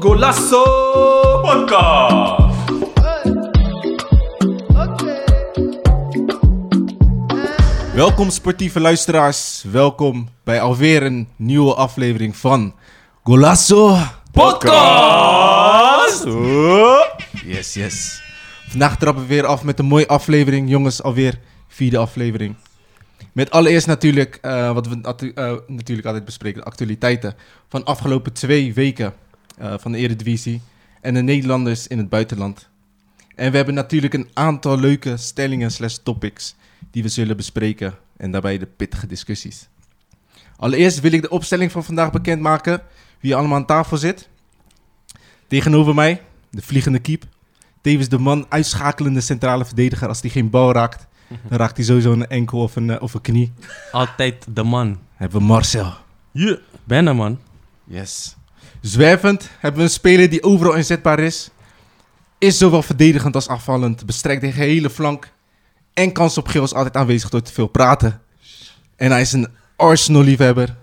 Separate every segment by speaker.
Speaker 1: Golasso Podcast. Welkom sportieve luisteraars. Welkom bij alweer een nieuwe aflevering van Golasso Podcast. Yes, yes. Vandaag trappen we weer af met een mooie aflevering. Jongens, alweer vierde aflevering. Met allereerst natuurlijk, eh, wat we natu- eh, natuurlijk altijd bespreken, de actualiteiten van de afgelopen twee weken eh, van de Eredivisie en de Nederlanders in het buitenland. En we hebben natuurlijk een aantal leuke stellingen slash topics die we zullen bespreken en daarbij de pittige discussies. Allereerst wil ik de opstelling van vandaag bekendmaken, wie allemaal aan tafel zit. Tegenover mij, de vliegende keep, tevens de man uitschakelende centrale verdediger als hij geen bal raakt. Dan raakt hij sowieso een enkel of een, eh, of een knie.
Speaker 2: Altijd de man.
Speaker 1: Hebben we Marcel.
Speaker 2: Je. Ben een man.
Speaker 1: Yes. Zwervend hebben we een speler die overal inzetbaar is. Is zowel verdedigend als afvallend. Bestrijkt de gehele flank. En kans op geel is altijd aanwezig door te veel praten. En hij is een Arsenal-liefhebber.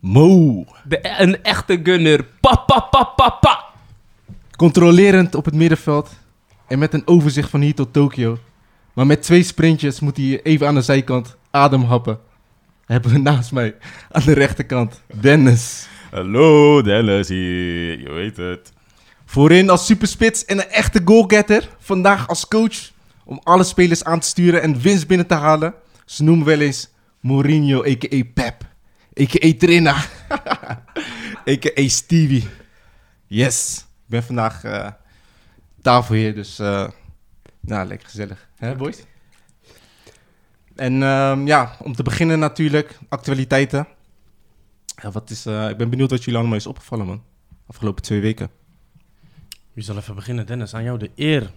Speaker 1: Mo.
Speaker 2: De, een echte gunner. Pa, pa, pa, pa, pa.
Speaker 1: Controlerend op het middenveld. En met een overzicht van hier tot Tokio. Maar met twee sprintjes moet hij even aan de zijkant ademhappen. Hebben we naast mij aan de rechterkant Dennis.
Speaker 3: Hallo, Dennis hier. Je weet het.
Speaker 1: Voorin als superspits en een echte goalgetter. Vandaag als coach om alle spelers aan te sturen en winst binnen te halen. Ze noemen wel eens Mourinho, a.k.a. Pep, a.k.a. Trina, a.k.a. Stevie. Yes, ik ben vandaag eh, tafelheer, dus eh, nou, lekker gezellig. Hè, boys? En ehm, ja, om te beginnen natuurlijk, actualiteiten. Ja, wat is, eh, ik ben benieuwd wat jullie allemaal is opgevallen, man. Afgelopen twee weken.
Speaker 2: Wie zal even beginnen, Dennis? Aan jou de eer.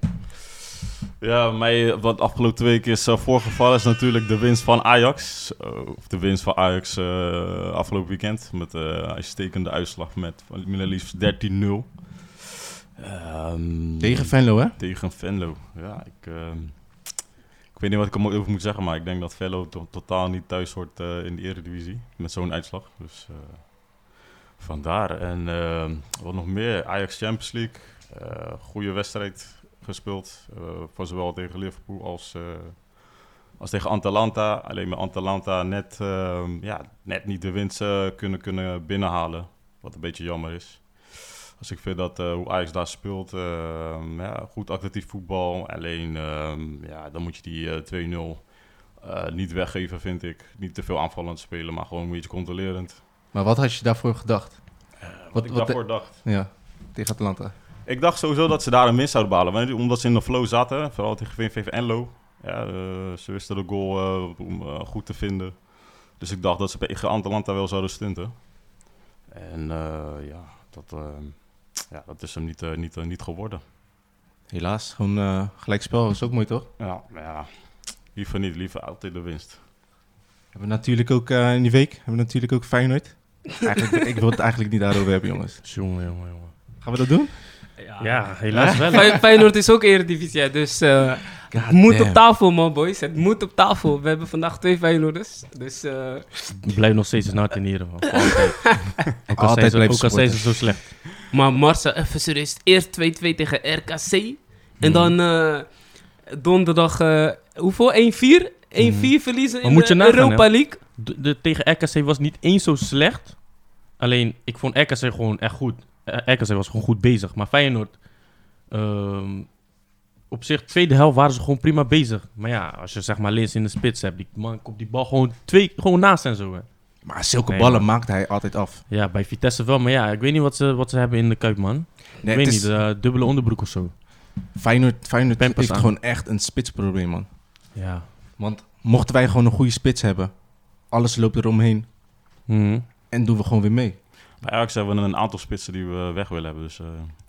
Speaker 3: Ja, mij wat de afgelopen twee keer is eh, voorgevallen is natuurlijk de winst van Ajax. Zo, Of de winst van Ajax eh, afgelopen weekend. Met eh, een uitstekende uitslag met Milan liefst 13-0. Ehm,
Speaker 2: Mm.
Speaker 1: Tegen Venlo, hè?
Speaker 3: tegen Venlo. Ja, ik, ehm, ik weet niet wat ik er over moet zeggen, maar ik denk dat Venlo to- totaal niet thuis hoort eh, in de Eredivisie met zo'n uitslag. Dus eh, vandaar. En ehm, wat nog meer, Ajax Champions League. Eh, goede wedstrijd gespeeld, eh, voor zowel tegen Liverpool als, eh, als tegen Atalanta. Alleen met Atalanta net, ehm, ja, net niet de winst eh, kunnen, kunnen binnenhalen, wat een beetje jammer is. Dus ik vind dat eh, hoe Ajax daar speelt, ehm, ja, goed attractief voetbal. Alleen, ehm, ja, dan moet je die eh, 2-0 eh, niet weggeven, vind ik. Niet te veel aanvallend spelen, maar gewoon een beetje controlerend.
Speaker 1: Maar wat had je daarvoor gedacht?
Speaker 2: Eh,
Speaker 3: wat,
Speaker 1: wat-
Speaker 3: ik
Speaker 1: wat-
Speaker 3: daarvoor dacht.
Speaker 1: Ja, tegen Atlanta.
Speaker 3: Ik dacht sowieso dat ze daar een winst zouden behalen. want- Omdat ze in de flow zaten, vooral tegen VVV Enlo. Ja, eh, ze wisten de goal eh, om, eh, goed te vinden. Dus ik dacht dat ze tegen Atalanta wel zouden stunten. En eh, ja, dat, ehm, ja, dat is hem niet, eh, niet, eh, niet geworden.
Speaker 1: Helaas, gewoon eh, gelijkspel is ook mooi, toch?
Speaker 3: Ja, maar ja, liever niet, liever altijd de winst.
Speaker 1: Hebben we natuurlijk ook eh, in die week, hebben we natuurlijk ook Feyenoord. Eigenlijk, ik wil het eigenlijk niet daarover hebben, jongens.
Speaker 2: Jongen, jongen, jongen.
Speaker 1: Gaan we dat doen?
Speaker 2: Ja, helaas wel.
Speaker 4: Fey- Feyenoord is ook Eredivisie, hè, dus eh,
Speaker 2: Ah,
Speaker 4: het moet op tafel, man, boys. Het moet op tafel. We hebben vandaag twee Feyenoorders, dus eh,
Speaker 2: Ik blijf nog steeds een hart in nieren. man. Voor Altijd. Ook al
Speaker 1: Altijd
Speaker 2: zijn ze-
Speaker 1: blijven
Speaker 2: Ook al zijn
Speaker 1: supporten.
Speaker 2: ze zo slecht.
Speaker 4: Maar Marcel, even serieus. Eerst 2-2 tegen RKC. En dan eh, donderdag, eh, hoeveel? 1-4? 1-4 verliezen
Speaker 2: Maar
Speaker 4: in
Speaker 2: moet
Speaker 4: de
Speaker 2: je nagaan,
Speaker 4: Europa
Speaker 2: hè?
Speaker 4: League.
Speaker 2: De, de- tegen RKC was niet eens zo slecht. Alleen, ik vond RKC gewoon echt goed. Eh, RKC was gewoon goed bezig. Maar Feyenoord... ehm, op zich, tweede helft waren ze gewoon prima bezig. Maar ja, als je zeg maar links in de spits hebt, die man komt die bal gewoon, twee, gewoon naast en zo. Hè.
Speaker 1: Maar zulke
Speaker 2: Nee,
Speaker 1: ballen
Speaker 2: man.
Speaker 1: maakt hij altijd af.
Speaker 2: Ja, bij Vitesse wel, maar ja, ik weet niet wat ze, wat ze hebben in de Kuip, man.
Speaker 1: Nee,
Speaker 2: ik weet
Speaker 1: het is-
Speaker 2: niet, eh, dubbele onderbroek of zo.
Speaker 1: Feyenoord, Feyenoord
Speaker 2: Pempers
Speaker 1: heeft
Speaker 2: aan.
Speaker 1: gewoon echt een spitsprobleem, man.
Speaker 2: Ja.
Speaker 1: Want mochten wij gewoon een goede spits hebben, alles loopt eromheen
Speaker 2: Mhm.
Speaker 1: en doen we gewoon weer mee.
Speaker 3: Bij Ajax hebben we een aantal spitsen die we weg willen hebben. Dus eh,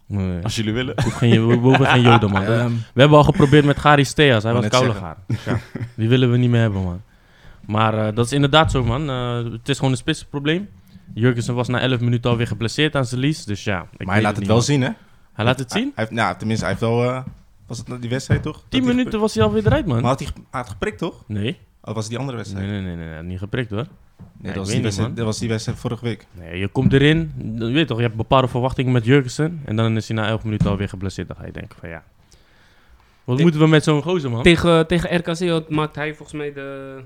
Speaker 2: Nee.
Speaker 3: als jullie willen.
Speaker 2: We hoeven geen, we hoeven geen joden, man.
Speaker 1: Ehm,
Speaker 2: We hebben al geprobeerd met Garis Theas, hij
Speaker 1: wou net
Speaker 2: was koude gaar. Ja, die willen we niet meer hebben, man. Maar eh, dat is inderdaad zo, man. Eh, het is gewoon een spitsprobleem. Jurgensen was na 11 minuten alweer geblesseerd aan zijn lies, dus ja. ik weet
Speaker 1: maar hij laat het,
Speaker 2: niet,
Speaker 1: wel
Speaker 2: man.
Speaker 1: zien, hè?
Speaker 2: Hij laat het zien?
Speaker 1: Hij heeft, nou, tenminste, hij heeft wel... eh, was het die wedstrijd, toch? Dat
Speaker 2: 10
Speaker 1: hij
Speaker 2: minuten was hij alweer eruit,
Speaker 1: gepri- Maar
Speaker 2: man.
Speaker 1: had hij, ge- hij had geprikt, toch?
Speaker 2: Nee.
Speaker 1: Of was het die andere wedstrijd?
Speaker 2: Nee, nee, nee, nee, nee, niet geprikt hoor.
Speaker 1: Nee,
Speaker 2: ik
Speaker 1: dat, was
Speaker 2: weet
Speaker 1: die
Speaker 2: niet,
Speaker 1: wedstrijd,
Speaker 2: man.
Speaker 1: dat was die wedstrijd vorige week.
Speaker 2: Nee, je komt erin, je weet toch, je hebt bepaalde verwachtingen met Jurgensen. En dan is hij na 11 minuten alweer geblesseerd. Dan ga je denken van ja, wat
Speaker 4: Ik-
Speaker 2: moeten we met zo'n gozer man?
Speaker 4: Tegen, tegen RKC had, maakt hij volgens mij de...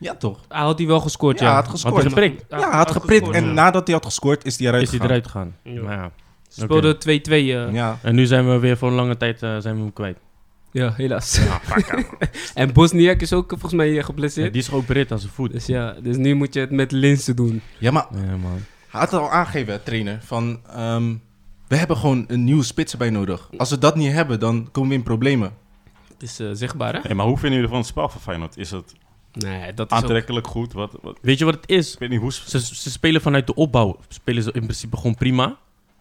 Speaker 1: Ja, toch?
Speaker 4: Hij had die wel gescoord,
Speaker 1: Ja,
Speaker 4: ja.
Speaker 1: hij had gescoord.
Speaker 2: Had hij geprikt?
Speaker 1: Ja, hij had geprint.
Speaker 4: gescoord,
Speaker 1: En
Speaker 4: ja.
Speaker 1: nadat hij had gescoord, is hij eruit
Speaker 2: Is hij
Speaker 1: gegaan.
Speaker 2: eruit gegaan?
Speaker 4: Ja.
Speaker 2: Maar ja.
Speaker 4: Ze speelden 2-2. eh. ja.
Speaker 1: Ja.
Speaker 2: En nu zijn we weer voor een lange tijd eh, zijn we hem kwijt.
Speaker 4: helaas. en Bosniak is ook eh, volgens mij eh,
Speaker 2: Ja,
Speaker 4: geblesseerd.
Speaker 2: die is geopereerd aan zijn voet.
Speaker 4: Dus ja, dus nu moet je het met Linsen doen.
Speaker 1: ja, maar
Speaker 2: Ja, man.
Speaker 1: Hij had het al aangegeven, trainer, van ehm, we hebben gewoon een nieuwe spits erbij nodig. Als we dat niet hebben, dan komen we in problemen.
Speaker 4: Het is eh, zichtbaar, hè?
Speaker 3: Hey, maar hoe vinden jullie van het spel van Feyenoord? Is het
Speaker 4: Nee, dat is ook...
Speaker 3: aantrekkelijk goed? Wat, wat,
Speaker 2: Weet je wat het is?
Speaker 3: ik weet niet hoe... ze-
Speaker 2: Ze, ze spelen vanuit de opbouw. Spelen ze in principe gewoon prima.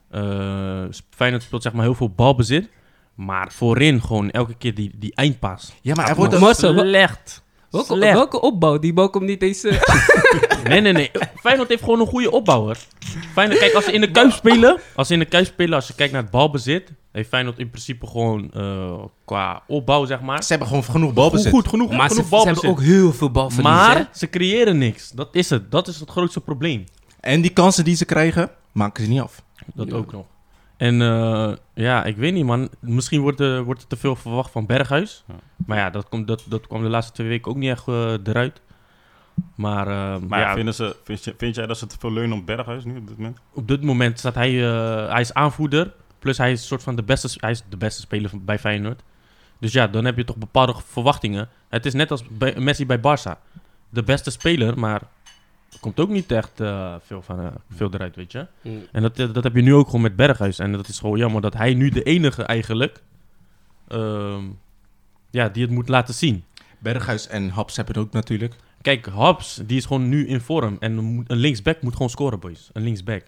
Speaker 2: Eh Feyenoord speelt zeg maar heel veel balbezit. Maar voorin gewoon elke keer die, die eindpaas.
Speaker 1: Ja, maar
Speaker 2: Ja,
Speaker 1: hij wordt
Speaker 4: maar-
Speaker 1: een-
Speaker 4: Marcel, wa-
Speaker 2: Slecht.
Speaker 4: Welke,
Speaker 2: Slecht.
Speaker 4: welke opbouw? Die bal komt niet eens... eh,
Speaker 2: Nee, nee, nee. Feyenoord heeft gewoon een goede opbouwer. Feyenoord, kijk, als ze in de Kuip spelen... Als ze in de Kuip spelen, als je kijkt naar het balbezit... Heeft Feyenoord in principe gewoon eh, qua opbouw, zeg maar...
Speaker 1: Ze hebben gewoon genoeg balbezit.
Speaker 2: Goed, genoeg,
Speaker 4: maar ze,
Speaker 2: genoeg
Speaker 4: ze
Speaker 2: balbezit.
Speaker 4: hebben ook heel veel balverlies, hè?
Speaker 2: maar ze creëren niks. Dat is het. Dat is het grootste probleem.
Speaker 1: En die kansen die ze krijgen, maken ze niet af.
Speaker 2: Dat
Speaker 4: Ja.
Speaker 2: ook nog. En eh, ja, ik weet niet, man. Misschien wordt, eh, wordt er te veel verwacht van Berghuis.
Speaker 3: Ja.
Speaker 2: Maar ja, dat, komt dat, dat kwam de laatste twee weken ook niet echt eh, eruit. Maar, eh,
Speaker 3: Maar ja,
Speaker 2: ja,
Speaker 3: vinden ze, vind, je- vind jij dat ze te veel leunen op Berghuis nu op dit moment?
Speaker 2: op dit moment staat hij, eh, hij is aanvoerder. Plus hij is soort van de beste, hij is de beste speler van- bij Feyenoord. Dus ja, dan heb je toch bepaalde verwachtingen. Het is net als bij, Messi bij Barça. De beste speler, maar er komt ook niet echt eh, veel, van, eh, veel eruit, weet je.
Speaker 4: Hm.
Speaker 2: En dat, dat heb je nu ook gewoon met Berghuis. En dat is gewoon jammer dat hij nu de enige eigenlijk... ehm, ja, die het moet laten zien.
Speaker 1: Berghuis en Haps hebben het ook natuurlijk.
Speaker 2: Kijk, Habs, die is gewoon nu in vorm. En een moet- een linksback moet gewoon scoren, boys. Een linksback.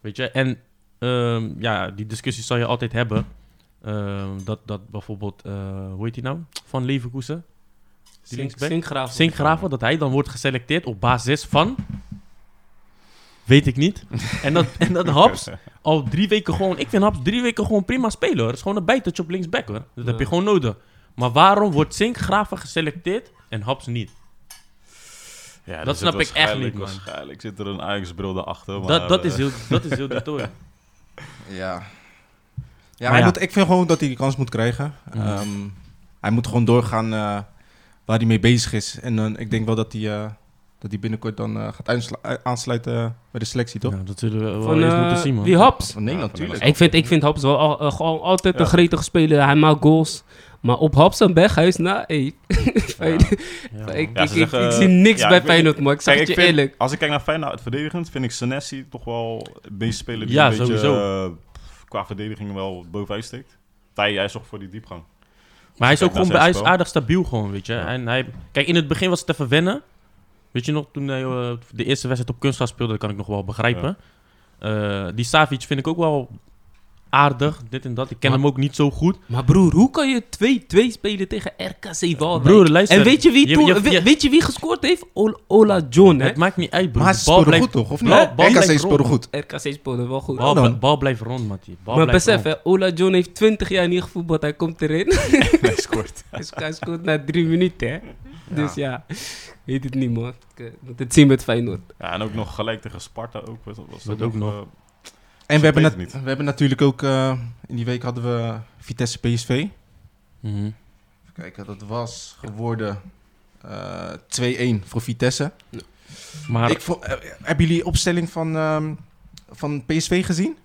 Speaker 2: Weet je? En ehm, ja, die discussie zal je altijd hebben. Ehm, dat, dat bijvoorbeeld, eh, hoe heet die nou? Van Leverkusen. Die linksback.
Speaker 4: Sinkgraaf.
Speaker 2: Sinkgraven, dat hij dan wordt geselecteerd op basis van... Weet ik niet. En dat, en dat Haps al drie weken gewoon... Ik vind Haps drie weken gewoon prima spelen, hoor. Het is gewoon een bijtetje op linksback, hoor. Dat heb je
Speaker 4: Ja.
Speaker 2: gewoon nodig. Maar waarom wordt Sinkgraven geselecteerd en Haps niet?
Speaker 3: Ja,
Speaker 2: Dat
Speaker 3: er zit
Speaker 2: snap ik echt
Speaker 3: waarschijnlijk-
Speaker 2: niet, man.
Speaker 3: Waarschijnlijk zit er een Ajax-bril daarachter. Maar,
Speaker 2: Dat, dat,
Speaker 3: eh,
Speaker 2: is heel, dat is heel detail.
Speaker 1: Ja. Ja,
Speaker 2: Maar
Speaker 1: hij
Speaker 2: ja.
Speaker 1: Moet, ik vind gewoon dat hij die kans moet krijgen.
Speaker 2: Ja.
Speaker 1: Ehm, hij moet gewoon doorgaan eh, waar hij mee bezig is. En dan ik denk wel dat hij, eh, dat hij binnenkort dan eh, gaat uitslu- eh, aansluiten eh, bij de selectie, toch?
Speaker 2: dat zullen we wel
Speaker 4: Van,
Speaker 2: eens
Speaker 4: eh,
Speaker 2: moeten zien, man.
Speaker 4: Die Haps.
Speaker 1: Nee,
Speaker 3: Ja,
Speaker 1: natuurlijk.
Speaker 4: Ik vind, ik vind Haps wel al, eh, gewoon altijd een
Speaker 3: Ja.
Speaker 4: gretige speler. Hij maakt goals. Maar op Haps en Berghuis, nou, hey, Feyenoord- ik,
Speaker 2: Ja,
Speaker 3: Ja,
Speaker 2: man.
Speaker 4: ik,
Speaker 3: ze
Speaker 4: ik-
Speaker 3: zeggen,
Speaker 4: ik zie niks
Speaker 3: ja,
Speaker 4: bij
Speaker 3: ik weet-
Speaker 4: Feyenoord, man. Ik zeg
Speaker 3: Kijk,
Speaker 4: het je
Speaker 3: ik vind-
Speaker 4: eerlijk.
Speaker 3: Als ik kijk naar Feyenoord verdedigend, vind ik Senesi toch wel het meest speler die
Speaker 2: Ja,
Speaker 3: een beetje
Speaker 2: sowieso.
Speaker 3: eh, qua verdediging wel bovenuit steekt. Hij, hij zorgt voor die diepgang.
Speaker 2: Maar hij is
Speaker 3: Kijk,
Speaker 2: ook
Speaker 3: dat
Speaker 2: gewoon
Speaker 3: is
Speaker 2: hij is
Speaker 3: wel.
Speaker 2: aardig stabiel gewoon, weet je.
Speaker 3: Ja.
Speaker 2: En hij, kijk, in het begin was het even wennen. Weet je nog, toen hij eh, de eerste wedstrijd op kunstgras speelde, dat kan ik nog wel begrijpen. Eh, die Savic vind ik ook wel aardig, dit en dat. Ik ken
Speaker 4: Maar-
Speaker 2: hem ook niet zo goed.
Speaker 4: Maar broer, hoe kan je 2-2 spelen tegen RKC Waalwijk?
Speaker 2: Broer, luister.
Speaker 4: En weet je wie,
Speaker 2: Je-
Speaker 4: toen-
Speaker 2: je-
Speaker 4: we-
Speaker 2: je-
Speaker 4: weet je wie gescoord heeft? Ol- Ola John, hè?
Speaker 2: Het maakt niet uit, broer.
Speaker 1: Maar hij
Speaker 2: De bal
Speaker 1: speelde
Speaker 2: blijft,
Speaker 1: goed, toch? Of niet?
Speaker 2: Bal- bal
Speaker 1: RKC
Speaker 2: blijft
Speaker 1: speelde
Speaker 2: rond.
Speaker 1: goed.
Speaker 4: RKC speelde wel goed.
Speaker 2: bal,
Speaker 1: dan.
Speaker 2: bl- bal blijft rond, Mattie. Bal
Speaker 4: maar
Speaker 2: blijft
Speaker 4: besef,
Speaker 2: rond.
Speaker 4: hè, Ola John heeft 20 jaar niet gevoetbald. Hij komt erin.
Speaker 3: Hij scoort.
Speaker 4: Hij sc- hij scoort na drie minuten, hè? Dus ja, weet het niet, man. Ik eh, moet het zien met Feyenoord.
Speaker 3: Ja, en ook nog gelijk tegen Sparta ook. Was, was
Speaker 2: Dat ook nog.
Speaker 3: eh,
Speaker 1: En we hebben,
Speaker 3: weet het
Speaker 1: nat-
Speaker 3: niet.
Speaker 1: we hebben natuurlijk ook... eh, in die week hadden we Vitesse PSV. Even
Speaker 2: Mhm.
Speaker 1: kijken, dat was geworden eh, 2-1 voor Vitesse.
Speaker 2: Maar
Speaker 1: Ik vond- eh, hebben jullie opstelling van, ehm, van PSV gezien?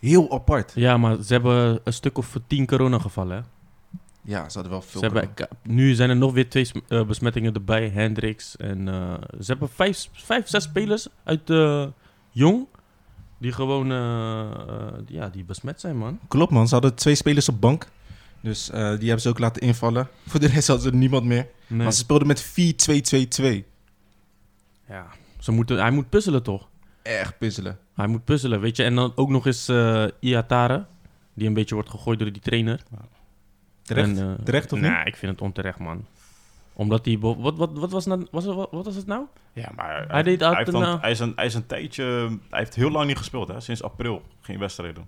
Speaker 1: Heel apart.
Speaker 2: ja, maar ze hebben een stuk of tien coronagevallen, hè.
Speaker 1: Ja, ze hadden wel veel...
Speaker 2: Ze hebben,
Speaker 1: kunnen-
Speaker 2: ik- nu zijn er nog weer twee sm- eh, besmettingen erbij, Hendricks. En eh, ze hebben vijf, s- vijf, zes spelers uit eh, Jong. Die gewoon eh, eh, ja, die besmet zijn, man.
Speaker 1: Klopt man, ze hadden twee spelers op bank. Dus eh, die hebben ze ook laten invallen. Voor de rest hadden ze niemand meer.
Speaker 2: Nee.
Speaker 1: Maar ze speelden met 4-2-2-2.
Speaker 2: Ja, ze moeten, hij moet puzzelen, toch?
Speaker 1: Echt puzzelen.
Speaker 2: Hij moet puzzelen, weet je. En dan ook nog eens eh Iatare, die een beetje wordt gegooid door die trainer.
Speaker 1: Terecht?
Speaker 2: En, eh,
Speaker 1: Terecht of
Speaker 2: nee,
Speaker 1: niet?
Speaker 2: ik vind het onterecht, man. Omdat hij... bo- Wat, wat, wat, was, nou, was, wat, wat was het nou?
Speaker 3: Ja, maar hij,
Speaker 2: deed
Speaker 3: hij,
Speaker 2: uit
Speaker 3: heeft
Speaker 2: een,
Speaker 3: dan-
Speaker 2: eh,
Speaker 3: hij, is een, hij is een tijdje... Hij heeft heel lang niet gespeeld, hè. Sinds april geen wedstrijden.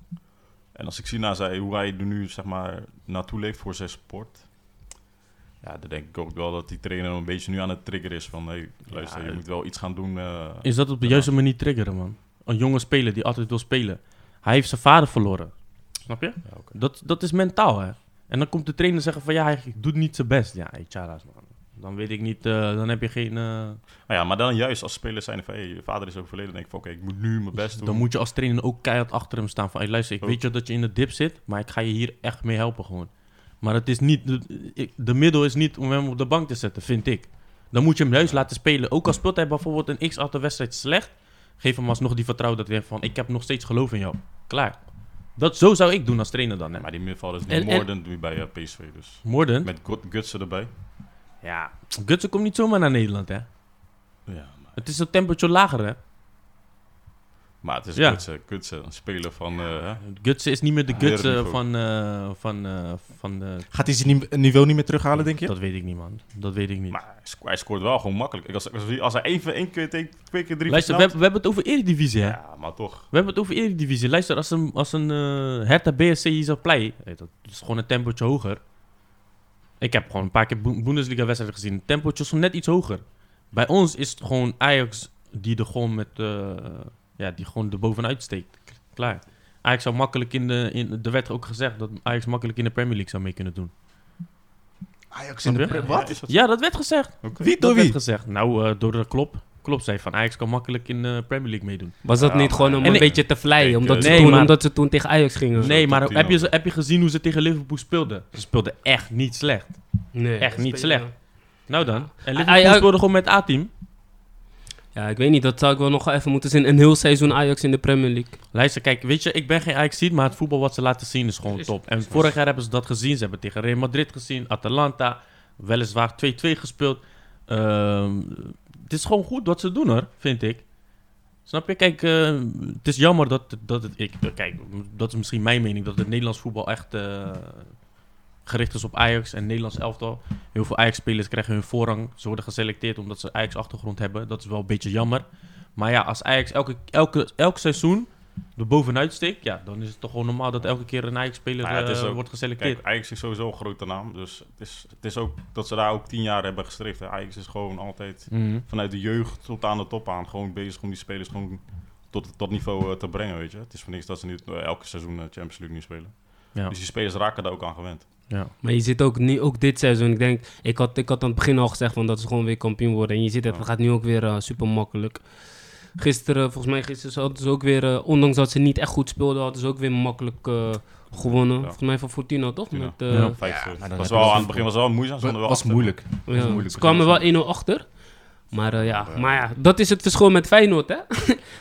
Speaker 3: En als ik zie naar zij, hoe hij er nu, zeg maar, naartoe leeft voor zijn sport... Ja, dan denk ik ook wel dat die trainer een beetje nu aan het trigger is van... Hey, luister,
Speaker 2: Ja,
Speaker 3: je
Speaker 2: het-
Speaker 3: moet wel iets gaan doen. eh,
Speaker 2: Is dat op de juiste manier triggeren, man? Een jonge speler die altijd wil spelen. Hij heeft zijn vader verloren. Snap je?
Speaker 3: ja, oké.
Speaker 2: Dat, dat is mentaal, hè? En dan komt de trainer zeggen van ja, hij doet niet zijn best. Ja, hey, tjara's, man. Dan weet ik niet, eh, dan heb je geen. eh,
Speaker 3: Nou ja, maar dan juist als spelers zijn van... Hey, je vader is overleden. denk ik van, oké, ik moet nu mijn best doen.
Speaker 2: Dus dan moet je als trainer ook keihard achter hem staan. Van hey, luister, ik
Speaker 3: Ook.
Speaker 2: weet je dat je in de dip zit, maar ik ga je hier echt mee helpen gewoon. Maar het is niet, de, ik- de middel is niet om hem op de bank te zetten, vind ik. Dan moet je hem juist laten spelen. Ook al speelt hij bijvoorbeeld een x aantal wedstrijd slecht, geef hem alsnog die vertrouwen dat hij heeft van ik heb nog steeds geloof in jou. Klaar. Dat, zo zou ik doen als trainer dan. Hè.
Speaker 3: Ja, maar die middenveld is
Speaker 4: En-
Speaker 3: nu
Speaker 4: en-
Speaker 3: moordend nu bij eh, PSV. Dus
Speaker 2: Morden,
Speaker 3: met Gut- Gutsen erbij.
Speaker 2: ja, Gutsen komt niet zomaar naar Nederland, hè.
Speaker 3: Ja, maar,
Speaker 2: Het is een temperatuur lager, hè.
Speaker 3: maar het is
Speaker 2: Ja.
Speaker 3: Gutsen, Gutsen, een speler van... eh, hè?
Speaker 2: Gutsen is niet meer de
Speaker 3: Ja,
Speaker 2: Gutsen
Speaker 3: wereldniveau.
Speaker 2: van, eh, van, eh, van de...
Speaker 1: Gaat hij zijn nie- niveau niet meer terughalen, denk je?
Speaker 2: Dat weet ik niet, man. Dat weet ik niet.
Speaker 3: Maar hij sco- hij scoort wel gewoon makkelijk. Ik- Als, als, als hij één, van- één keer, twee, twee keer drie
Speaker 2: Luister,
Speaker 3: versnelt-
Speaker 2: we, hebben- we hebben het over Eredivisie, hè?
Speaker 3: Ja, maar toch.
Speaker 2: We hebben het over Eredivisie. Luister, als een, als een eh, Hertha BSC hier zou play, eh, dat is gewoon een tempootje hoger. Ik heb gewoon een paar keer Bo- Bundesliga-wedstrijden gezien. Het tempootje is net iets hoger. Bij ons is het gewoon Ajax die er gewoon met, eh, ja, die gewoon er bovenuit steekt. K- Klaar. Ajax zou makkelijk in de, in, er werd ook gezegd dat Ajax makkelijk in de Premier League zou mee kunnen doen.
Speaker 1: Ajax
Speaker 2: in de Snap je?
Speaker 1: Premier.
Speaker 3: Ja, is dat-
Speaker 2: Ja, dat werd gezegd.
Speaker 1: Wie
Speaker 2: Dat
Speaker 1: door
Speaker 2: werd
Speaker 1: wie?
Speaker 2: gezegd. Nou, eh, door de Klop. Klop zei van Ajax kan makkelijk in de Premier League meedoen.
Speaker 4: Was dat
Speaker 3: Ja,
Speaker 4: niet gewoon
Speaker 3: maar-
Speaker 4: om
Speaker 2: En
Speaker 4: een
Speaker 2: ik-
Speaker 4: beetje te
Speaker 3: Ik,
Speaker 4: vleien? Omdat,
Speaker 3: eh,
Speaker 4: ze
Speaker 2: Nee,
Speaker 4: toen,
Speaker 2: maar-
Speaker 4: omdat ze toen tegen Ajax gingen?
Speaker 2: Nee,
Speaker 3: top
Speaker 2: maar
Speaker 3: 10
Speaker 2: heb je,
Speaker 3: ook.
Speaker 2: heb je gezien hoe ze tegen Liverpool speelden? Ze speelden echt niet slecht.
Speaker 4: Nee.
Speaker 2: Echt niet slecht. Nou dan. En Liverpool
Speaker 4: Aj- Aj-
Speaker 2: speelde gewoon met A-team.
Speaker 4: Ja, ik weet niet. Dat zou ik wel nog wel even moeten zien. Een heel seizoen Ajax in de Premier League.
Speaker 2: Luister, kijk, weet je, ik ben geen ajax maar het voetbal wat ze laten zien is gewoon
Speaker 4: Is-
Speaker 2: top. En vorig jaar hebben ze dat gezien. Ze hebben tegen Real Madrid gezien, Atalanta. Weliswaar 2-2 gespeeld. Ehm, het is gewoon goed wat ze doen hoor, vind ik. Snap je? Kijk, eh, het is jammer dat, dat het... Ik, kijk, dat is misschien mijn mening. Dat het Nederlands voetbal echt eh, gericht is op Ajax en Nederlands elftal. Heel veel Ajax-spelers krijgen hun voorrang. Ze worden geselecteerd omdat ze Ajax-achtergrond hebben. Dat is wel een beetje jammer. Maar ja, als Ajax elke, elke, elk seizoen er bovenuit steekt... Ja, dan is het toch gewoon normaal dat elke keer een Ajax-speler
Speaker 3: Nou ja, het is
Speaker 2: eh,
Speaker 3: ook-
Speaker 2: wordt
Speaker 3: Kijk,
Speaker 2: geselecteerd.
Speaker 3: Ajax is sowieso een grote naam. Dus het is, het is ook dat ze daar ook tien jaar hebben gestreefd. hè. Ajax is gewoon altijd
Speaker 2: Mhm.
Speaker 3: vanuit de jeugd tot aan de top aan. Gewoon bezig om die spelers gewoon tot dat niveau eh, te brengen, weet je. Het is voor niks dat ze nu eh, elke seizoen eh, Champions League nu spelen.
Speaker 2: Ja.
Speaker 3: Dus die spelers raken daar ook aan gewend.
Speaker 2: Ja.
Speaker 4: Maar je zit ook, nu, ook dit seizoen. Ik denk, ik had, ik had aan het begin al gezegd van dat ze gewoon weer kampioen worden. En je ziet het,
Speaker 3: Ja.
Speaker 4: het gaat nu ook weer eh, super makkelijk. Gisteren, volgens mij gisteren hadden ze ook weer, eh, ondanks dat ze niet echt goed speelden, hadden ze ook weer makkelijk eh, gewonnen. Volgens mij van Fortuna, toch?
Speaker 3: Fortuna.
Speaker 4: Met, eh,
Speaker 2: Ja.
Speaker 3: Vijf, eh,
Speaker 1: maar dan
Speaker 3: was
Speaker 1: heb je
Speaker 3: wel,
Speaker 1: wel
Speaker 3: aan het begin was het wel moeizaam. ze
Speaker 1: Dat
Speaker 3: stonden wel
Speaker 1: was
Speaker 3: achter.
Speaker 1: moeilijk.
Speaker 4: Ja,
Speaker 1: is moeilijk
Speaker 4: ze kwamen
Speaker 1: begin.
Speaker 4: wel 1-0 achter. Maar, eh, ja. maar ja, dat is het verschil met Feyenoord, hè?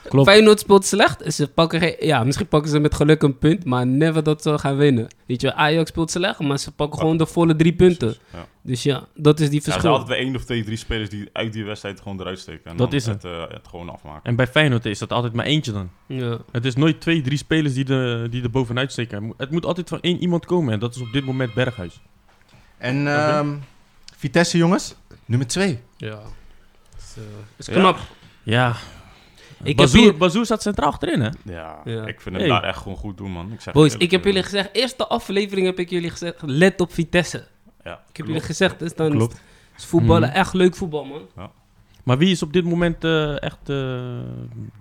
Speaker 2: Klopt.
Speaker 4: Feyenoord speelt slecht. Ze pakken geen, ja, misschien pakken ze met geluk een punt, maar never dat ze gaan winnen. Weet je, Ajax speelt slecht, maar ze pakken gewoon de volle drie punten.
Speaker 3: Ja.
Speaker 4: Dus ja, dat is die
Speaker 3: Ja, er
Speaker 4: verschil.
Speaker 3: zijn altijd weer één of twee, drie spelers die uit die wedstrijd gewoon eruit steken. En
Speaker 2: Dat
Speaker 3: dan
Speaker 2: is het.
Speaker 3: eh, het gewoon afmaken.
Speaker 2: En bij Feyenoord is dat altijd maar eentje dan.
Speaker 4: Ja.
Speaker 2: Het is nooit twee, drie spelers die, de, die er bovenuit steken. Het moet- Het moet altijd van één iemand komen. En dat is op dit moment Berghuis.
Speaker 1: En ehm, Vitesse, jongens. Nummer 2.
Speaker 4: Ja. Is, eh, is
Speaker 3: Ja.
Speaker 4: knap.
Speaker 2: Ja.
Speaker 4: Ik
Speaker 2: Bazoer,
Speaker 4: heb hier-
Speaker 2: Bazoer staat centraal achterin, hè?
Speaker 3: Ja,
Speaker 4: Ja.
Speaker 3: ik vind hem
Speaker 2: Hey.
Speaker 3: daar echt gewoon goed doen, man. Ik zeg je
Speaker 4: Boys,
Speaker 3: eerlijk,
Speaker 4: ik heb
Speaker 3: eh,
Speaker 4: jullie gezegd, eerste aflevering heb ik jullie gezegd, let op Vitesse. Ik
Speaker 3: eh, Ja,
Speaker 4: heb jullie gezegd, dus dan
Speaker 2: Klopt.
Speaker 4: is voetballen
Speaker 2: Mhm.
Speaker 4: echt leuk voetbal, man.
Speaker 2: Maar wie is op dit moment eh, echt eh,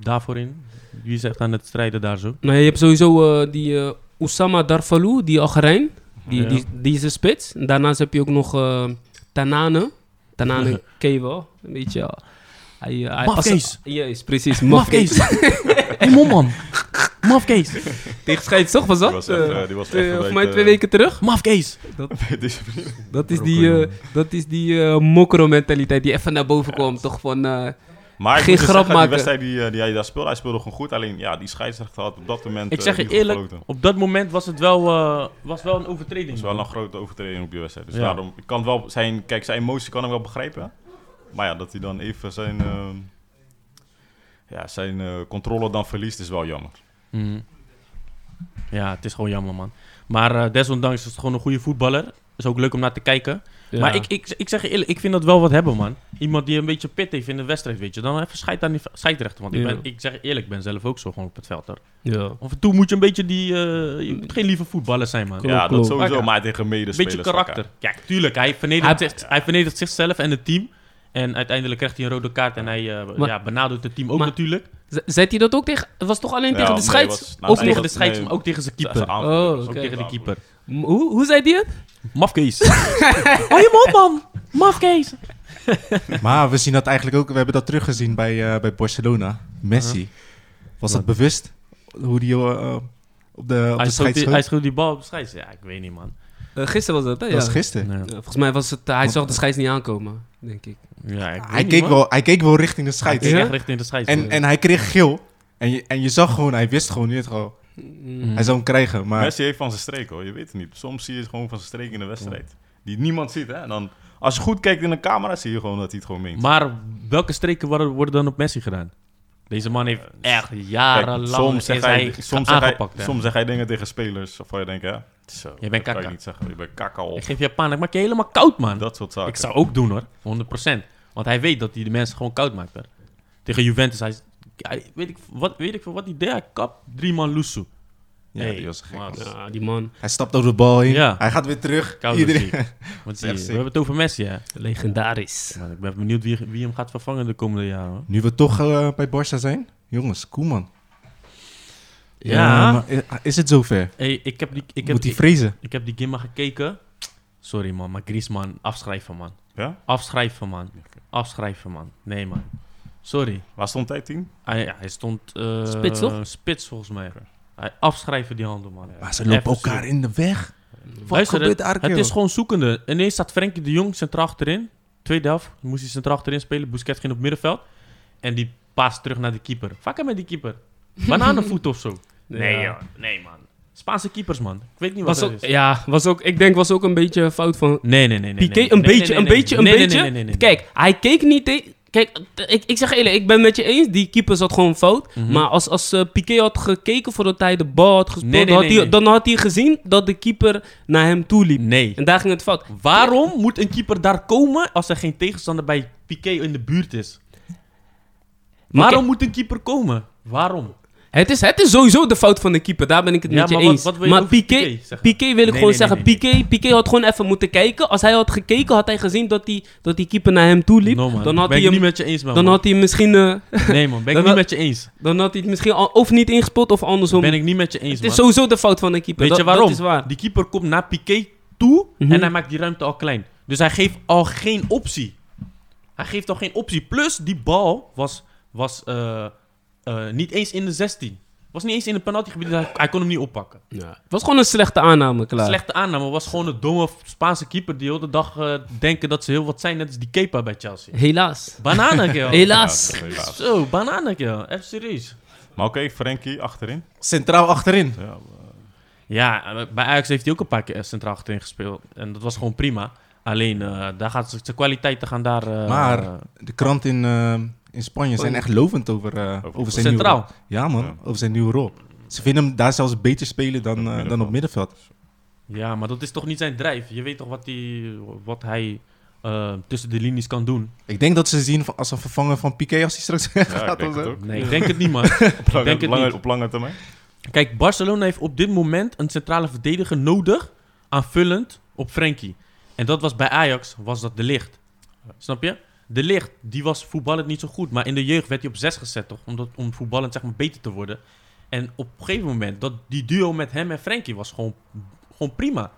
Speaker 2: daarvoor in? Wie is echt aan het strijden daar zo?
Speaker 4: Nou, je hebt sowieso eh, die eh Oussama Darfalou, die Algerijn. Die,
Speaker 2: Ja.
Speaker 4: die, die is een spits. En Daarnaast heb je ook nog eh, Tanane. Tanane ken je wel, een beetje. ja. Hij, eh, hij-
Speaker 2: Mafkees.
Speaker 4: als- Juist, precies, mafkees.
Speaker 2: Die man. Mafkees.
Speaker 4: Tegen scheids, toch was
Speaker 3: Die
Speaker 4: dat?
Speaker 3: was
Speaker 4: Eh,
Speaker 3: echt, eh, die was
Speaker 4: twee-
Speaker 3: echt
Speaker 4: of mij
Speaker 3: een beetje,
Speaker 4: twee weken terug.
Speaker 2: Mafkees.
Speaker 3: Deze vriend.
Speaker 4: Dat is die, eh, dat is die eh mokro-mentaliteit die even naar boven komt. Toch van, eh,
Speaker 3: maar ik
Speaker 4: Geen
Speaker 3: moet dus
Speaker 4: grap
Speaker 3: zeggen,
Speaker 4: maken.
Speaker 3: Die wedstrijd die, eh, die hij daar speelde, hij speelde gewoon goed. Alleen, ja, die scheidsrechter had op dat moment
Speaker 2: Ik
Speaker 3: eh,
Speaker 2: zeg je
Speaker 3: niet goed
Speaker 2: eerlijk,
Speaker 3: gefloten.
Speaker 2: op dat moment was het wel, eh, was wel een overtreding.
Speaker 3: Het is wel een grote overtreding op die wedstrijd. Dus
Speaker 2: Ja.
Speaker 3: daarom, ik kan wel zijn, kijk, zijn emotie kan ik wel begrijpen. Maar ja, dat hij dan even zijn, ehm, ja, zijn eh, controle dan verliest, is wel jammer.
Speaker 2: Mhm. Ja, het is gewoon jammer, man. Maar eh, desondanks is het gewoon een goede voetballer. is ook leuk om naar te kijken.
Speaker 4: Ja.
Speaker 2: Maar ik, ik, ik zeg je eerlijk, ik vind dat wel wat hebben, man. Iemand die een beetje pit heeft in de wedstrijd, weet je. Dan even scheid aan die v- scheidsrechter. Want ik,
Speaker 4: Ja.
Speaker 2: ben, ik zeg je eerlijk, ik ben zelf ook zo gewoon op het veld. Hoor.
Speaker 4: Ja.
Speaker 2: Af en toe moet je een beetje die... eh, je moet geen lieve voetballer zijn, man.
Speaker 4: Klopt,
Speaker 3: ja, dat
Speaker 4: klopt.
Speaker 3: sowieso,
Speaker 2: Oké.
Speaker 3: maar tegen
Speaker 2: Een
Speaker 3: medespelers.
Speaker 2: beetje karakter.
Speaker 3: elkaar.
Speaker 2: Ja, tuurlijk. Hij vernedert,
Speaker 4: Hij-
Speaker 2: zich, hij vernedert zichzelf en het team. En uiteindelijk krijgt hij een rode kaart en hij eh,
Speaker 4: Maar-
Speaker 2: ja, benadert het team ook
Speaker 4: maar-
Speaker 2: natuurlijk.
Speaker 4: Z- Zet hij dat ook tegen... Het was toch alleen
Speaker 3: Ja,
Speaker 4: tegen de
Speaker 3: nee,
Speaker 4: scheids?
Speaker 3: was-
Speaker 4: of
Speaker 3: nou,
Speaker 2: Ook
Speaker 4: tegen
Speaker 2: tegen de
Speaker 3: dat-
Speaker 2: scheids,
Speaker 3: nee,
Speaker 2: maar ook tegen zijn
Speaker 3: Dat is een
Speaker 2: keeper.
Speaker 3: aanvoerder,
Speaker 4: Oh,
Speaker 3: dus
Speaker 2: Ook
Speaker 4: oké.
Speaker 2: tegen de keeper.
Speaker 4: M- Hoe, hoe zei die het?
Speaker 2: Mafkees. Hou je mond, man. Mafkees.
Speaker 1: Maar we zien dat eigenlijk ook, we hebben dat teruggezien bij, eh, bij Barcelona. Messi. Was dat bewust? Hoe die eh, op de, op de
Speaker 2: Hij schoot,
Speaker 1: scheids
Speaker 2: die,
Speaker 1: schoot?
Speaker 2: hij schoot die bal op de scheids. Ja, ik weet niet, man.
Speaker 4: Eh, gisteren was dat, hè?
Speaker 1: Dat was
Speaker 4: Ja.
Speaker 1: gisteren.
Speaker 2: Ja,
Speaker 4: Ja, volgens mij was het... eh, hij zag de scheids niet aankomen, denk ik.
Speaker 2: ik weet
Speaker 1: Hij
Speaker 2: niet,
Speaker 1: keek,
Speaker 2: man.
Speaker 1: wel, hij keek wel richting de
Speaker 2: Hij
Speaker 1: scheids.
Speaker 2: keek
Speaker 4: Ja?
Speaker 2: echt richting de scheids.
Speaker 1: En,
Speaker 2: Ja.
Speaker 1: en hij kreeg geel. En je, en je zag gewoon, hij wist gewoon niet. Gewoon,
Speaker 4: Mm.
Speaker 1: Hij zou hem krijgen, maar...
Speaker 3: Messi heeft van zijn streek hoor, je weet het niet. Soms zie je het gewoon van zijn streek in de wedstrijd. Die niemand ziet hè. En dan, als je goed kijkt in de camera, zie je gewoon dat hij het gewoon meent.
Speaker 2: Maar welke streken worden, worden dan op Messi gedaan? Deze man heeft echt
Speaker 3: Kijk,
Speaker 2: jarenlang
Speaker 3: soms
Speaker 2: is
Speaker 3: zegt
Speaker 2: hij,
Speaker 3: hij, soms zegt hij,
Speaker 2: aangepakt. hè.
Speaker 3: soms zegt hij dingen tegen spelers waarvan je denkt hè. Zo,
Speaker 2: bent
Speaker 3: dat kan
Speaker 2: kakka.
Speaker 3: je niet zeggen. Je bent kakka op.
Speaker 2: Ik geef Japan, ik maak je helemaal koud, man.
Speaker 3: Dat soort zaken.
Speaker 2: Ik zou ook doen, hoor. 100%. Want hij weet dat hij de mensen gewoon koud maakt, hè. Tegen Juventus, hij, is- hij- weet, ik, wat, weet ik veel wat hij deed. Hij kap drie man Lusso.
Speaker 1: Ja, die was gek.
Speaker 2: man.
Speaker 4: Ja, die man.
Speaker 1: Hij stapt over de bal heen.
Speaker 2: Ja.
Speaker 1: Hij gaat weer terug.
Speaker 2: Koud
Speaker 1: Iedereen-
Speaker 2: ziek. Wat zie je?
Speaker 1: Echt
Speaker 2: We
Speaker 1: ziek.
Speaker 2: hebben het over Messi, hè.
Speaker 4: Legendarisch.
Speaker 2: Maar ik ben benieuwd wie, wie hem gaat vervangen de komende jaren. hoor.
Speaker 1: Nu we toch eh, bij Barça zijn. Jongens, Koeman.
Speaker 2: Ja.
Speaker 1: maar i- is het zover?
Speaker 2: Hey, ik heb die, ik heb,
Speaker 1: Moet hij
Speaker 2: ik,
Speaker 1: vrezen?
Speaker 2: ik heb die Gimma gekeken. Sorry man, maar Griezmann, afschrijven man.
Speaker 3: Ja?
Speaker 2: Afschrijven man. Afschrijven man. Nee man. Sorry.
Speaker 3: Waar stond hij tien?
Speaker 2: Hij, ja, hij stond... eh,
Speaker 4: Spits, toch?
Speaker 2: Spits volgens mij. Hij afschrijven die handel man.
Speaker 1: Maar ze lopen
Speaker 2: Even
Speaker 1: elkaar
Speaker 2: zo.
Speaker 1: in de weg. Wat
Speaker 2: Luister,
Speaker 1: gebeurt daar,
Speaker 2: Het
Speaker 1: kerel?
Speaker 2: is gewoon zoekende. Ineens staat Frenkie de Jong centraal achterin. Tweede helft moest hij centraal achterin spelen. Busquets ging op middenveld. En die paast terug naar de keeper. Vakken met die keeper. Bananenvoet of zo. Nee,
Speaker 4: ja.
Speaker 2: joh. nee man. Spaanse keepers man. Ik weet niet wat
Speaker 4: Was
Speaker 2: dat
Speaker 4: ook,
Speaker 2: is.
Speaker 4: ja, was ook, ik denk was ook een beetje een fout van
Speaker 2: Nee, nee, nee. nee
Speaker 4: Piqué.
Speaker 2: nee.
Speaker 4: Een
Speaker 2: Nee, nee,
Speaker 4: beetje,
Speaker 2: nee,
Speaker 4: een
Speaker 2: nee.
Speaker 4: beetje, een
Speaker 2: Nee, nee,
Speaker 4: beetje.
Speaker 2: nee, nee, nee, nee.
Speaker 4: Kijk, hij keek niet tegen... Kijk, t- ik, ik zeg eerlijk, ik ben met je eens. Die keeper zat gewoon fout.
Speaker 2: Mhm.
Speaker 4: Maar als, als eh, Piqué had gekeken voordat hij de bal had gespeeld...
Speaker 2: Nee, nee,
Speaker 4: had
Speaker 2: nee,
Speaker 4: hij,
Speaker 2: nee.
Speaker 4: dan had hij gezien dat de keeper naar hem toe liep.
Speaker 2: Nee.
Speaker 4: En daar ging het fout.
Speaker 2: Waarom moet een keeper daar komen als er geen tegenstander bij Piqué in de buurt is? Waarom moet een keeper komen? Waarom?
Speaker 4: Het is, het is sowieso de fout van de keeper, daar ben ik het
Speaker 2: Ja,
Speaker 4: met je
Speaker 2: maar wat-
Speaker 4: eens.
Speaker 2: wat wil je
Speaker 4: maar
Speaker 2: over
Speaker 4: Piqué,
Speaker 2: Piqué
Speaker 4: Piqué,
Speaker 2: zeggen?
Speaker 4: wil ik
Speaker 2: Nee,
Speaker 4: gewoon
Speaker 2: nee,
Speaker 4: zeggen,
Speaker 2: nee, nee,
Speaker 4: Piqué, Piqué had gewoon even moeten kijken. Als hij had gekeken, had hij gezien dat hij, dat die keeper naar hem toe liep.
Speaker 2: No, man.
Speaker 4: dan had
Speaker 2: ben
Speaker 4: hij
Speaker 2: ik niet
Speaker 4: hem,
Speaker 2: met je eens, man.
Speaker 4: dan
Speaker 2: man.
Speaker 4: had hij hem misschien, eh,
Speaker 2: Nee, man. Ben
Speaker 4: dan
Speaker 2: ik niet
Speaker 4: had-
Speaker 2: met je eens.
Speaker 4: dan had hij het misschien al, of niet ingespeeld of andersom.
Speaker 2: Ben ik niet met je eens,
Speaker 4: het is
Speaker 2: man.
Speaker 4: sowieso de fout van de keeper.
Speaker 2: Weet je
Speaker 4: dat,
Speaker 2: waarom?
Speaker 4: Dat is waar.
Speaker 2: Die keeper komt naar Piqué toe
Speaker 4: Mhm.
Speaker 2: en hij maakt die ruimte al klein. Dus hij geeft al geen optie. Hij geeft al geen optie. Plus, die bal was, was eh, eh, niet eens in de 16. Was niet eens in het penaltygebied. dus Hij, hij kon hem niet oppakken.
Speaker 4: Het was gewoon een slechte aanname, klaar.
Speaker 2: Slechte aanname was gewoon een domme Spaanse keeper die heel de dag eh, denken dat ze heel wat zijn. Net als die Kepa bij Chelsea.
Speaker 4: Helaas.
Speaker 2: Bananen, kerel.
Speaker 4: Helaas.
Speaker 3: Ja, dat is helaas.
Speaker 2: Zo, bananen, kerel. Echt serieus.
Speaker 3: Maar oké, Frenkie achterin.
Speaker 1: Centraal achterin.
Speaker 3: Ja,
Speaker 2: Ja, eh, bij Ajax heeft hij ook een paar keer centraal achterin gespeeld. En dat was gewoon prima. Alleen, eh, daar gaat z- zijn kwaliteiten gaan daar... eh,
Speaker 1: Maar-
Speaker 2: eh,
Speaker 1: De kranten in, eh, in Spanje zijn echt lovend over, eh,
Speaker 3: Over-
Speaker 1: over zijn nieuwe
Speaker 2: centraal.
Speaker 1: rol. Ja man,
Speaker 3: Ja.
Speaker 1: over zijn nieuwe rol. Ze vinden hem daar zelfs beter spelen dan, eh,
Speaker 3: middenveld.
Speaker 1: dan op middenveld.
Speaker 2: Ja, maar dat is toch niet zijn drijf? Je weet toch wat, die, wat hij eh, tussen de linies kan doen?
Speaker 1: Ik denk dat ze zien van- als een vervanger van Piqué als hij straks
Speaker 3: ja ik
Speaker 1: gaat.
Speaker 3: denk
Speaker 1: of
Speaker 3: het
Speaker 1: zo.
Speaker 3: ook.
Speaker 2: Nee, ik denk het niet, man.
Speaker 3: Op lange,
Speaker 2: denk het
Speaker 3: lange-
Speaker 2: niet.
Speaker 3: op lange termijn.
Speaker 2: Kijk, Barcelona heeft op dit moment een centrale verdediger nodig, aanvullend op Frenkie. En dat was bij Ajax, was dat De Ligt. Snap je? De Ligt, die was voetballend niet zo goed, maar in de jeugd werd hij op 6 gezet, toch? Omdat, om voetballend zeg maar beter te worden. En op een gegeven moment, dat, die duo met hem en Frenkie was gewoon, gewoon prima.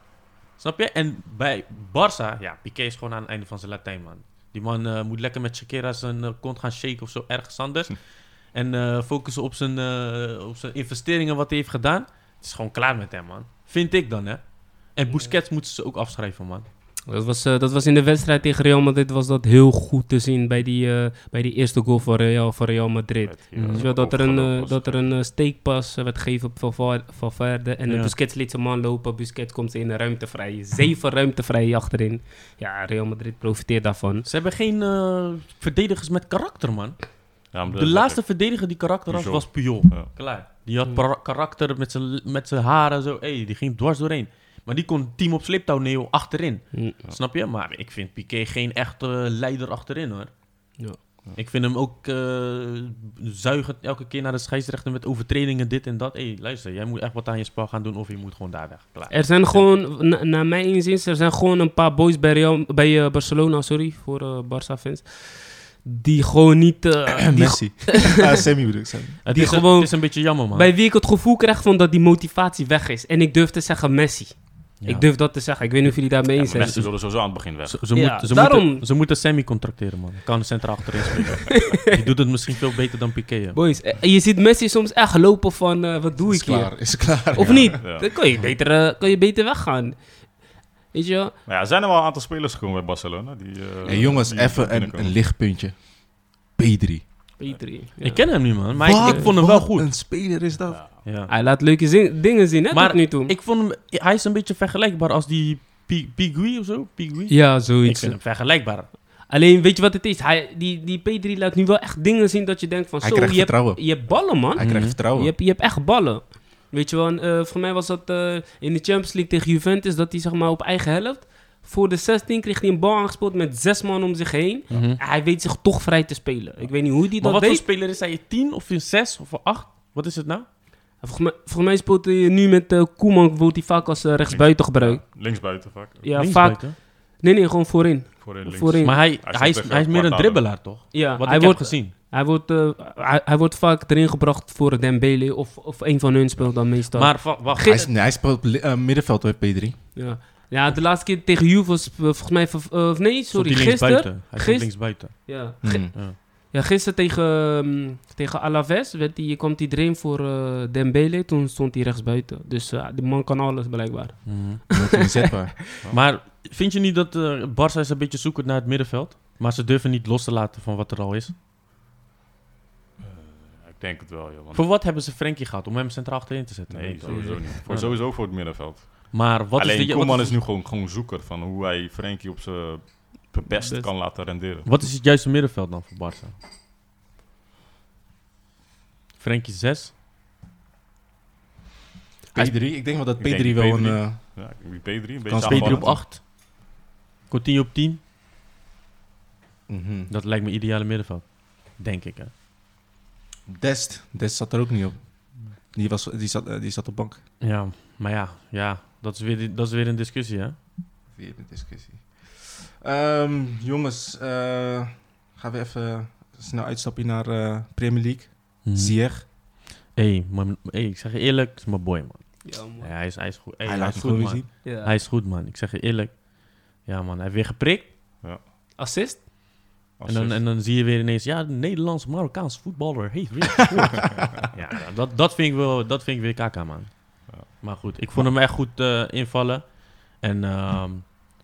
Speaker 2: Snap je? En bij Barça, ja, Piqué is gewoon aan het einde van zijn Latijn, man. Die man eh, moet lekker met Shakira zijn eh, kont gaan shaken of zo, ergens anders. En eh, focussen op zijn, eh, op zijn investeringen, wat hij heeft gedaan. Het is gewoon klaar met hem, man. Vind ik dan, hè. En Busquets moeten ze ook afschrijven, man.
Speaker 4: Dat was, eh, dat was in de wedstrijd tegen Real Madrid was dat heel goed te zien bij die, eh, bij die eerste goal van Real, van Real Madrid. Weet je wel, dat er een, eh, dat er een eh, steekpas eh, werd gegeven op Valver- Valverde. En eh,
Speaker 2: Ja.
Speaker 4: Busquets liet zijn man lopen. Busquets komt in de ruimte vrij. Zeven ruimte vrij achterin. Ja, Real Madrid profiteert daarvan.
Speaker 2: Ze hebben geen eh, verdedigers met karakter, man.
Speaker 3: Ja, maar
Speaker 2: De
Speaker 3: dat-
Speaker 2: laatste verdediger die karakter had,
Speaker 3: Puyol.
Speaker 2: was Puyol.
Speaker 3: Ja.
Speaker 2: Klaar. Die had pra- karakter met zijn- met zijn haren, zo. Hey, die ging dwars doorheen. Maar die kon het team op sliptouw nemen achterin.
Speaker 4: Hm.
Speaker 2: Snap je? Maar ik vind Piqué geen echte leider achterin hoor.
Speaker 4: Ja.
Speaker 2: Ik vind hem ook eh zuigend elke keer naar de scheidsrechter met overtredingen, dit en dat. Hé, hey, luister, jij moet echt wat aan je spel gaan doen of je moet gewoon daar weg. Klaar.
Speaker 4: Er zijn gewoon, na- naar mijn inziens, er zijn gewoon een paar boys bij, Real, bij eh, Barcelona, sorry, voor eh Barca-fans, die gewoon niet... eh, die
Speaker 1: Messi. Ah, Sammy bedoel ik, Sammy.
Speaker 2: het,
Speaker 4: die
Speaker 2: is een-
Speaker 4: gewoon-
Speaker 2: het is een beetje jammer man.
Speaker 4: Bij wie ik het gevoel krijg van dat die motivatie weg is. En ik durf te zeggen Messi.
Speaker 2: Ja.
Speaker 4: Ik durf dat te zeggen. Ik weet niet of jullie daarmee eens zijn.
Speaker 3: maar mensen zullen
Speaker 2: dus-
Speaker 3: sowieso aan het begin weg.
Speaker 2: Ze, ze,
Speaker 4: Ja,
Speaker 2: moet, ze,
Speaker 4: daarom-
Speaker 2: moeten, ze moeten Sammy contracteren, man. Kan centraal achterin spelen. Die doet het misschien veel beter dan Piqué. hè.
Speaker 4: Boys, eh, je ziet Messi soms echt lopen van eh, wat doe
Speaker 1: Is
Speaker 4: ik hier?
Speaker 1: klaar, is klaar.
Speaker 4: Of
Speaker 1: ja.
Speaker 4: niet?
Speaker 3: Ja.
Speaker 4: Dan kan je beter, eh, kan je beter weggaan. Weet je wel?
Speaker 3: Maar ja, er zijn er wel een aantal spelers gekomen bij Barcelona. Die, eh,
Speaker 1: Hey, jongens,
Speaker 3: die
Speaker 1: even een,
Speaker 3: binnenkomen.
Speaker 1: een lichtpuntje. P3.
Speaker 4: Beter. ja.
Speaker 2: Ik ken hem niet, man. Maar
Speaker 1: Wat
Speaker 2: ik, ik vond hem wel
Speaker 1: een
Speaker 2: goed.
Speaker 1: een speler is dat.
Speaker 3: Ja.
Speaker 2: Ja.
Speaker 4: Hij laat leuke zin- dingen zien, hè,
Speaker 2: Maar
Speaker 4: tot nu toe.
Speaker 2: Ik vond hem... Hij is een beetje vergelijkbaar als die Pi- Pigui of zo. Pigui?
Speaker 4: ja,
Speaker 2: ik
Speaker 4: zoiets.
Speaker 2: vind hem vergelijkbaar.
Speaker 4: Alleen, weet je wat het is? Hij, die, die P3 laat nu wel echt dingen zien dat je denkt van...
Speaker 1: Hij
Speaker 4: zo,
Speaker 1: krijgt
Speaker 4: je hebt,
Speaker 1: vertrouwen.
Speaker 4: je hebt ballen, man.
Speaker 1: Hij krijgt
Speaker 2: Mhm.
Speaker 1: vertrouwen.
Speaker 4: Je hebt, je hebt echt ballen. Weet je wel, en, eh, voor mij was dat eh, in de Champions League tegen Juventus, dat hij zeg maar op eigen helft, voor de 16 kreeg hij een bal aangespeeld met zes man om zich heen.
Speaker 1: Mhm.
Speaker 4: Hij weet zich toch vrij te spelen. Ik weet niet hoe hij
Speaker 2: Maar
Speaker 4: dat
Speaker 2: wat voor
Speaker 4: deed.
Speaker 2: speler is hij? 10 of 6 of 8? Wat is het nou?
Speaker 4: Volgens mij, volgens mij speelt hij nu met eh, Koeman, wordt hij vaak als eh, rechtsbuiten gebruikt.
Speaker 3: Linksbuiten vaak.
Speaker 4: Ja, vaak.
Speaker 2: Linksbuiten?
Speaker 4: Nee, nee, gewoon voorin.
Speaker 3: Voorin links.
Speaker 4: Voorin.
Speaker 2: Maar hij,
Speaker 3: Hij
Speaker 2: hij, is,
Speaker 3: speelt echt
Speaker 2: hij is meer een
Speaker 3: Guardado.
Speaker 2: dribbelaar, toch?
Speaker 4: Ja,
Speaker 2: Wat
Speaker 4: hij
Speaker 2: ik
Speaker 4: wordt,
Speaker 2: heb gezien.
Speaker 4: hij, wordt, eh, hij, hij wordt vaak erin gebracht voor Dembele of, of een van hun speelt dan meestal.
Speaker 2: Maar va- wacht.
Speaker 1: Hij, is, nee, hij speelt op li- eh, middenveld hoor, P3.
Speaker 4: ja. ja, de laatste keer tegen Juve was eh, volgens mij... ver- eh, nee,
Speaker 2: stond
Speaker 4: sorry,
Speaker 2: die
Speaker 4: gisteren.
Speaker 2: linksbuiten. Hij
Speaker 4: gister-
Speaker 2: stond linksbuiten.
Speaker 4: Ja,
Speaker 1: Hmm.
Speaker 4: Ja, gisteren tegen, ehm, tegen Alaves werd die, kwam hij erin voor eh, Dembele. Toen stond hij rechtsbuiten. Dus eh, die man kan alles blijkbaar.
Speaker 2: Mhm.
Speaker 1: Wordt inzetbaar.
Speaker 2: Maar vind je niet dat eh Barça is een beetje zoekend naar het middenveld? Maar ze durven niet los te laten van wat er al is.
Speaker 3: Ik denk het wel, joh. want-
Speaker 2: Voor wat hebben ze Frenkie gehad? Om hem centraal achterin te zetten?
Speaker 3: Nee,
Speaker 2: Weet je.
Speaker 3: sowieso niet. Voor,
Speaker 2: Ja.
Speaker 3: sowieso voor het middenveld.
Speaker 2: Maar wat
Speaker 3: Alleen
Speaker 2: is, de, wat,
Speaker 3: Koeman
Speaker 2: is,
Speaker 3: is nu gewoon, gewoon zoeker van hoe hij Frenkie op zijn best
Speaker 4: Best.
Speaker 3: kan laten renderen.
Speaker 2: wat is het juiste middenveld dan voor Barça? Frenkie 6?
Speaker 1: P3, ik denk wel dat P3
Speaker 3: Ik denk
Speaker 1: wel
Speaker 3: P3.
Speaker 1: een... eh,
Speaker 3: Ja, die P3 een beetje
Speaker 1: Kan
Speaker 2: Pedri
Speaker 3: aanvallend.
Speaker 2: op 8? Coutinho op 10?
Speaker 1: mhm.
Speaker 2: Dat lijkt me ideale middenveld. Denk ik, hè.
Speaker 1: Dest. Dest zat er ook niet op. Die, was, die, zat, eh, die zat op bank.
Speaker 2: Ja, maar ja, ja dat, is weer, dat is weer een discussie, hè.
Speaker 1: Weer een discussie. Ehm, jongens, eh, gaan we even snel uitstappen naar eh, Premier League. Ziyech.
Speaker 2: Hé, maar- hé, ik zeg je eerlijk, het is mijn boy, man.
Speaker 4: Ja,
Speaker 2: Ja, hij, is, hij is goed. Hé,
Speaker 1: hij
Speaker 2: hij
Speaker 1: laat
Speaker 2: is
Speaker 1: het
Speaker 2: goed,
Speaker 1: gewoon
Speaker 2: man.
Speaker 1: weer zien.
Speaker 2: Hij is goed, man. Ik zeg je eerlijk. Ja, man. Hij heeft weer geprikt.
Speaker 4: Assist?
Speaker 2: En dan, en dan zie je weer ineens... Ja, een Nederlands-Marokkaans voetballer heeft weer gescoord. ja, dat, dat, vind ik wel, dat vind ik weer kaka, man.
Speaker 3: Ja.
Speaker 2: Maar goed, ik vond hem echt goed eh, invallen. En ehm,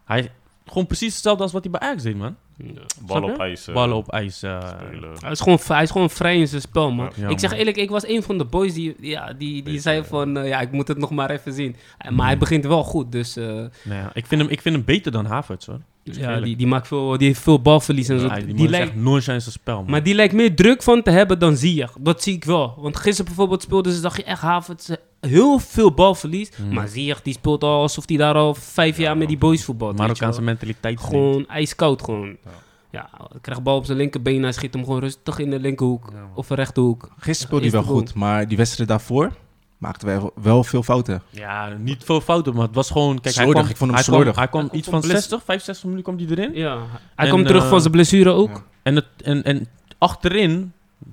Speaker 2: hij... Gewoon precies hetzelfde als wat hij bij Ajax deed, man.
Speaker 3: Ballen
Speaker 2: Snap
Speaker 3: op
Speaker 2: je?
Speaker 3: ijs. eh,
Speaker 2: Ballen op ijs. eh,
Speaker 3: spelen.
Speaker 4: Hij, is gewoon, v- hij is gewoon vrij in zijn spel, man.
Speaker 2: Ja,
Speaker 4: ik zeg
Speaker 2: man.
Speaker 4: eerlijk, ik was een van de boys die, ja, die, die
Speaker 3: Beetje,
Speaker 4: zei
Speaker 3: ja.
Speaker 4: van... eh, ja, ik moet het nog maar even zien. Eh, Maar hij begint wel goed, dus... eh,
Speaker 2: nou ja, ik, vind hem, ik vind hem beter dan Havertz, hoor. Dus
Speaker 4: ja,
Speaker 2: eerlijk.
Speaker 4: die, die, maakt veel, die heeft veel balverlies en zo.
Speaker 2: Ja, die,
Speaker 4: die
Speaker 2: man is
Speaker 4: lijkt,
Speaker 2: echt nooit zijn spel, man.
Speaker 4: maar die lijkt meer druk van te hebben dan Ziyech. Dat zie ik wel. Want gisteren bijvoorbeeld speelden ze, dacht je echt, Havertz... eh, Heel veel balverlies,
Speaker 2: Hmm.
Speaker 4: maar Ziyech die speelt al alsof hij daar al vijf jaar met die boys voetbalt. weet je wel.
Speaker 2: Marokkaanse mentaliteit.
Speaker 4: Gewoon ijskoud gewoon.
Speaker 3: Ja.
Speaker 4: Ja. hij krijgt bal op zijn linkerbeen, hij schiet hem gewoon rustig in de linkerhoek
Speaker 2: Ja, man.
Speaker 4: of de rechterhoek.
Speaker 1: Gisteren speelde
Speaker 4: Is
Speaker 1: hij
Speaker 4: de
Speaker 1: wel
Speaker 4: goal.
Speaker 1: goed, maar die wedstrijd daarvoor maakten wij wel veel fouten.
Speaker 2: Ja, niet veel fouten, maar het was gewoon... Kijk,
Speaker 1: Slordig,
Speaker 2: hij kwam,
Speaker 1: ik vond hem
Speaker 2: hij
Speaker 1: slordig.
Speaker 2: Kwam, hij kwam
Speaker 4: Hij
Speaker 2: iets
Speaker 4: kwam
Speaker 2: van
Speaker 4: van bless-
Speaker 2: 60, 65 minuten kwam hij erin.
Speaker 4: Ja, hij
Speaker 2: Hm? En,
Speaker 4: komt terug
Speaker 2: eh,
Speaker 4: van zijn blessure ook.
Speaker 1: ja.
Speaker 2: En, het, en, en achterin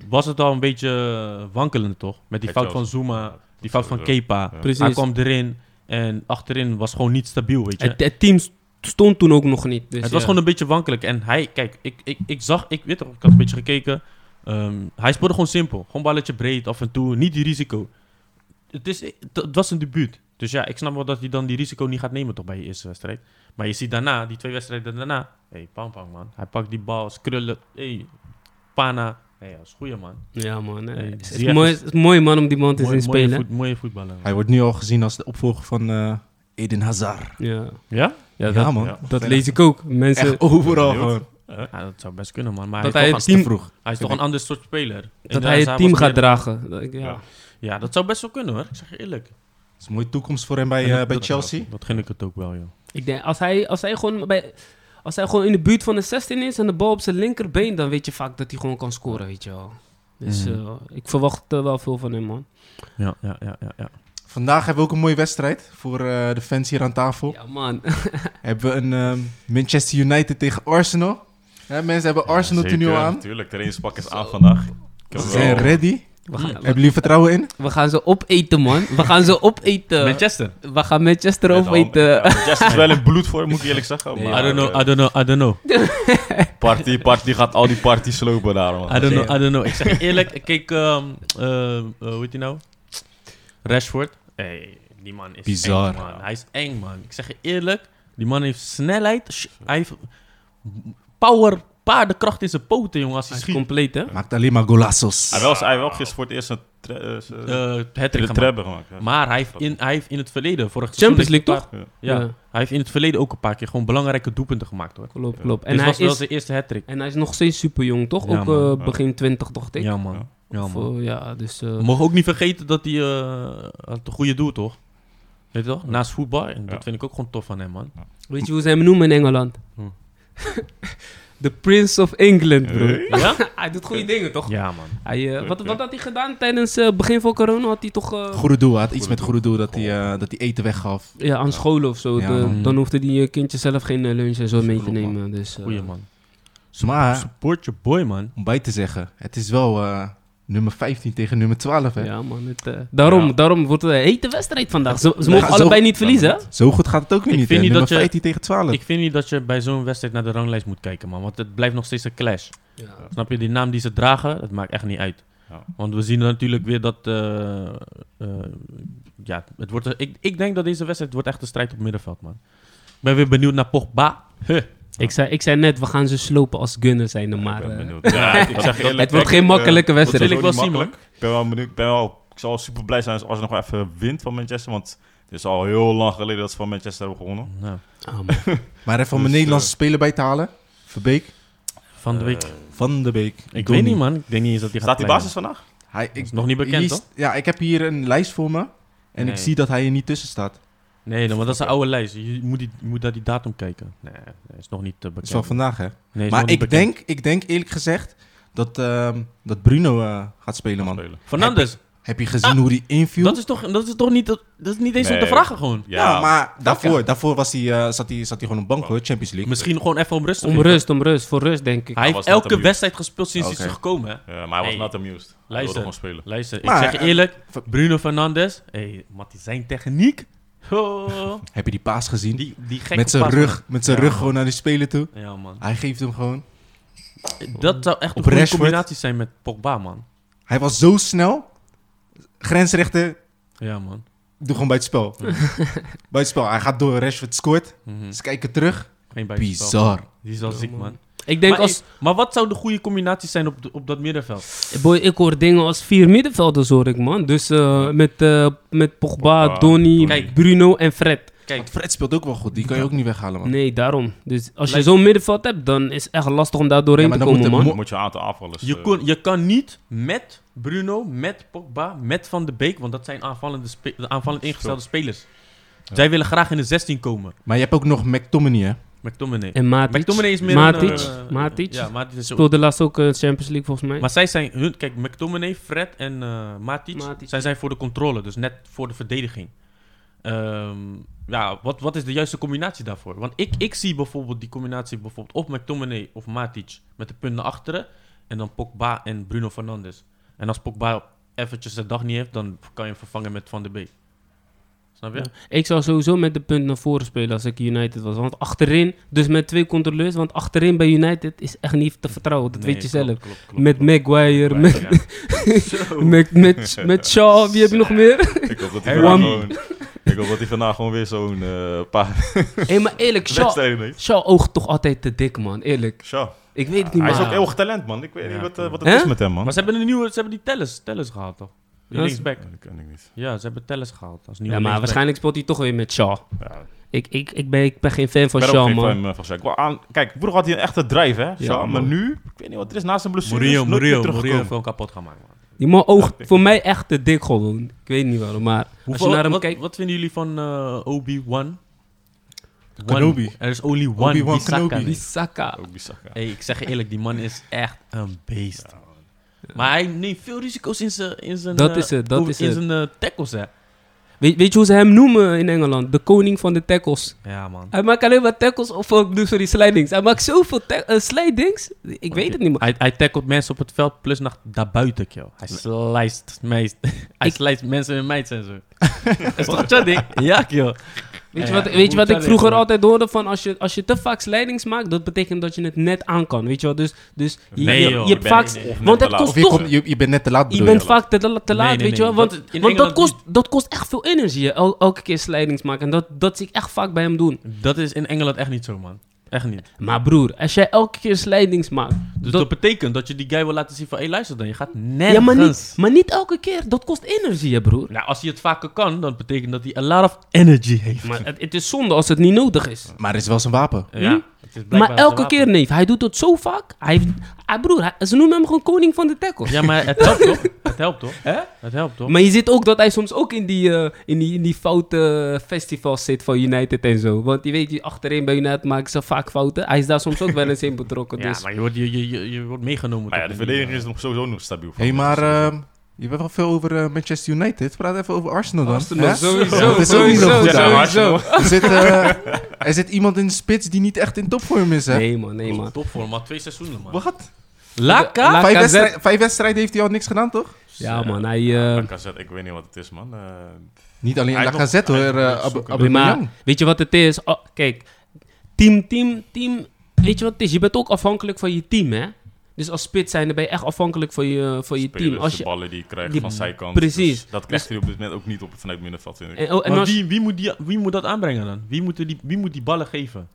Speaker 2: was het al een beetje eh, wankelend, toch? Met die
Speaker 3: Bij
Speaker 2: fout van
Speaker 3: Chelsea.
Speaker 2: Zuma, die fout van
Speaker 3: Ja.
Speaker 2: Kepa.
Speaker 3: Ja.
Speaker 4: Precies.
Speaker 2: Hij kwam erin en achterin was gewoon niet stabiel, weet je.
Speaker 4: het, het team st- stond toen ook nog niet. Dus
Speaker 2: het was
Speaker 4: ja.
Speaker 2: gewoon een beetje wankelijk. En hij, kijk, ik, ik, ik zag, ik weet toch, ik had een beetje gekeken. Ehm, hij speelde gewoon simpel. Gewoon balletje breed af en toe. Niet die risico. Het, is, het, het was een debuut. Dus ja, ik snap wel dat hij dan die risico niet gaat nemen toch bij je eerste wedstrijd. Maar je ziet daarna, die twee wedstrijden daarna. Hé, hey, pam pam man. Hij pakt die bal, krullen. Hé, hey, pana. Hé, dat is goeie man.
Speaker 4: Ja man, hè.
Speaker 2: Nee,
Speaker 4: het, is
Speaker 2: Ziyech
Speaker 4: mooi,
Speaker 2: is-
Speaker 4: het is mooi man om die man te
Speaker 2: Mooi-
Speaker 4: zien spelen.
Speaker 2: Mooie, voet- mooie voetballer. man.
Speaker 1: Hij wordt nu al gezien als de opvolger van eh Eden Hazard.
Speaker 4: ja.
Speaker 2: Ja?
Speaker 4: Ja,
Speaker 1: ja,
Speaker 4: dat,
Speaker 1: man.
Speaker 3: ja.
Speaker 4: dat lees ik ook. Mensen,
Speaker 1: Echt overal
Speaker 3: Benieuwd.
Speaker 1: gewoon.
Speaker 2: Ja, dat zou best kunnen man. Maar
Speaker 4: Dat
Speaker 2: hij, is
Speaker 4: hij
Speaker 2: toch
Speaker 4: het
Speaker 1: Te
Speaker 2: een-
Speaker 4: Team-
Speaker 1: vroeg.
Speaker 2: hij is toch een ander soort speler.
Speaker 4: dat
Speaker 2: En
Speaker 4: hij
Speaker 2: daar-
Speaker 4: het
Speaker 2: was
Speaker 4: team gaat
Speaker 2: meer-
Speaker 4: dragen. Dat ik- ja.
Speaker 3: Ja.
Speaker 2: Ja, dat zou best wel kunnen hoor. Ik zeg je eerlijk.
Speaker 1: is een mooie toekomst voor hem bij,
Speaker 2: En
Speaker 1: eh,
Speaker 2: dat-
Speaker 1: bij
Speaker 2: dat-
Speaker 1: Chelsea.
Speaker 2: Dat gun ik het ook wel, joh.
Speaker 4: Ik denk, als hij, als, hij gewoon bij, als hij gewoon in de buurt van de 16 is en de bal op zijn linkerbeen, dan weet je vaak dat hij gewoon kan scoren, weet je wel. Dus
Speaker 2: Mhm.
Speaker 4: eh, ik verwacht er wel veel van hem, man.
Speaker 2: Ja, ja, ja, ja. ja.
Speaker 1: Vandaag hebben we ook een mooie wedstrijd voor eh, de fans hier aan tafel.
Speaker 4: Ja, man.
Speaker 1: Hebben we een ehm, Manchester United tegen Arsenal. Hè, mensen hebben Arsenal
Speaker 3: Ja,
Speaker 1: toen nu
Speaker 3: zeker,
Speaker 1: aan.
Speaker 3: Natuurlijk, de trainingspak is aan vandaag. Ik heb
Speaker 1: Ze
Speaker 3: wel-
Speaker 1: zijn ready.
Speaker 4: We gaan,
Speaker 1: Hebben jullie vertrouwen in?
Speaker 4: we gaan ze opeten, man. We gaan ze
Speaker 2: Eh,
Speaker 4: opeten.
Speaker 2: Manchester.
Speaker 4: We gaan Manchester
Speaker 3: met de hand- Ja,
Speaker 4: opeten.
Speaker 3: Manchester is wel in bloedvorm, moet ik eerlijk zeggen.
Speaker 2: eh, I
Speaker 3: maar,
Speaker 2: don't know,
Speaker 3: eh,
Speaker 2: I don't know, I don't know.
Speaker 3: party, party gaat al die parties slopen daar, man.
Speaker 2: I don't know, I don't know. Ik zeg je eerlijk, ik keek, ehm, eh, eh, hoe heet hij nou? Rashford. Hey, die man is
Speaker 1: Bizar.
Speaker 2: eng, man. Hij is eng, man. Ik zeg je eerlijk, die man heeft snelheid. sh- Hij heeft power, paardenkracht in zijn poten, jongen, als hij
Speaker 4: Hij is
Speaker 2: schiet.
Speaker 4: compleet, hè?
Speaker 1: Maakt alleen maar golazos.
Speaker 2: Ah,
Speaker 3: Hij wel, hij wel gisteren voor het eerst een tre- eh, ze-
Speaker 2: het
Speaker 3: de trap gemaakt. ja.
Speaker 2: Maar hij heeft, in, hij heeft in het verleden, vorig
Speaker 4: Champions
Speaker 2: seizoen
Speaker 4: League,
Speaker 2: een
Speaker 3: toch?
Speaker 2: paar- Ja, hij heeft in het verleden ook een paar keer gewoon belangrijke doelpunten gemaakt, hoor.
Speaker 4: Klopt, klopt.
Speaker 2: En
Speaker 4: En
Speaker 2: Dit
Speaker 4: hij,
Speaker 2: was wel
Speaker 4: is,
Speaker 2: zijn eerste hat-trick.
Speaker 4: en hij is nog steeds super jong, toch?
Speaker 2: Ja,
Speaker 4: Ook
Speaker 2: man.
Speaker 4: eh, begin 20, dacht ik.
Speaker 2: Ja,
Speaker 3: Ja.
Speaker 2: man. Ja,
Speaker 4: Of,
Speaker 2: man.
Speaker 4: eh, ja, dus... eh,
Speaker 2: We mogen ook niet vergeten dat hij eh, had een goede doel, toch? Weet je toch? Naast voetbal. En dat
Speaker 3: Ja.
Speaker 2: vind ik ook gewoon tof van hem, man.
Speaker 4: Weet je hoe ze hem noemen in Engeland?
Speaker 2: Hm.
Speaker 4: The Prince of England, bro.
Speaker 3: Hey.
Speaker 2: Ja?
Speaker 4: hij doet goede dingen, toch?
Speaker 2: Ja, man.
Speaker 4: Hij, eh, wat,
Speaker 3: Oké.
Speaker 4: wat had hij gedaan tijdens het begin van corona? Had hij toch eh,
Speaker 1: Goede doel, hij had iets met
Speaker 3: Goede
Speaker 1: goede doel dat hij, eh, dat hij eten weggaf.
Speaker 4: ja, aan scholen of zo?
Speaker 1: Ja,
Speaker 4: de-
Speaker 1: man.
Speaker 4: dan hoefde die eh, kindje zelf geen eh, lunch en zo mee te
Speaker 1: Klopt, man.
Speaker 4: nemen. Dus, eh,
Speaker 2: Goeie man.
Speaker 1: Maar
Speaker 2: Eh, Support your boy, man.
Speaker 1: om bij te zeggen, het is wel eh, nummer 15 tegen nummer 12. Hè?
Speaker 4: Ja, man. Het, eh, daarom,
Speaker 2: Ja.
Speaker 4: daarm wordt het een hete wedstrijd vandaag. Ze, ze
Speaker 1: Ja,
Speaker 4: mogen
Speaker 1: zo-
Speaker 4: allebei niet verliezen. hè?
Speaker 1: Zo goed gaat het ook weer
Speaker 2: Ik
Speaker 1: niet.
Speaker 2: vind
Speaker 1: hè?
Speaker 2: niet
Speaker 1: nummer
Speaker 2: dat je-
Speaker 1: 15 tegen 12.
Speaker 2: Ik vind niet dat je bij zo'n wedstrijd naar de ranglijst moet kijken, man. Want het blijft nog steeds een clash. Snap je? Die naam die ze dragen, dat maakt echt niet uit.
Speaker 3: Ja.
Speaker 2: Want we zien natuurlijk weer dat... eh, eh, ja, het wordt, ik, ik denk dat deze wedstrijd wordt echt een strijd op middenveld, man. Ik ben weer benieuwd naar Pogba. Huh.
Speaker 4: Ik, zei, ik zei net, we gaan ze slopen als gunner zijn.
Speaker 3: Ik
Speaker 4: Maar
Speaker 3: ben
Speaker 4: eh,
Speaker 3: benieuwd. Ja, ik zeg je eerlijk,
Speaker 4: het wordt
Speaker 3: ik,
Speaker 4: geen
Speaker 3: eh,
Speaker 4: makkelijke wedstrijd.
Speaker 2: wil ik wel zien, man.
Speaker 3: Ik ben wel benieuwd. Ik, ben wel, ik zal super blij zijn als als hij nog even wint van Manchester. Want het is al heel lang geleden dat ze van Manchester hebben gewonnen.
Speaker 2: Nou,
Speaker 4: Ah, man.
Speaker 1: Maar even om een
Speaker 3: Dus,
Speaker 1: Nederlandse
Speaker 2: eh,
Speaker 1: speler bij te halen. Verbeek.
Speaker 2: van de week.
Speaker 3: Eh,
Speaker 1: Van de Beek.
Speaker 2: ik
Speaker 1: Donny.
Speaker 2: weet niet, man. Ik denk niet eens dat hij gaat
Speaker 3: Staat die
Speaker 2: spelen.
Speaker 3: basis vandaag?
Speaker 1: Hij,
Speaker 2: is nog niet bekend,
Speaker 1: hier-
Speaker 2: toch?
Speaker 1: Ja, ik heb hier een lijst voor me. En
Speaker 2: Nee.
Speaker 1: ik zie dat hij er niet tussen staat.
Speaker 2: Nee, dan, want dat is een oude lijst. Je moet, die, je moet naar die datum kijken. Nee, nee, is nog niet eh, bekend.
Speaker 1: Dat is wel vandaag, hè?
Speaker 2: Nee, is nog
Speaker 1: maar
Speaker 2: niet
Speaker 1: ik
Speaker 2: bekend.
Speaker 1: denk, ik denk eerlijk gezegd dat, ehm, dat Bruno eh, gaat spelen, man.
Speaker 3: Spelen.
Speaker 2: Fernandes,
Speaker 1: Heb je gezien hoe die inviel?
Speaker 2: dat is toch, dat is toch niet, dat is niet eens om te
Speaker 3: Nee.
Speaker 2: vragen gewoon.
Speaker 1: ja, maar daarvoor, daarvoor was hij, eh, zat, hij, zat hij gewoon op bank, hoor. Champions League.
Speaker 2: Misschien gewoon even om rust. te
Speaker 4: Om
Speaker 2: geven.
Speaker 4: rust, om rust. Voor rust, denk ik.
Speaker 2: Hij
Speaker 3: Hij
Speaker 2: heeft
Speaker 3: was net
Speaker 2: elke
Speaker 3: een-
Speaker 2: wedstrijd gespeeld sinds hij
Speaker 1: Oké.
Speaker 2: is gekomen. hè.
Speaker 3: Ja, eh, maar hij was
Speaker 2: Hey.
Speaker 3: not amused. Hij wilde
Speaker 2: Luister.
Speaker 3: gewoon spelen.
Speaker 2: Luister,
Speaker 1: Maar,
Speaker 2: ik zeg je
Speaker 1: eh,
Speaker 2: eerlijk,
Speaker 1: ver-
Speaker 2: Bruno Fernandes, hey, Matty, zijn techniek, oh,
Speaker 1: Heb je die paas gezien?
Speaker 2: die, die gekke
Speaker 1: met zijn
Speaker 2: paas,
Speaker 1: rug, met zijn
Speaker 2: Ja,
Speaker 1: rug
Speaker 2: man.
Speaker 1: gewoon naar die speler toe.
Speaker 2: man. Ja man,
Speaker 1: Hij geeft hem gewoon.
Speaker 2: dat zou echt
Speaker 1: Op
Speaker 2: een goede
Speaker 1: Rashford.
Speaker 2: combinatie zijn met Pogba man.
Speaker 1: Hij was zo snel. Grensrechter,
Speaker 2: Ja man.
Speaker 1: doe gewoon bij het spel. bij het spel. Hij gaat door, Rashford scoort.
Speaker 2: Mhm.
Speaker 1: Ze kijken terug.
Speaker 2: Geen buitenspel.
Speaker 1: Bizar.
Speaker 2: Die is wel
Speaker 4: Ja,
Speaker 2: ziek
Speaker 4: man.
Speaker 2: man.
Speaker 4: Ik denk
Speaker 2: maar,
Speaker 4: als...
Speaker 2: ik- maar wat zou de goede combinatie zijn op, de- op dat middenveld?
Speaker 4: Boy, ik hoor dingen als vier middenvelders hoor ik, man. Dus eh, met, eh, met Pogba,
Speaker 3: Pogba,
Speaker 4: Donny,
Speaker 2: Kijk.
Speaker 4: Bruno en Fred.
Speaker 2: Kijk,
Speaker 1: Want Fred speelt ook wel goed. Die kan je ook niet weghalen, man.
Speaker 4: Nee, daarom. Dus als je
Speaker 2: Lijkt-
Speaker 4: zo'n middenveld hebt, dan is het echt lastig om daar doorheen
Speaker 1: Ja, maar
Speaker 4: te
Speaker 1: dan
Speaker 4: komen,
Speaker 1: moet
Speaker 4: man.
Speaker 1: er
Speaker 3: Dan moet je een aantal aanvallers.
Speaker 2: Je,
Speaker 3: eh,
Speaker 2: kon, je kan niet met Bruno, met Pogba, met Van de Beek, want dat zijn aanvallende spe- aanvallend ingestelde spelers. Zij willen graag in de 16 komen.
Speaker 1: Maar je hebt ook nog McTominay, hè?
Speaker 2: McTominay.
Speaker 4: En Matic.
Speaker 2: McTominay is meer
Speaker 4: Matic.
Speaker 2: een... eh,
Speaker 4: Matic.
Speaker 2: Ja, Matic is ook...
Speaker 4: Speelde laatst ook eh, Champions League, volgens mij.
Speaker 2: Maar zij zijn... Hun, kijk, McTominay, Fred en eh Matic,
Speaker 4: Matic.
Speaker 2: zij zijn voor de controle, dus net voor de verdediging. Ehm, ja, wat, wat is de juiste combinatie daarvoor? Want ik, ik zie bijvoorbeeld die combinatie bijvoorbeeld of McTominay of Matic met de punt naar achteren en dan Pogba en Bruno Fernandes. En als Pogba eventjes de dag niet heeft, dan kan je hem vervangen met Van de Beek. Snap je?
Speaker 4: Ja. Ik zou sowieso met de punt naar voren spelen als ik United was. Want achterin, dus met twee controleurs, want achterin bij United is echt niet te vertrouwen. Dat
Speaker 2: Nee,
Speaker 4: weet je
Speaker 2: klopt,
Speaker 4: zelf.
Speaker 2: klopt, klopt,
Speaker 4: Met
Speaker 2: klopt.
Speaker 4: Maguire,
Speaker 3: Ja,
Speaker 4: met,
Speaker 3: ja.
Speaker 4: met, met, met Shaw, wie heb je nog meer?
Speaker 3: Ik hoop dat hij vandaag
Speaker 2: Hey,
Speaker 4: Wam.
Speaker 3: gewoon... Ik hoop dat hij vandaag gewoon weer zo'n eh, paar
Speaker 4: Hé, maar eerlijk, Shaw,
Speaker 3: wedstrijden heeft.
Speaker 4: Shaw oogt toch altijd te dik, man. Eerlijk.
Speaker 3: Tja.
Speaker 4: Ik weet het niet,
Speaker 3: Hij
Speaker 4: maar...
Speaker 3: is ook heel erg talent, man. Ik weet
Speaker 2: Ja,
Speaker 3: niet wat, eh,
Speaker 2: klopt.
Speaker 3: wat het
Speaker 4: Hè?
Speaker 3: is met hem, man.
Speaker 2: Maar ze hebben, een nieuwe, ze hebben die Tellers, tellers gehaald, toch? Die
Speaker 4: Ja,
Speaker 2: linksback.
Speaker 3: Ja, Dat ken ik niet.
Speaker 2: Ja, ze hebben Tellers gehaald. Als nieuwe
Speaker 4: Ja, maar
Speaker 2: linksback.
Speaker 4: waarschijnlijk speelt hij toch weer met Shaw.
Speaker 3: Ja,
Speaker 4: Ik, ik, ik, ben, ik ben geen fan van
Speaker 3: Ik ben ook
Speaker 4: Shaw,
Speaker 3: geen fan eh,
Speaker 4: man.
Speaker 3: van Shaw. Ik wou aan- Kijk, vroeger had hij een echte drive, hè? Shaw,
Speaker 4: man.
Speaker 3: maar nu, ik weet niet wat er is naast zijn blessure.
Speaker 2: Mourinho,
Speaker 3: is nooit meer
Speaker 2: Mourinho, Mourinho
Speaker 3: teruggekomen.
Speaker 2: heeft gewoon kapot gaan maken, man.
Speaker 4: Die man oogt voor mij echt te dik gewoon. Ik weet niet waarom, maar als je
Speaker 2: Hoeveel,
Speaker 4: naar hem
Speaker 2: wat,
Speaker 4: kijkt...
Speaker 2: wat vinden jullie van eh, Obi-Wan?
Speaker 1: Kenobi.
Speaker 2: One. Er is only one
Speaker 1: Obi-Wan
Speaker 2: Bisaka.
Speaker 1: Kenobi.
Speaker 4: Bissaka.
Speaker 3: Ook Bissaka.
Speaker 2: Hey, ik zeg je eerlijk, die man is echt een beest. maar hij neemt veel risico's in zijn in zijn
Speaker 4: Dat
Speaker 2: eh,
Speaker 4: is het, dat
Speaker 2: over-
Speaker 4: is
Speaker 2: in
Speaker 4: het.
Speaker 2: zijn eh, tackles hè.
Speaker 4: Weet, weet je hoe ze hem noemen in Engeland? De koning van de tackles.
Speaker 2: Ja man.
Speaker 4: Hij maakt alleen maar tackles of eh, doe sorry, slidings. Hij maakt zoveel ta- eh, slidings. Ik weet het niet, man.
Speaker 2: Hij, hij tackelt mensen op het veld plus naar daarbuiten, joh. Hij slijst meest. hij
Speaker 4: Ik-
Speaker 2: slijst mensen in meids en zo. Dat is toch chatting? Ja, joh.
Speaker 4: Weet je
Speaker 2: Ja,
Speaker 4: wat,
Speaker 2: ja,
Speaker 4: weet je
Speaker 2: moet
Speaker 4: wat ik
Speaker 2: alleen
Speaker 4: vroeger
Speaker 2: maar.
Speaker 4: altijd hoorde? Van als, je, als je te vaak slidings maakt, dat betekent dat je het net aan kan. Weet je wel? Dus, dus je,
Speaker 2: Nee,
Speaker 4: je,
Speaker 2: joh,
Speaker 4: je
Speaker 2: ik
Speaker 4: hebt
Speaker 2: ben-
Speaker 4: vaak...
Speaker 2: nee, nee.
Speaker 4: Want dat
Speaker 3: Of
Speaker 1: Of
Speaker 4: kost
Speaker 1: je,
Speaker 4: toch...
Speaker 1: komt- je, je bent net te laat,
Speaker 4: Je
Speaker 1: bedoel
Speaker 4: bent vaak te, te laat,
Speaker 2: Nee, nee,
Speaker 4: weet je wel?
Speaker 2: nee,
Speaker 4: Want,
Speaker 2: dat- in
Speaker 4: want dat,
Speaker 2: Engeland
Speaker 4: kost, dat kost echt veel energie. El- elke keer slidings maken. En dat, dat zie ik echt vaak bij hem doen.
Speaker 2: Dat is in Engeland echt niet zo, man. Echt niet.
Speaker 4: Maar broer, als jij elke keer slidings maakt...
Speaker 2: Dus dat,
Speaker 4: dat-
Speaker 2: betekent dat je die guy wil laten zien van... Hé, luister dan, je gaat nergens.
Speaker 4: ja, maar niet, maar niet elke keer. Dat kost energie, hè, broer.
Speaker 2: Nou, als hij het vaker kan, dan betekent dat hij a lot of energy heeft.
Speaker 4: Maar het, het is zonde als het niet nodig is.
Speaker 1: Maar het is wel zijn wapen.
Speaker 2: Ja, het is
Speaker 4: Hm?
Speaker 2: blijkbaar
Speaker 4: Maar elke
Speaker 2: zijn
Speaker 4: keer,
Speaker 2: wapen.
Speaker 4: neef. Hij doet dat zo vaak. Hij heeft... Ah, broer, hij- ze noemen hem gewoon koning van de tackles.
Speaker 2: Ja, maar het helpt toch? Het helpt toch?
Speaker 4: Hè?
Speaker 2: Het helpt toch?
Speaker 4: Maar je ziet ook dat hij soms ook in die, eh, in die, in die foute festivals zit van United en zo. Want je weet, je achterin bij United maken ze vaak fouten. Hij is daar soms ook wel eens in betrokken.
Speaker 2: Ja,
Speaker 4: Dus.
Speaker 2: maar je wordt, je, je, je, je wordt meegenomen.
Speaker 3: Maar ja, de
Speaker 2: toch?
Speaker 3: verdediging is nog sowieso nog stabiel.
Speaker 1: Hé, hey, maar
Speaker 3: dus,
Speaker 1: ehm, je hebt wel veel over eh, Manchester United. Praat even over Arsenal dan.
Speaker 4: Arsenal,
Speaker 1: Hè?
Speaker 4: sowieso,
Speaker 1: Dat is ook niet
Speaker 4: sowieso,
Speaker 1: zo goed.
Speaker 4: sowieso.
Speaker 1: hè? Er zit, eh, er zit iemand in de spits die niet echt in topvorm is, hè?
Speaker 4: Nee man, nee man.
Speaker 2: Topvorm, maar twee seizoenen, man.
Speaker 1: Wat?
Speaker 2: Laka?
Speaker 4: La-
Speaker 1: Vijf,
Speaker 4: Lacazette-
Speaker 1: wedstrij- vijf wedstrijden heeft hij al niks gedaan, toch?
Speaker 4: Ja man, hij... eh,
Speaker 3: Lacazette, ik weet niet wat het is, man. Eh,
Speaker 1: Niet alleen
Speaker 3: Hij nog-
Speaker 1: Lacazette,
Speaker 3: hij
Speaker 1: hoor.
Speaker 3: nog
Speaker 1: eh
Speaker 3: moet
Speaker 1: Ab
Speaker 3: zoeken.
Speaker 1: Aubameyang.
Speaker 4: maar weet je wat het is? Oh, kijk, team, team, team. Weet je wat het is? Je bent ook afhankelijk van je team, hè? Dus als spits zijnde ben je echt afhankelijk van je, van je team.
Speaker 3: spelers,
Speaker 4: Als
Speaker 3: de
Speaker 4: je,
Speaker 3: ballen die je krijgt
Speaker 4: die-
Speaker 3: van zijkant.
Speaker 4: precies.
Speaker 3: Dus dat krijgt hij op dit moment ook niet op het vanuit middenveld, vind ik.
Speaker 4: en, oh, en
Speaker 2: maar
Speaker 4: als-
Speaker 2: wie, wie, moet die, wie moet dat aanbrengen dan? Wie moet die, wie moet die ballen geven?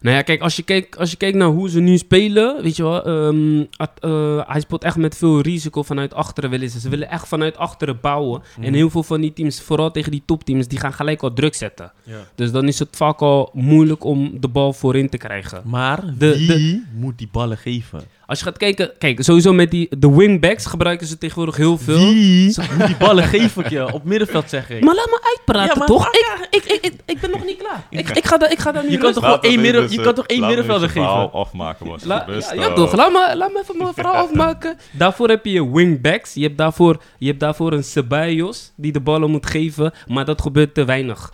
Speaker 4: Nou ja, kijk, als je kijkt, als je kijkt naar hoe ze nu spelen, weet je wel, ehm, at- eh, hij speelt echt met veel risico vanuit achteren willen ze. Ze willen echt vanuit achteren bouwen. En heel veel van die teams, vooral tegen die topteams, die gaan gelijk al druk zetten.
Speaker 2: Ja.
Speaker 4: Dus dan is het vaak al moeilijk om de bal voorin te krijgen.
Speaker 2: Maar
Speaker 4: De-
Speaker 2: wie moet die ballen geven?
Speaker 4: Als je gaat kijken, kijk, sowieso met die, de wingbacks gebruiken ze tegenwoordig heel veel.
Speaker 2: Wie moet die ballen geven, je? Op middenveld zeg ik.
Speaker 4: Maar laat me uitpraten,
Speaker 2: Ja, maar-
Speaker 4: toch? Ik, ik, ik, ik, ik ben nog niet klaar. Ik, ik, ga, daar, ik ga daar nu
Speaker 2: Je kan
Speaker 4: rustig-
Speaker 2: toch gewoon
Speaker 3: Laat dat
Speaker 2: één midden-
Speaker 3: even
Speaker 2: je kan toch één
Speaker 3: zijn- laat
Speaker 2: middenvelder
Speaker 3: even zijn
Speaker 2: geven?
Speaker 3: verhaal afmaken, man. eh,
Speaker 4: La-
Speaker 3: Rustig.
Speaker 4: ja, ja, toch. Laat me, laat me even mijn verhaal afmaken. Daarvoor heb je je wingbacks. Je hebt daarvoor, je hebt daarvoor een Ceballos die de ballen moet geven. Maar dat gebeurt te weinig.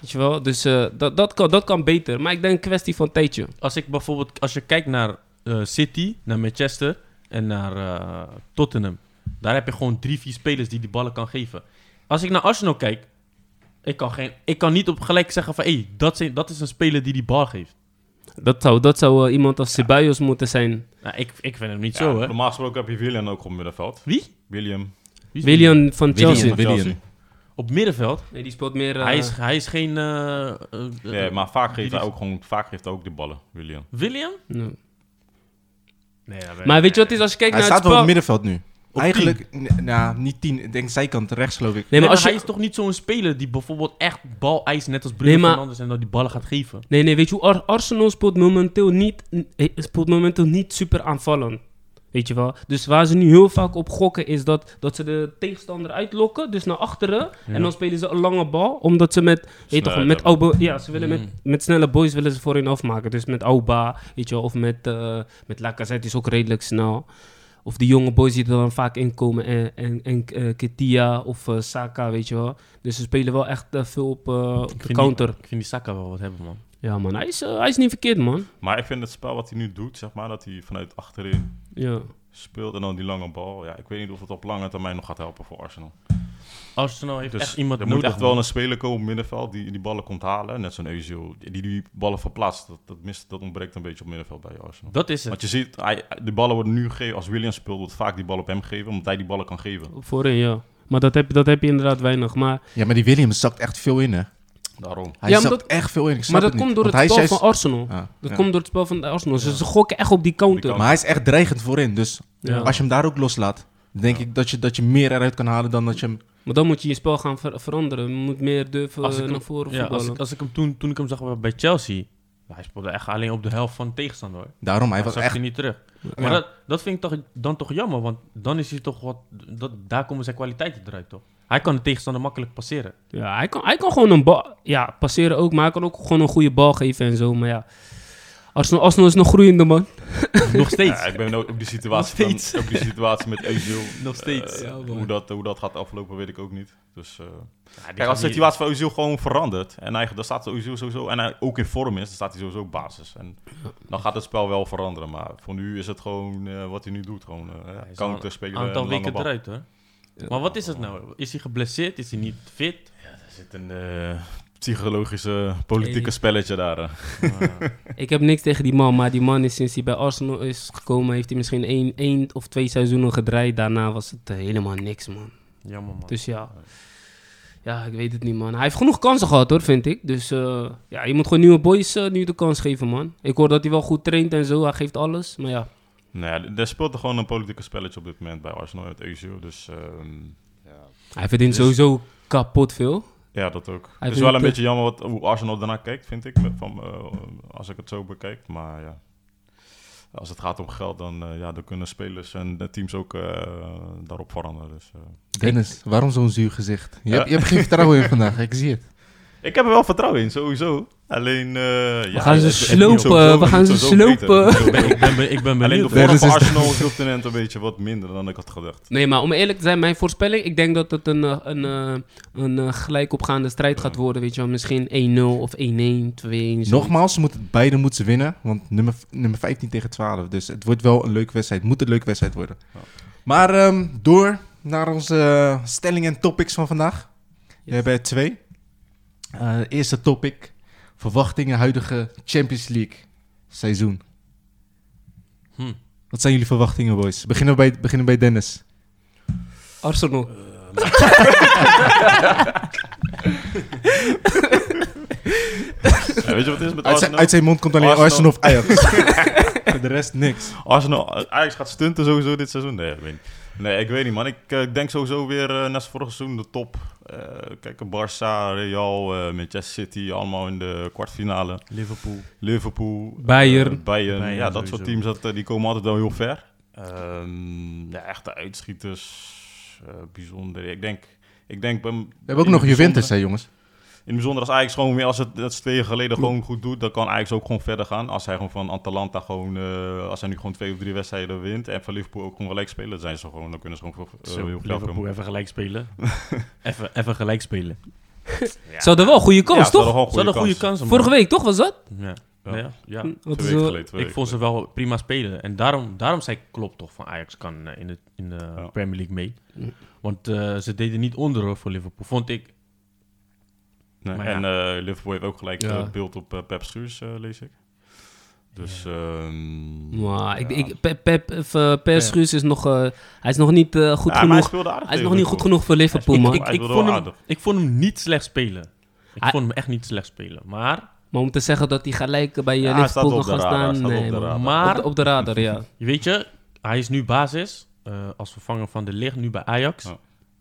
Speaker 4: Weet je wel? Dus eh, dat, dat, kan, dat kan beter. Maar ik denk een kwestie van tijdje.
Speaker 2: Als ik bijvoorbeeld, als je kijkt naar eh, City, naar Manchester en naar eh, Tottenham, daar heb je gewoon drie, vier spelers die die ballen kan geven. Als ik naar Arsenal kijk, ik kan, geen, ik kan niet op gelijk zeggen van, hé, hey, dat, zijn- dat is een speler die die bal geeft.
Speaker 4: Dat zou, dat zou eh, iemand als Ceballos moeten zijn.
Speaker 2: Nou, ik, ik vind hem niet
Speaker 3: Ja,
Speaker 2: zo, hè.
Speaker 3: Normaal gesproken heb je William ook op middenveld.
Speaker 2: Wie?
Speaker 3: William.
Speaker 2: Wie is die?
Speaker 4: William van
Speaker 1: Willian.
Speaker 4: Chelsea.
Speaker 3: Van Chelsea.
Speaker 1: Willian.
Speaker 2: Op middenveld?
Speaker 4: Nee, die speelt meer... eh,
Speaker 2: hij, is, hij is geen... eh, eh,
Speaker 3: Ja,
Speaker 2: eh,
Speaker 3: maar vaak
Speaker 2: die
Speaker 3: geeft hij
Speaker 2: is-
Speaker 3: ook gewoon vaak geeft hij ook de ballen, William.
Speaker 2: William?
Speaker 4: nee.
Speaker 2: Nee, dat weet
Speaker 4: Maar
Speaker 2: ik
Speaker 4: weet je wat
Speaker 2: niet.
Speaker 4: het is als je kijkt
Speaker 1: Hij
Speaker 4: naar het
Speaker 1: staat
Speaker 4: spel?
Speaker 1: wel op het middenveld nu.
Speaker 2: Op
Speaker 1: Eigenlijk, n- nou, niet tien. Ik denk zijkant, rechts geloof ik.
Speaker 4: Nee, maar als
Speaker 2: hij
Speaker 4: je,
Speaker 2: is toch niet zo'n speler die bijvoorbeeld echt bal eist, net als Bruno
Speaker 4: Nee, maar-
Speaker 2: Fernandes, en dat die ballen gaat geven.
Speaker 4: Nee, nee, weet je hoe Ar- Arsenal speelt momenteel, niet, eh, speelt momenteel niet super aanvallend. Weet je wel? Dus waar ze nu heel vaak op gokken is dat, dat ze de tegenstander uitlokken, dus naar achteren. En dan spelen ze een lange bal, omdat ze met, weet je toch,
Speaker 3: Snelheid
Speaker 4: met, Auba, ja, ze willen
Speaker 2: Mm.
Speaker 4: met, met snelle boys willen ze voorin afmaken. Dus met Auba, weet je wel, of met, eh met Lacazette die is ook redelijk snel. Of die jonge boys die er dan vaak inkomen. En, en, en eh, Ketia of eh, Saka, weet je wel. Dus ze spelen wel echt eh, veel op, eh, op de
Speaker 2: vind
Speaker 4: counter.
Speaker 2: Die, ik vind die Saka wel wat hebben, man.
Speaker 4: Ja, man, hij is, eh, hij is niet verkeerd, man.
Speaker 3: Maar ik vind het spel wat hij nu doet, zeg maar, dat hij vanuit achterin
Speaker 4: Ja.
Speaker 3: speelt en dan nou die lange bal. Ja, ik weet niet of het op lange termijn nog gaat helpen voor Arsenal.
Speaker 2: Arsenal heeft
Speaker 3: Dus
Speaker 2: echt iemand
Speaker 3: er
Speaker 2: nodig.
Speaker 3: moet echt
Speaker 2: man.
Speaker 3: wel een speler komen op middenveld die die ballen komt halen. Net zo'n Eusio, die die ballen verplaatst. Dat, dat, mist, dat ontbreekt een beetje op middenveld bij Arsenal.
Speaker 2: Dat is het.
Speaker 3: Want je ziet, hij, de ballen worden nu gegeven. Als William speelt, wordt vaak die bal op hem gegeven, omdat hij die ballen kan geven.
Speaker 4: Voorin, ja. Maar dat heb, dat heb je inderdaad weinig. Maar,
Speaker 1: Ja, maar die Williams zakt echt veel in, hè.
Speaker 3: Daarom.
Speaker 1: Hij
Speaker 4: Ja, maar
Speaker 1: zakt
Speaker 4: dat-
Speaker 1: echt veel in. Ik snap
Speaker 4: maar dat
Speaker 1: het
Speaker 4: komt
Speaker 1: niet,
Speaker 4: door
Speaker 1: want
Speaker 4: het
Speaker 1: hij is
Speaker 4: spel
Speaker 1: juist-
Speaker 4: van Arsenal.
Speaker 1: Ah,
Speaker 4: Dat
Speaker 1: ja.
Speaker 4: komt door het spel van de Arsenal. Ze, ze gokken echt op die counter.
Speaker 3: Die
Speaker 1: Maar hij is echt dreigend voorin. Dus
Speaker 4: Ja.
Speaker 1: als je hem daar ook loslaat, dan denk ik dat je, dat je meer eruit kan halen dan dat je hem...
Speaker 4: Maar dan moet je je spel gaan ver- veranderen. Je moet meer durven
Speaker 2: Als ik
Speaker 4: eh,
Speaker 2: hem-
Speaker 4: naar voren
Speaker 2: Ja, als,
Speaker 4: voetballen.
Speaker 2: ik, als ik hem toen, toen ik hem zag bij Chelsea, Hij speelde echt alleen op de helft van de tegenstander. Hoor.
Speaker 1: Daarom, hij
Speaker 2: Dat
Speaker 1: was
Speaker 2: zag
Speaker 1: echt...
Speaker 2: je niet terug.
Speaker 1: Ja.
Speaker 2: Maar dat, dat vind ik toch, dan toch jammer, want dan is hij toch wat... Dat, daar komen zijn kwaliteiten eruit, toch? Hij kan de tegenstander makkelijk passeren.
Speaker 4: Ja, hij kan, hij kan gewoon een bal... Ja, passeren ook, maar hij kan ook gewoon een goede bal geven en zo. Maar ja, Arsenal, Arsenal is nog groeiende, man.
Speaker 2: Nog steeds.
Speaker 3: Ja, ik ben ook op die situatie,
Speaker 2: Nog steeds.
Speaker 3: van, op die situatie met Özil.
Speaker 2: Nog steeds.
Speaker 3: Eh,
Speaker 4: Ja, man.
Speaker 3: hoe, dat, hoe dat gaat aflopen, weet ik ook niet. Dus, eh,
Speaker 2: Ja, die
Speaker 3: kijk,
Speaker 2: gaat
Speaker 3: als de
Speaker 2: niet-
Speaker 3: situatie van Özil gewoon verandert... en hij, dan staat Özil sowieso... en hij ook in vorm is, dan staat hij sowieso op basis. En dan gaat het spel wel veranderen. Maar voor nu is het gewoon eh, wat hij nu doet. Gewoon eh,
Speaker 2: Hij is al
Speaker 3: counter spelen.
Speaker 2: Een aantal
Speaker 3: en lange
Speaker 2: weken
Speaker 3: bal.
Speaker 2: eruit, hoor. Maar wat is het nou? Is hij geblesseerd? Is hij niet fit?
Speaker 3: Er zit een eh, psychologische, politieke
Speaker 4: Hey.
Speaker 3: spelletje daar. eh.
Speaker 4: Ik heb niks tegen die man, maar die man is sinds hij bij Arsenal is gekomen... heeft hij misschien één, één of twee seizoenen gedraaid. Daarna was het eh, helemaal niks, man.
Speaker 2: Jammer, man.
Speaker 4: Dus ja... Ja, ik weet het niet, man. Hij heeft genoeg kansen gehad, hoor, vind ik. Dus eh, ja, je moet gewoon nieuwe boys eh, nu de kans geven, man. Ik hoor dat hij wel goed traint en zo. Hij geeft alles, maar ja.
Speaker 3: Nou ja, er speelt er gewoon een politieke spelletje op dit moment bij Arsenal met Özil. Dus ehm,
Speaker 4: Hij verdient
Speaker 3: Dus-
Speaker 4: sowieso kapot veel.
Speaker 3: ja, dat ook.
Speaker 4: Hij
Speaker 3: het is wel een
Speaker 4: vindt,
Speaker 3: beetje jammer wat, hoe Arsenal daarna kijkt, vind ik. met Van, eh, als ik het zo bekijk. Maar ja, als het gaat om geld, dan, eh, ja, dan kunnen spelers en de teams ook eh, daarop veranderen. Dus, eh.
Speaker 1: Dennis, waarom zo'n zuur gezicht? Je,
Speaker 3: Ja.
Speaker 1: hebt, je hebt geen vertrouwen in vandaag, ik zie het.
Speaker 3: Ik heb er wel vertrouwen in, sowieso. Alleen, eh, ja,
Speaker 4: gaan ze
Speaker 3: het- het
Speaker 4: slopen,
Speaker 3: moet sowieso-
Speaker 4: we
Speaker 3: het
Speaker 4: gaan
Speaker 3: moet
Speaker 4: ze
Speaker 3: sowieso beter.
Speaker 4: slopen.
Speaker 3: Ik bedoel,
Speaker 2: ik ben, be- ik ben
Speaker 3: Alleen de
Speaker 2: benieuwd.
Speaker 1: Dennis
Speaker 3: vorm van
Speaker 1: is-
Speaker 3: Arsenal is op dit moment een beetje wat minder dan ik had gedacht.
Speaker 4: Nee, maar om eerlijk te zijn, mijn voorspelling... Ik denk dat het een, eh, een, eh, een eh, gelijkopgaande strijd gaat worden, weet je wel. Misschien 1-0 of 1-1, 2-1. zoiets.
Speaker 1: Nogmaals, ze moeten, beide moeten ze winnen. Want nummer, nummer 15 tegen 12. Dus het wordt wel een leuke wedstrijd. Moet een leuke wedstrijd worden.
Speaker 3: Ja.
Speaker 1: Maar ehm, door naar onze eh, stellingen en topics van vandaag. We hebben er twee. Eh, eerste topic. Verwachtingen huidige Champions League seizoen.
Speaker 2: Hm.
Speaker 1: Wat zijn jullie verwachtingen, boys? Beginnen we bij, beginnen bij Dennis.
Speaker 4: Arsenal.
Speaker 3: Ja, weet je wat het is
Speaker 1: Uit zijn,
Speaker 3: met Arsenal?
Speaker 1: uit zijn mond komt alleen Arsenal,
Speaker 3: Arsenal.
Speaker 1: of Ajax. Voor de rest niks.
Speaker 3: Arsenal, eh, Ajax gaat stunten sowieso dit seizoen. Nee, ik weet niet. Nee, ik weet niet, man. Ik eh, denk sowieso weer eh naast vorig seizoen de top. Eh kijk, Barça, Real, eh, Manchester City, allemaal in de kwartfinale.
Speaker 2: Liverpool.
Speaker 3: Liverpool,
Speaker 4: Bayern.
Speaker 3: eh, Bayern.
Speaker 2: Bayern
Speaker 3: Ja, dat
Speaker 2: sowieso.
Speaker 3: soort teams dat, eh, die komen altijd wel heel ver. Ehm, ja, echte uitschieters. eh, bijzonder. Ik denk, ik denk bij m-
Speaker 1: We hebben ook
Speaker 3: in
Speaker 1: nog
Speaker 3: het
Speaker 1: Juventus,
Speaker 3: bijzondere-
Speaker 1: hè, jongens?
Speaker 3: in het bijzonder als Ajax gewoon weer, als het dat ze twee jaar geleden gewoon goed doet, dan kan Ajax ook gewoon verder gaan. Als hij gewoon van Atalanta gewoon, eh, als hij nu gewoon twee of drie wedstrijden wint en van Liverpool ook gewoon gelijk spelen, dan zijn ze gewoon, dan kunnen ze gewoon veel- eh,
Speaker 2: Zo,
Speaker 3: heel veel
Speaker 2: Liverpool
Speaker 3: komen.
Speaker 2: even gelijk spelen. even, even gelijk spelen.
Speaker 4: Ze hadden wel een goede kans, toch?
Speaker 2: Ze hadden goede kansen. man.
Speaker 4: Vorige week, toch, was dat?
Speaker 2: Ja.
Speaker 3: Ja.
Speaker 2: Ja, ja.
Speaker 4: Wat
Speaker 3: Twee
Speaker 4: is,
Speaker 3: weken
Speaker 4: eh,
Speaker 3: geleden, twee
Speaker 2: Ik
Speaker 3: weken
Speaker 2: vond ze wel prima spelen. En daarom, daarom zei Klopp toch van Ajax kan eh, in de, in de
Speaker 3: Ja.
Speaker 2: Premier League mee.
Speaker 4: Ja.
Speaker 2: Want eh, ze deden niet onder hoor, voor Liverpool, vond ik.
Speaker 3: Nee,
Speaker 2: Maar
Speaker 3: en eh, Liverpool heeft ook gelijk
Speaker 4: Ja.
Speaker 3: eh, beeld op eh, Pep Schuurs, eh, lees ik. Dus, ehm,
Speaker 4: Maar ik,
Speaker 3: ja.
Speaker 4: ik, Pep, Pep, of, eh, Per Schuurs is nog, eh, hij is nog niet eh, goed
Speaker 3: Ja, maar
Speaker 4: genoeg.
Speaker 3: Hij, speelde aardig
Speaker 4: Hij is
Speaker 3: tegen
Speaker 4: nog niet goed
Speaker 3: Liverpool.
Speaker 4: genoeg voor Liverpool,
Speaker 3: Hij
Speaker 4: man.
Speaker 3: speelt-
Speaker 2: ik,
Speaker 3: hij
Speaker 2: ik,
Speaker 3: speelde
Speaker 2: vond
Speaker 3: wel
Speaker 2: hem,
Speaker 3: aardig.
Speaker 2: ik vond hem niet slecht spelen. Ik
Speaker 4: Hij-
Speaker 2: vond hem echt niet slecht spelen. Maar
Speaker 4: Maar om te zeggen dat hij gelijk eh, bij eh,
Speaker 3: Ja, hij staat
Speaker 4: Liverpool kan
Speaker 3: op de
Speaker 4: gaan
Speaker 3: radar, hij
Speaker 4: staan,
Speaker 3: staat op
Speaker 4: nee,
Speaker 3: de
Speaker 4: man.
Speaker 3: radar.
Speaker 2: Maar-
Speaker 4: Op de- Op de radar, ja.
Speaker 2: je weet je, hij is nu basis eh, als vervanger van de licht nu bij Ajax.
Speaker 3: Ja.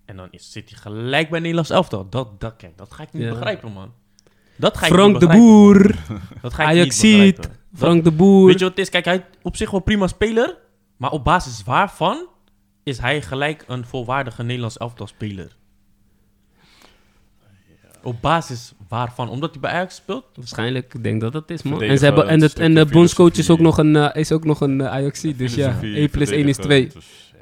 Speaker 2: En dan is, zit hij gelijk bij Nederlands elftal. Dat, dat, kijk, dat ga ik niet
Speaker 4: Ja.
Speaker 2: begrijpen, man. Dat ga ik
Speaker 4: Frank
Speaker 2: niet
Speaker 4: de
Speaker 2: begrijpen, man.
Speaker 4: Boer.
Speaker 2: Dat ga ik
Speaker 4: Ajax
Speaker 2: niet
Speaker 4: ziet.
Speaker 2: begrijpen. Dat-
Speaker 4: Frank de Boer.
Speaker 2: Weet je wat het is? Kijk, hij is op zich wel prima speler. Maar op basis waarvan is hij gelijk een volwaardige Nederlands elftal speler? Op basis waarvan? Omdat hij bij Ajax speelt?
Speaker 4: Waarschijnlijk, ik denk dat dat is, man.
Speaker 3: Verdedigen,
Speaker 4: En, ze hebben, en,
Speaker 3: dat
Speaker 4: de,
Speaker 3: is
Speaker 4: en de
Speaker 3: stukje
Speaker 4: bondscoach is ook nog
Speaker 3: filosofie.
Speaker 4: een, eh, is ook nog een eh, Ajaxie, dus ja,
Speaker 3: Filosofie,
Speaker 4: 1 plus 1 is 2.
Speaker 3: verdedigen. Dus,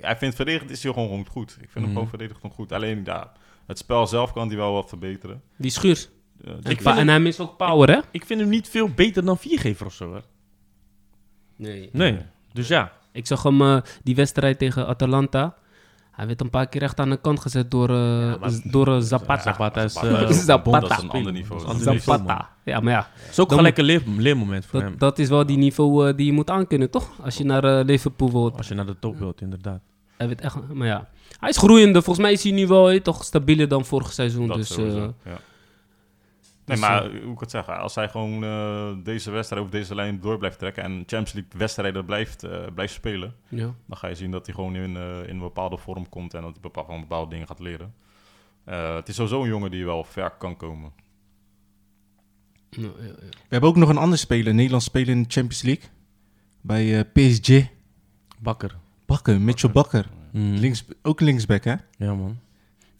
Speaker 3: ja, hij vindt verdedigend is hij gewoon gewoon goed. Ik vind hem
Speaker 2: Mhm.
Speaker 3: gewoon verdedigend gewoon goed. Alleen ja, het spel zelf kan hij wel wat verbeteren.
Speaker 4: Die schuur.
Speaker 3: Eh,
Speaker 4: En,
Speaker 3: dus-
Speaker 2: vind
Speaker 4: pa- en
Speaker 2: het-
Speaker 4: hij mist ook power, hè?
Speaker 2: Ik vind hem niet veel beter dan Viergever of zo. Hè?
Speaker 4: Nee.
Speaker 2: Nee. Dus ja.
Speaker 4: Ik zag hem eh, die wedstrijd tegen Atalanta. Hij werd een paar keer echt aan de kant gezet door, eh,
Speaker 2: maar-
Speaker 4: z- door eh, Zapata.
Speaker 2: Zapata is...
Speaker 3: Zapata.
Speaker 2: eh,
Speaker 4: Dat is Zapata.
Speaker 3: Dat is een ander niveau.
Speaker 2: Dat is een ander niveau,
Speaker 4: Zapata. Ja, maar ja,
Speaker 2: man. is ook
Speaker 4: Dan
Speaker 2: gelijk een leer- leermoment voor hem.
Speaker 4: dat, dat is wel die niveau eh, die je moet aankunnen, toch? Als je naar eh, Liverpool wilt.
Speaker 2: Als je naar de top wilt, inderdaad.
Speaker 4: Hij werd echt, maar ja, hij is groeiende. Volgens mij is hij nu wel eh, toch stabieler dan vorig seizoen.
Speaker 3: Dat
Speaker 4: dus,
Speaker 3: sowieso,
Speaker 4: eh,
Speaker 3: ja. Nee,
Speaker 4: dus,
Speaker 3: maar hoe kan ik het zeggen? Als hij gewoon eh, deze wedstrijd over deze lijn door blijft trekken en Champions League wedstrijden blijft, eh, blijft spelen,
Speaker 4: ja.
Speaker 3: dan ga je zien dat hij gewoon in, eh, in een bepaalde vorm komt en dat hij bepaal- van bepaalde dingen gaat leren. Eh, het is sowieso een jongen die wel ver kan komen.
Speaker 4: Ja, ja, ja.
Speaker 1: We hebben ook nog een ander speler, een Nederlands speler in de Champions League. Bij eh, PSG.
Speaker 2: Bakker.
Speaker 1: Bakker, Mitchell Bakker.
Speaker 4: Hm.
Speaker 2: Mm.
Speaker 1: Links, ook linksback, hè?
Speaker 2: Ja, man.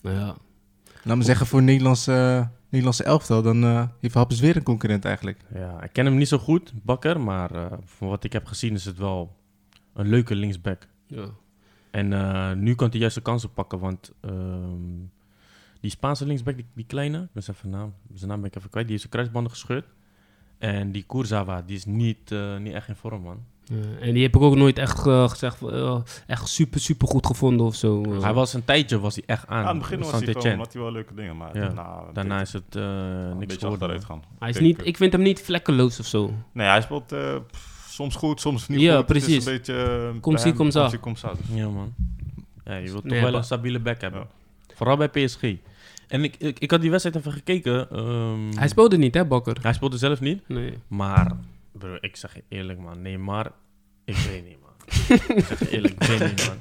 Speaker 4: Nou ja.
Speaker 1: Laat me zeggen, voor Nederlandse, eh, Nederlandse elftal, dan eh, heeft Happes weer een concurrent eigenlijk.
Speaker 2: Ja, ik ken hem niet zo goed, Bakker. Maar eh, van wat ik heb gezien is het wel een leuke linksback.
Speaker 4: Ja.
Speaker 2: En eh, nu kan hij juist de kansen pakken, want ehm, die Spaanse linksback, die, die kleine, ik ben zijn naam, zijn naam ben ik even kwijt, die heeft zijn kruisbanden gescheurd. En die Kurzawa, die is niet, eh, niet echt in vorm, man.
Speaker 4: Ja, Eh, En die heb ik ook nooit echt eh, gezegd, eh, echt super, super goed gevonden of zo. eh.
Speaker 2: Hij was een tijdje was hij echt aan.
Speaker 3: Aan het begin was hij
Speaker 2: Saint-Etienne.
Speaker 3: gewoon, had hij wel leuke dingen, maar
Speaker 2: Ja.
Speaker 3: daarna...
Speaker 2: Daarna is het eh,
Speaker 3: een
Speaker 2: niks
Speaker 3: beetje
Speaker 2: geworden.
Speaker 3: achteruit gaan.
Speaker 4: hij is
Speaker 3: Oké,
Speaker 4: niet,
Speaker 3: ik-
Speaker 4: ik vind hem niet vlekkeloos of zo.
Speaker 2: Mm.
Speaker 3: Nee, hij speelt eh, pff, soms goed, soms niet
Speaker 4: Ja,
Speaker 3: goed. Het is
Speaker 4: precies.
Speaker 3: een beetje... eh,
Speaker 4: Komt
Speaker 3: bij
Speaker 4: ie,
Speaker 3: hem,
Speaker 4: komt zo.
Speaker 3: komt ie, komt zo. Dus
Speaker 2: Ja, man. Ja, je wilt toch
Speaker 4: Nee,
Speaker 2: wel
Speaker 4: ba-
Speaker 2: een stabiele back hebben. Vooral bij PSG. En ik, ik, ik had die wedstrijd even gekeken. ehm,
Speaker 4: Hij speelde niet, hè, Bakker?
Speaker 2: hij speelde zelf niet.
Speaker 4: Nee.
Speaker 2: Maar, bro, ik zeg je eerlijk, man. Nee, maar, ik weet niet, man. ik zeg je eerlijk, ik weet niet, man.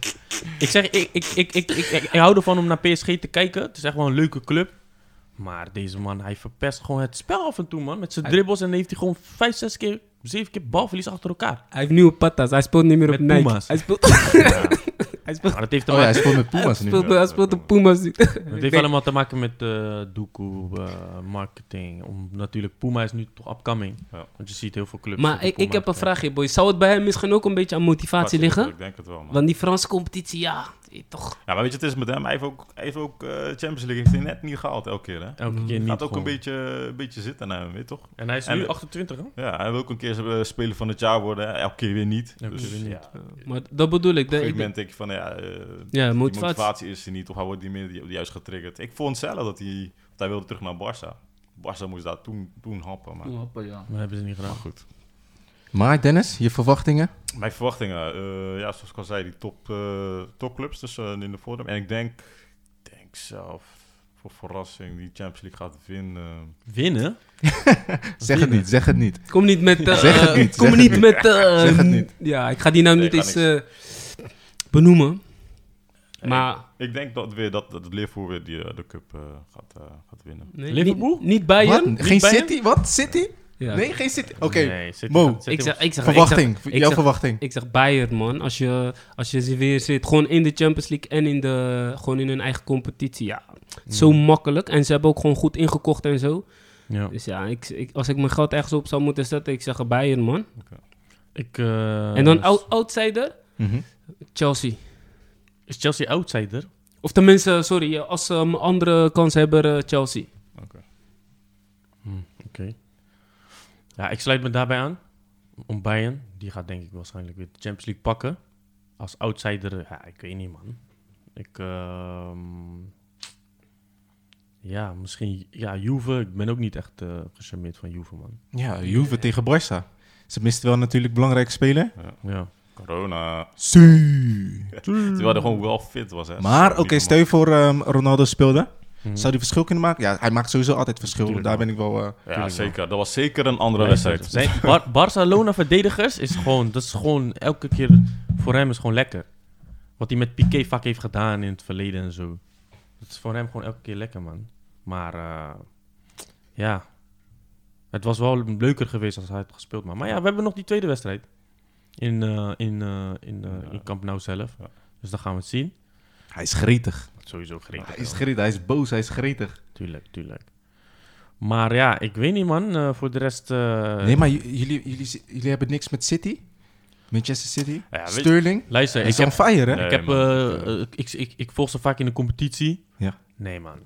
Speaker 2: Ik zeg, ik, ik, ik, ik, ik, ik, ik hou ervan om naar PSG te kijken. Het is echt wel een leuke club. Maar deze man, hij verpest gewoon het spel af en toe, man. Met zijn
Speaker 4: Hij-
Speaker 2: dribbles en dan heeft hij gewoon vijf, zes keer, zeven keer balverlies achter elkaar.
Speaker 4: Hij heeft nieuwe patas. Hij speelt niet meer op
Speaker 2: Met
Speaker 4: Nike.
Speaker 2: Puma's.
Speaker 4: Hij speelt,
Speaker 2: Ja.
Speaker 4: hij speelt,
Speaker 2: Maar dat heeft, te
Speaker 1: Oh ja, hij
Speaker 2: maken-
Speaker 1: speelt met Puma's
Speaker 4: hij
Speaker 1: nu.
Speaker 4: speelt, hij speelt de Puma's. niet. Ik
Speaker 2: dat heeft
Speaker 4: denk-
Speaker 2: allemaal te maken met eh doekoe, eh, marketing. Om, natuurlijk, Puma is nu toch upcoming.
Speaker 3: Ja.
Speaker 2: Want je ziet heel veel clubs.
Speaker 4: Maar
Speaker 2: met de
Speaker 4: ik, ik
Speaker 2: Puma.
Speaker 4: heb een vraagje, boy. Zou het bij hem misschien ook een beetje aan motivatie liggen?
Speaker 3: Ik denk het wel, man.
Speaker 4: Want die Franse competitie, ja, eh, toch.
Speaker 3: Ja, maar weet je, het is met hem. Hij heeft ook, hij heeft ook eh, Champions League heeft hij net niet gehaald elke keer, hè?
Speaker 2: Elke keer
Speaker 4: Gaat
Speaker 2: niet
Speaker 3: Gaat ook
Speaker 2: gewoon.
Speaker 3: een beetje, een beetje zitten aan hem, weet je toch?
Speaker 2: En hij is
Speaker 3: En-
Speaker 2: nu 28, hè?
Speaker 3: Ja, hij wil ook een keer eh, speler van het jaar worden. hè. Elke keer weer niet.
Speaker 2: Elke
Speaker 3: dus,
Speaker 2: keer weer niet.
Speaker 3: Ja, op een
Speaker 4: Eh, Maar dat bedoel ik. dat-
Speaker 3: gegeven
Speaker 4: ik
Speaker 3: moment denk je van, ja, eh, die
Speaker 4: ja,
Speaker 3: motivatie.
Speaker 4: motivatie.
Speaker 3: is er niet. Of hij wordt niet meer ju- juist getriggerd. Ik vond zelf dat hij, want hij wilde terug naar Barça. Barça moest daar toen, toen happen, maar...
Speaker 2: Maar hebben ze niet gedaan.
Speaker 3: Goed.
Speaker 1: Maar Dennis, je verwachtingen?
Speaker 3: Mijn verwachtingen, eh, ja, zoals ik al zei, die top, eh, topclubs dus eh, in de vorm. En ik denk, ik denk zelf, voor verrassing, die Champions League gaat winnen.
Speaker 2: Winnen?
Speaker 1: Zeg het niet, zeg het niet.
Speaker 4: Kom niet met... eh,
Speaker 1: Zeg het niet,
Speaker 4: Kom
Speaker 1: zeg
Speaker 4: niet
Speaker 1: het
Speaker 4: met... eh,
Speaker 1: Zeg het niet.
Speaker 4: Ja, ik ga die nou
Speaker 3: Nee,
Speaker 4: niet
Speaker 3: ga
Speaker 4: eens eh, benoemen. Maar...
Speaker 3: Ik denk dat, weer, dat, dat Liverpool weer die, eh, de cup eh, gaat, eh, gaat winnen.
Speaker 4: Nee,
Speaker 2: Liverpool?
Speaker 4: Niet, niet Bayern?
Speaker 1: Wat? Geen
Speaker 2: bij hem?
Speaker 1: City? Wat? City?
Speaker 4: Ja.
Speaker 1: Nee, geen City. Oké,
Speaker 2: Nee, City
Speaker 1: Mo.
Speaker 2: gaat- City
Speaker 4: Ik zeg, ik zeg,
Speaker 1: verwachting.
Speaker 4: Ik zeg,
Speaker 1: Jouw
Speaker 4: ik zeg,
Speaker 1: verwachting.
Speaker 4: ik zeg Bayern, man. Als je, als je ze weer zit, gewoon in de Champions League en in, de, gewoon in hun eigen competitie. Ja, zo
Speaker 1: Mm.
Speaker 4: makkelijk. En ze hebben ook gewoon goed ingekocht en zo.
Speaker 2: Ja.
Speaker 4: Dus ja, ik, ik, als ik mijn geld ergens op zou moeten zetten, ik zeg Bayern, man.
Speaker 2: Ik, eh,
Speaker 4: en dan
Speaker 2: is-
Speaker 4: out- outsider,
Speaker 1: Mhm.
Speaker 4: Chelsea.
Speaker 2: Is Chelsea outsider?
Speaker 4: Of tenminste, sorry, eh, als ze een andere kans hebben, eh, Chelsea.
Speaker 2: Oké. Ja, ik sluit me daarbij aan. Om Bayern. Die gaat denk ik waarschijnlijk weer de Champions League pakken. Als outsider, ja, ik weet niet, man. Ik, ehm, Ja, misschien... Ja, Juve. Ik ben ook niet echt eh gecharmeerd van Juve, man.
Speaker 1: Ja, Juve tegen Barça. Ze misten wel natuurlijk belangrijke speler.
Speaker 2: Ja.
Speaker 3: Corona.
Speaker 1: Su.
Speaker 3: Terwijl hij gewoon wel fit was, hè.
Speaker 1: Maar oké,
Speaker 3: steun.
Speaker 1: stel je voor ehm, Ronaldo speelde.
Speaker 2: Mhm.
Speaker 1: Zou hij verschil kunnen maken? Ja, hij maakt sowieso altijd verschil.
Speaker 2: Tuurlijk
Speaker 1: Daar
Speaker 2: wel.
Speaker 1: ben ik wel... eh,
Speaker 3: Ja, zeker. Dat was zeker een andere
Speaker 2: Nee,
Speaker 3: wedstrijd.
Speaker 2: Zijn Bar- Barcelona-verdedigers is gewoon, dat is gewoon elke keer voor hem is gewoon lekker. Wat hij met Piqué vaak heeft gedaan in het verleden en zo. Dat is voor hem gewoon elke keer lekker, man. Maar eh, ja, het was wel leuker geweest als hij had gespeeld. Maar, maar ja, we hebben nog die tweede wedstrijd in, eh, in, eh, in, eh, in Camp Nou zelf.
Speaker 3: Ja.
Speaker 2: Dus dan gaan we het zien.
Speaker 1: Hij is gretig.
Speaker 2: Sowieso gretig.
Speaker 1: Hij is gretig. Hij is boos. Hij is gretig.
Speaker 2: Tuurlijk, tuurlijk. Maar ja, ik weet niet, man. Eh, voor de rest... eh,
Speaker 1: Nee, maar j- jullie, jullie, jullie hebben niks met City? Manchester City?
Speaker 3: Ja, weet je-
Speaker 1: Sterling?
Speaker 2: Luister,
Speaker 1: Hij
Speaker 2: ik
Speaker 1: is
Speaker 2: heb
Speaker 1: on fire, hè?
Speaker 3: Nee,
Speaker 2: ik, heb,
Speaker 3: man,
Speaker 2: eh,
Speaker 3: ik,
Speaker 2: eh, ik, ik, ik volg ze vaak in de competitie.
Speaker 1: Ja.
Speaker 2: Nee, man.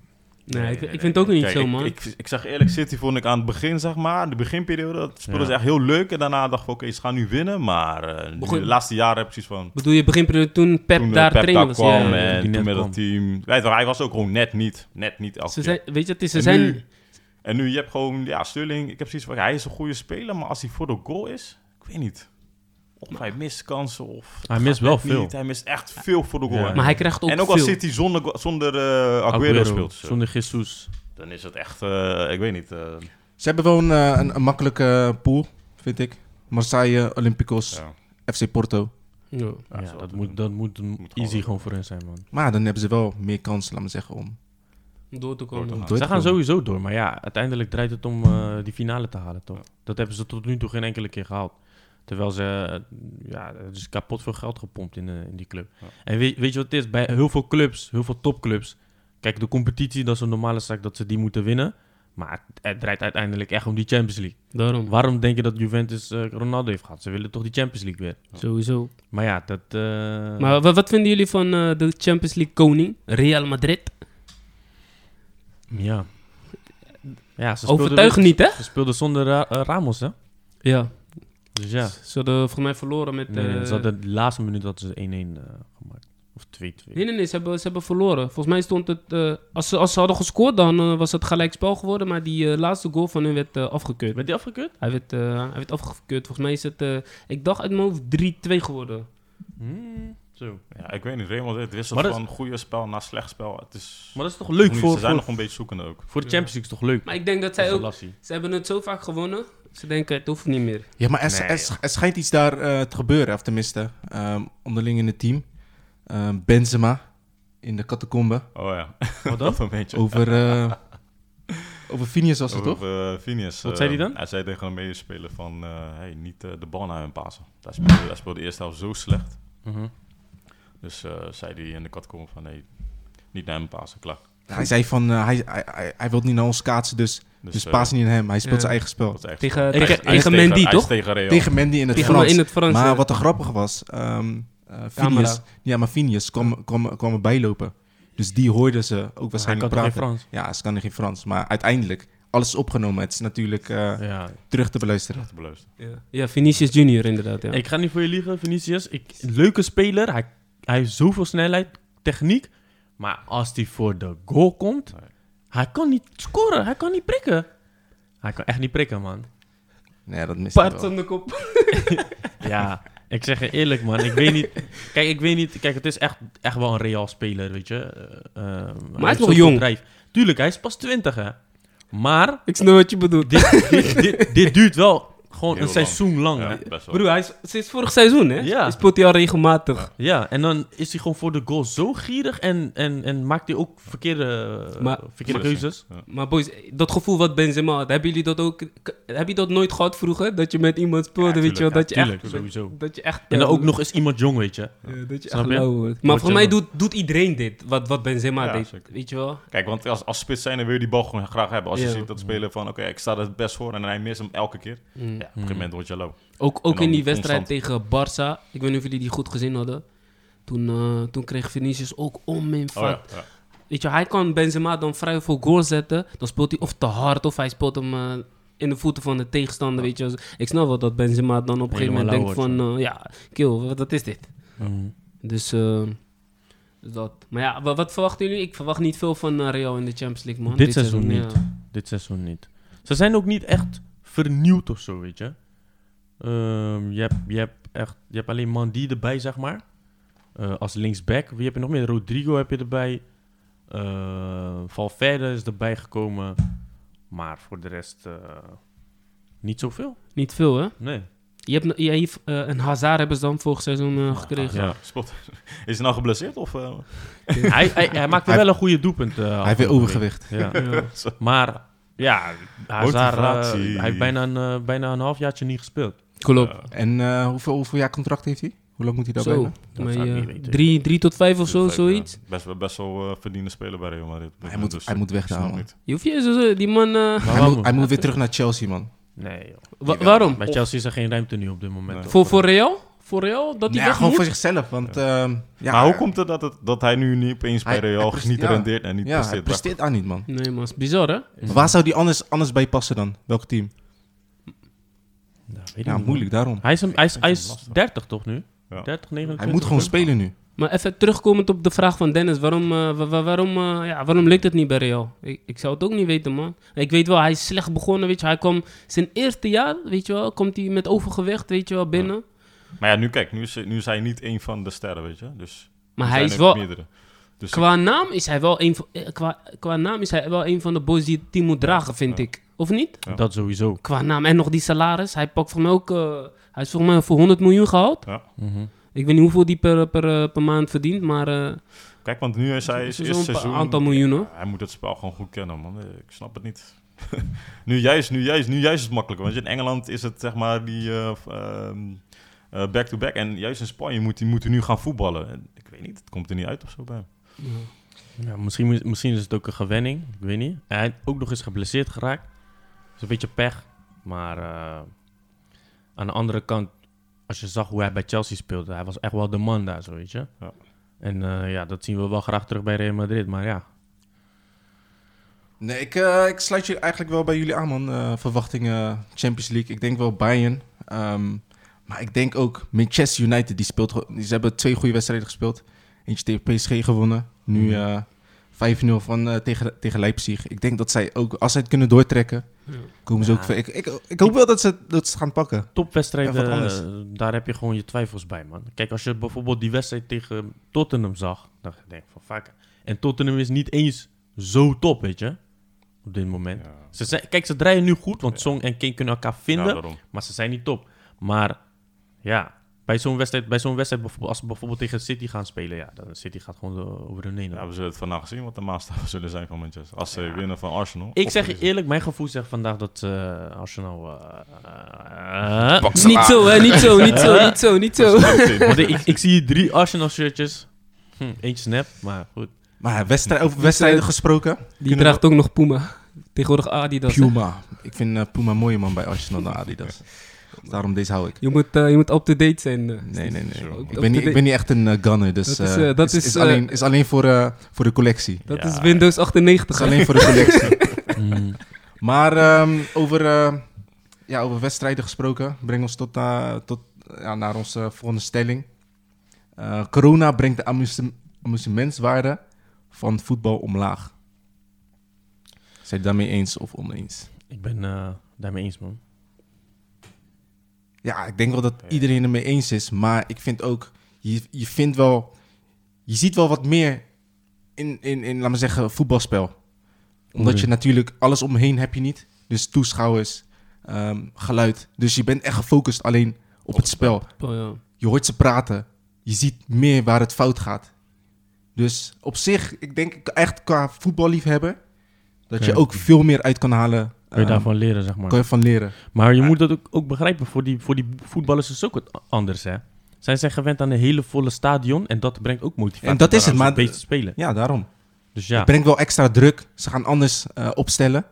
Speaker 4: Nee,
Speaker 3: Nee,
Speaker 4: ik,
Speaker 3: nee,
Speaker 4: ik
Speaker 3: nee.
Speaker 4: vind het ook niet
Speaker 3: Kijk,
Speaker 4: zo,
Speaker 3: ik-
Speaker 4: man.
Speaker 3: Ik, ik, zeg eerlijk, City vond ik aan het begin, zeg maar, de beginperiode, dat speelden
Speaker 2: Ja.
Speaker 3: ze echt heel leuk. En daarna dacht ik, oké, ze gaan nu winnen. Maar eh, nu
Speaker 4: Begon-
Speaker 3: de laatste jaren heb ik precies van...
Speaker 4: Bedoel je beginperiode toen Pep
Speaker 3: toen eh,
Speaker 4: daar
Speaker 3: Pep
Speaker 4: trainer
Speaker 3: daar
Speaker 4: was?
Speaker 3: kwam
Speaker 4: Ja,
Speaker 3: eh,
Speaker 4: ja.
Speaker 2: toen
Speaker 3: en
Speaker 2: die net
Speaker 3: toen met
Speaker 2: kwam.
Speaker 3: het team. Weet je, hij was ook gewoon net niet. Net niet elke
Speaker 4: Ze
Speaker 3: keer.
Speaker 4: zijn, weet je, het is, ze
Speaker 3: En
Speaker 4: zijn...
Speaker 3: nu- En nu, je hebt gewoon, ja, Sterling, ik heb zoiets van, ja, hij is een goede speler, maar als hij voor de goal is, ik weet niet. Of hij mist kansen, of...
Speaker 2: Hij mist wel
Speaker 3: Net
Speaker 2: veel.
Speaker 3: Niet. Hij mist echt veel voor de goal.
Speaker 2: Ja.
Speaker 3: hè.
Speaker 4: Maar hij krijgt ook
Speaker 3: en ook
Speaker 4: veel.
Speaker 3: als City zonder, go- zonder eh, Aguero, speelt, zo,
Speaker 2: Zonder Jesus.
Speaker 3: dan is het echt, eh, ik weet niet... eh,
Speaker 1: Ze hebben wel een, eh, een, een makkelijke pool, vind ik. Marseille, Olympiacos,
Speaker 3: Ja.
Speaker 1: FC Porto.
Speaker 4: Ja.
Speaker 2: Ja,
Speaker 3: ze
Speaker 2: dat,
Speaker 3: hadden
Speaker 2: moet, dat moet,
Speaker 3: gewoon
Speaker 2: easy
Speaker 3: lukken.
Speaker 2: gewoon voor hen zijn, man.
Speaker 1: Maar dan hebben ze wel meer kansen, laat me zeggen, om
Speaker 4: door te komen.
Speaker 3: Door te
Speaker 2: Ze
Speaker 3: Nooit
Speaker 2: gaan
Speaker 1: gekomen.
Speaker 2: sowieso door, maar ja, uiteindelijk draait het om eh, die finale te halen, toch? Dat hebben ze tot nu toe geen enkele keer gehaald. Terwijl ze, eh, ja, er is kapot veel geld gepompt in, eh, in die club.
Speaker 3: Ja.
Speaker 2: En weet, weet je wat het is? Bij heel veel clubs, heel veel topclubs, kijk, de competitie, dat is een normale zaak dat ze die moeten winnen. Maar het, het draait uiteindelijk echt om die Champions League.
Speaker 4: Daarom.
Speaker 2: Waarom denk je dat Juventus eh, Ronaldo heeft gehad? Ze willen toch die Champions League weer?
Speaker 4: Sowieso.
Speaker 2: Maar ja, dat... eh,
Speaker 4: Maar wat, wat vinden jullie van eh, de Champions League koning? Real Madrid.
Speaker 2: Ja. ja ze speelden
Speaker 4: Overtuig
Speaker 2: weer-
Speaker 4: niet, hè?
Speaker 2: Ze speelden zonder Ra- eh, Ramos, hè?
Speaker 4: Ja.
Speaker 2: Dus ja.
Speaker 4: Ze hadden volgens mij verloren met...
Speaker 2: Nee, nee,
Speaker 4: eh,
Speaker 2: ze hadden de laatste minuut hadden ze 1-1 eh, gemaakt. Of 2-2.
Speaker 4: Nee, nee, nee, ze hebben, ze hebben verloren. Volgens mij stond het... eh, als, ze, als ze hadden gescoord, dan eh, was het gelijkspel geworden. Maar die eh, laatste goal van hun werd eh, afgekeurd.
Speaker 2: Werd die afgekeurd?
Speaker 4: Hij werd, eh, hij werd afgekeurd. Volgens mij is het... eh, ik dacht uit mijn hoofd 3-2 geworden.
Speaker 2: Zo.
Speaker 3: Ja, ik weet niet. Real Madrid wisselt
Speaker 2: Maar dat-
Speaker 3: van goede spel naar slecht spel. Het is...
Speaker 2: Maar dat is toch leuk
Speaker 3: Ze
Speaker 2: voor,
Speaker 3: zijn
Speaker 2: voor,
Speaker 3: nog een beetje zoekende ook.
Speaker 2: voor de Champions League is toch leuk?
Speaker 4: Maar ik denk dat
Speaker 2: Dat
Speaker 4: zij
Speaker 2: is een
Speaker 4: ook...
Speaker 2: lassie.
Speaker 4: Ze hebben het zo vaak gewonnen. Ze denken, het hoeft niet meer.
Speaker 1: Ja, maar er,
Speaker 2: Nee,
Speaker 1: er- er schijnt iets daar eh, te gebeuren, of tenminste, ehm, onderling in het team. Ehm, Benzema in de catacombe.
Speaker 3: Oh ja,
Speaker 2: Wat dan?
Speaker 3: dat een beetje.
Speaker 1: Over, eh over Phineas was het, toch?
Speaker 3: Over, eh, Phineas.
Speaker 2: Wat
Speaker 3: eh,
Speaker 2: zei hij dan?
Speaker 3: Hij zei tegen een medespeler van, eh, hey, niet eh, de bal naar hun pasen. Hij speelde, hij speelde de eerste helft zo slecht.
Speaker 2: Mhm.
Speaker 3: Dus eh, zei hij in de kat komen van, nee, niet naar hem pasen, klaar.
Speaker 1: Hij zei van, eh, hij, hij, hij, hij wil niet naar ons kaatsen, dus, dus,
Speaker 3: eh,
Speaker 1: paas niet naar hem. Hij speelt
Speaker 4: ja.
Speaker 1: zijn eigen spel.
Speaker 3: dat is echt-
Speaker 4: Tegen,
Speaker 3: hij is-
Speaker 4: tegen,
Speaker 3: hij is
Speaker 4: tegen Mendy,
Speaker 3: hij is
Speaker 4: toch?
Speaker 3: tegen Real.
Speaker 1: Tegen Mandy in het
Speaker 4: Tegen
Speaker 1: Frans.
Speaker 4: in het Frans.
Speaker 1: Maar
Speaker 4: eh.
Speaker 1: wat er grappig was, ehm eh, Phineas,
Speaker 4: Camera.
Speaker 1: ja, maar Phineas kwam, kwam, kwam erbij lopen. Dus die hoorden ze ook
Speaker 2: Hij
Speaker 1: waarschijnlijk
Speaker 2: kan toch geen
Speaker 1: praten.
Speaker 2: Frans?
Speaker 1: ja, ze kan geen Frans. Maar uiteindelijk, alles is opgenomen. Het is natuurlijk eh,
Speaker 2: Ja.
Speaker 1: terug te beluisteren.
Speaker 3: Te beluisteren.
Speaker 4: Ja. ja, Vinicius Junior inderdaad, ja.
Speaker 2: Ik ga niet voor je liegen, Vinicius. Ik, leuke speler. Hij, hij heeft zoveel snelheid, techniek. Maar als hij voor de goal komt,
Speaker 3: Nee.
Speaker 2: hij kan niet scoren. Hij kan niet prikken. Hij kan echt niet prikken, man.
Speaker 1: Nee, dat mist hij
Speaker 4: Paard
Speaker 1: wel.
Speaker 4: van de kop.
Speaker 2: Ja, ik zeg je eerlijk, man. Ik weet niet. Kijk, ik weet niet. Kijk, het is echt, echt wel een real speler, weet je. Eh, ehm,
Speaker 4: nog
Speaker 2: heeft zoveel
Speaker 4: jong.
Speaker 2: drijf. Tuurlijk, hij is pas 20, hè. Maar
Speaker 4: Ik snap wat je bedoelt.
Speaker 2: dit, dit, dit, dit duurt wel gewoon
Speaker 3: Heel
Speaker 2: een
Speaker 3: lang.
Speaker 2: seizoen lang,
Speaker 3: Ja,
Speaker 2: hè.
Speaker 3: best wel.
Speaker 4: Broer, hij is sinds vorig seizoen, hè?
Speaker 2: Ja.
Speaker 4: Hij speelt hij al regelmatig.
Speaker 2: Ja, en dan is hij gewoon voor de goal zo gierig en, en, en maakt hij ook verkeerde, eh,
Speaker 4: Maar-
Speaker 2: verkeerde keuzes.
Speaker 4: Maar boys, dat gevoel wat Benzema had, hebben jullie dat ook... k- Heb je dat nooit gehad vroeger? Dat je met iemand speelde,
Speaker 3: Ja,
Speaker 4: weet je wel? Dat je echt...
Speaker 2: Tuurlijk, sowieso.
Speaker 4: Dat je echt...
Speaker 2: En dan
Speaker 4: eh,
Speaker 2: ook nog eens iemand jong, weet je.
Speaker 4: ja, dat je
Speaker 2: Snap
Speaker 4: echt
Speaker 2: je?
Speaker 4: lauw wordt. Maar
Speaker 2: Wordt
Speaker 4: voor mij
Speaker 2: je-
Speaker 4: doet, doet iedereen dit, wat, wat Benzema
Speaker 3: Ja,
Speaker 4: deed.
Speaker 3: zeker.
Speaker 4: Weet je wel?
Speaker 3: Kijk, want als, als spits zijn, dan wil je die bal gewoon graag hebben. Als je
Speaker 4: Ja.
Speaker 3: ziet dat spelen van, oké, ik sta er het best voor en hij mist hem elke keer.
Speaker 2: Mm.
Speaker 3: Ja, op een gegeven moment word je low. Oh
Speaker 4: Ook, ook
Speaker 3: dan
Speaker 4: in die
Speaker 3: constant.
Speaker 4: wedstrijd tegen Barça. Ik weet niet of jullie die goed gezien hadden. Toen, eh, toen kreeg Vinicius ook onmin
Speaker 3: Oh
Speaker 4: van...
Speaker 3: ja, ja.
Speaker 4: Weet je, hij kan Benzema dan vrij voor goal zetten. Dan speelt hij of te hard of hij speelt hem eh, in de voeten van de tegenstander. Weet je. Dus Ik snap wel dat Benzema dan op een gegeven moment denkt
Speaker 2: Helemaal
Speaker 4: van... eh, ja, kill, wat, wat is dit?
Speaker 2: Mm,
Speaker 4: Dus eh, dus dat. Maar ja, wa- wat, verwachten jullie? Ik verwacht niet veel van eh, Real in de Champions League, man.
Speaker 2: Dit seizoen niet.
Speaker 4: ja.
Speaker 2: Dit seizoen niet. Ze zijn ook niet echt vernieuwd of zo, weet je. Ehm, je, hebt, je, hebt echt, je hebt alleen Mandy erbij, zeg maar. Eh, als linksback. Wie heb je nog meer? Rodrigo heb je erbij. Eh, Valverde is erbij gekomen. Maar voor de rest eh, niet zoveel.
Speaker 4: Niet veel, hè?
Speaker 2: Nee.
Speaker 4: Je hebt, je hebt, eh, een Hazard hebben ze dan vorig seizoen eh, gekregen.
Speaker 2: Ja.
Speaker 3: Spot. Is hij nou geblesseerd of... eh,
Speaker 2: hij, hij, hij maakt
Speaker 1: Hij-
Speaker 2: wel een goede doelpunt. eh,
Speaker 1: Hij heeft weer
Speaker 2: afgelopen week.
Speaker 1: overgewicht.
Speaker 2: Ja.
Speaker 4: Ja.
Speaker 2: Maar ja, Hazard, eh,
Speaker 3: Motivatie.
Speaker 2: hij heeft bijna een, eh, bijna een halfjaartje niet gespeeld.
Speaker 4: Klopt.
Speaker 1: En eh, hoeveel, hoeveel jaar contract heeft hij? Hoe lang moet hij daarbij?
Speaker 4: zo.
Speaker 1: blijven?
Speaker 2: Dat
Speaker 4: Maar,
Speaker 2: zou ik
Speaker 4: eh,
Speaker 2: niet weten.
Speaker 4: drie, drie tot vijf of zo,
Speaker 3: Leuk,
Speaker 4: zoiets.
Speaker 3: eh, ja. Best, wel- best wel eh verdiende speler bij Real Madrid. Dus
Speaker 1: Hij moet- hij moet weg nou.
Speaker 3: snap
Speaker 1: daar, man.
Speaker 3: niet.
Speaker 4: Je hoeft je zo, die man... eh,
Speaker 2: Maar
Speaker 1: Hij
Speaker 2: waarom?
Speaker 1: moet, hij moet weer terug naar Chelsea, man.
Speaker 2: Nee, joh.
Speaker 4: wa- waarom?
Speaker 2: Bij Chelsea is er geen ruimte nu op dit moment.
Speaker 3: Nee.
Speaker 2: toch?
Speaker 4: Voor, voor Real? Voor Real? Dat
Speaker 1: Nee,
Speaker 4: hij
Speaker 1: ja,
Speaker 4: weg
Speaker 1: gewoon
Speaker 4: moet?
Speaker 1: voor zichzelf. Want, ehm, ja,
Speaker 3: maar hoe komt het dat, het dat hij nu niet opeens bij
Speaker 1: Hij- hij
Speaker 3: Real
Speaker 1: preste-
Speaker 3: niet
Speaker 1: ja.
Speaker 3: rendeert en niet
Speaker 1: Ja, hij
Speaker 3: presteert?
Speaker 1: presteert daar niet, man.
Speaker 4: Nee, man. is bizar, hè?
Speaker 1: Waar zou die anders, anders bij passen dan? Welk team?
Speaker 2: Ja, weet ik
Speaker 1: Ja,
Speaker 2: niet,
Speaker 1: moeilijk, daarom.
Speaker 2: man. Hij is, een, hij is, hij is
Speaker 3: lastig.
Speaker 2: 30 toch nu?
Speaker 3: Ja.
Speaker 2: 30, 29?
Speaker 1: Hij moet gewoon spelen nu.
Speaker 4: Maar even terugkomend op de vraag van Dennis, waarom, eh, wa- wa- waarom, eh, ja, waarom lukt het niet bij Real? Ik, ik zou het ook niet weten, man. Ik weet wel, hij is slecht begonnen, weet je. Hij kwam zijn eerste jaar, weet je wel, komt hij met overgewicht, weet je wel, binnen.
Speaker 3: Maar ja, nu kijk, nu is, nu is hij niet één van de sterren, weet je. Dus
Speaker 4: Maar
Speaker 3: er
Speaker 4: hij
Speaker 3: zijn
Speaker 4: is
Speaker 3: er
Speaker 4: wel,
Speaker 3: Meerdere. Dus
Speaker 4: qua naam is hij wel een van, eh, qua, qua naam is hij wel een van de boys die het team moet dragen, vind ik. Of niet?
Speaker 3: Ja.
Speaker 2: Dat sowieso. Mhm.
Speaker 4: Qua naam en nog die salaris. Hij pakt voor mij ook, eh, hij is volgens mij voor 100 miljoen gehaald.
Speaker 3: Ja.
Speaker 4: Ik weet niet hoeveel die per, per, eh, per maand verdient, maar eh,
Speaker 3: Kijk, want nu is hij is,
Speaker 4: Zo'n
Speaker 3: is
Speaker 4: pa-
Speaker 3: seizoen...
Speaker 4: aantal miljoenen.
Speaker 3: Ja, hij moet het spel gewoon goed kennen, man. Eh, Ik snap het niet. nu juist, nu juist, nu juist is het makkelijker. Want in Engeland is het, zeg maar, die eh, f- ehm, eh, back-to-back. en juist in Spanje moet hij moet hij nu gaan voetballen. En ik weet niet, het komt er niet uit of zo bij hem.
Speaker 2: Ja, misschien, misschien is het ook een gewenning, ik weet niet. En Hij is ook nog eens geblesseerd geraakt. Dat is een beetje pech. Maar eh, aan de andere kant, als je zag hoe hij bij Chelsea speelde, hij was echt wel de man daar, zo weet je.
Speaker 3: Ja.
Speaker 2: En eh, ja, dat zien we wel graag terug bij Real Madrid. Maar ja,
Speaker 1: Nee, ik, eh, ik sluit je eigenlijk wel bij jullie aan, man. Eh, verwachtingen, Champions League. Ik denk wel Bayern. Ehm, maar ik denk ook Manchester United. Die speelt, go- ze hebben twee goede wedstrijden gespeeld. Eentje tegen PSG gewonnen. Nu eh, 5-0 van, eh, tegen, tegen Leipzig. Ik denk dat zij ook, als zij het kunnen doortrekken,
Speaker 4: Ja.
Speaker 1: komen ze
Speaker 2: Ja.
Speaker 1: ook ver. Ik, ik, ik hoop wel dat ze, dat ze het gaan pakken. Ja,
Speaker 2: topwedstrijden,
Speaker 1: wat anders.
Speaker 2: eh, daar heb je gewoon je twijfels bij, man. Kijk, als je bijvoorbeeld die wedstrijd tegen Tottenham zag, dan denk je van vaak. En Tottenham is niet eens zo top, weet je, op dit moment.
Speaker 3: Ja.
Speaker 2: Ze zijn, kijk, ze draaien nu goed, want Song en King kunnen elkaar vinden.
Speaker 3: Ja, daarom.
Speaker 2: Maar ze zijn niet top. Maar ja, bij zo'n wedstrijd, bij zo'n wedstrijd bijvoorbeeld, als ze bijvoorbeeld tegen City gaan spelen, ja, dan City gaat gewoon eh, over de heen.
Speaker 3: Ja, we zullen het vandaag zien wat de maatstaven zullen zijn van Manchester. Als ze
Speaker 2: Ja.
Speaker 3: winnen van Arsenal.
Speaker 2: ik
Speaker 3: of
Speaker 2: zeg je
Speaker 3: verliezen.
Speaker 2: eerlijk, mijn gevoel zegt vandaag dat eh, Arsenal. eh, eh,
Speaker 4: Niet zo, hè? Niet zo, niet zo, niet zo, niet zo.
Speaker 2: want ik, ik zie drie Arsenal shirtjes. Hm, eentje snap, maar goed.
Speaker 1: Maar wedstrijd, over wedstrijden gesproken.
Speaker 4: Die draagt ook nog Puma. Tegenwoordig Adidas. hè.
Speaker 1: Puma. Ik vind eh, Puma een mooie man bij Arsenal en Adidas. Daarom deze hou ik.
Speaker 4: Je moet, eh, je moet up-to-date zijn. eh.
Speaker 1: Nee, nee, nee.
Speaker 3: Zo.
Speaker 1: Ik ben, niet, ik ben niet echt een eh, gunner, dus
Speaker 4: Dat
Speaker 1: eh,
Speaker 4: is,
Speaker 1: is,
Speaker 4: eh, dat
Speaker 1: is,
Speaker 4: is, eh,
Speaker 1: alleen, is alleen voor, eh, voor de collectie.
Speaker 4: Dat
Speaker 3: Ja.
Speaker 4: is Windows
Speaker 1: Dat
Speaker 4: 98.
Speaker 1: is
Speaker 4: hè.
Speaker 1: alleen voor de collectie.
Speaker 2: Mm.
Speaker 1: maar ehm, over, eh, ja, over wedstrijden gesproken, breng ons tot, eh, tot, ja, naar onze volgende stelling. Eh, corona brengt de amuse- amusementswaarde van voetbal omlaag. Zijn jullie daarmee eens of oneens?
Speaker 2: ik ben eh, daarmee eens, man.
Speaker 1: Ja, ik denk wel dat iedereen het mee eens is. Maar ik vind ook, je, je vindt wel, je ziet wel wat meer in, in, in laat maar zeggen, voetbalspel. Omdat je
Speaker 2: Oké.
Speaker 1: natuurlijk alles omheen heb je niet. Dus toeschouwers, ehm, geluid. Dus je bent echt gefocust alleen op het spel.
Speaker 4: Oh, ja.
Speaker 1: Je hoort ze praten. Je ziet meer waar het fout gaat. Dus op zich, ik denk echt qua voetballiefhebber, dat je
Speaker 2: Oké.
Speaker 1: ook veel meer uit kan halen.
Speaker 2: Kun je
Speaker 1: ehm,
Speaker 2: daarvan leren, zeg maar.
Speaker 1: kan je van leren.
Speaker 2: Maar je moet dat ook, ook begrijpen. Voor die, voor die voetballers is het ook wat anders, hè? Zij zijn gewend aan een hele volle stadion. En dat brengt ook motivatie.
Speaker 1: En dat is het,
Speaker 2: om
Speaker 1: maar-
Speaker 2: beter te spelen.
Speaker 1: Ja, daarom.
Speaker 2: Dus ja.
Speaker 1: Het brengt wel extra druk. Ze gaan anders eh, opstellen.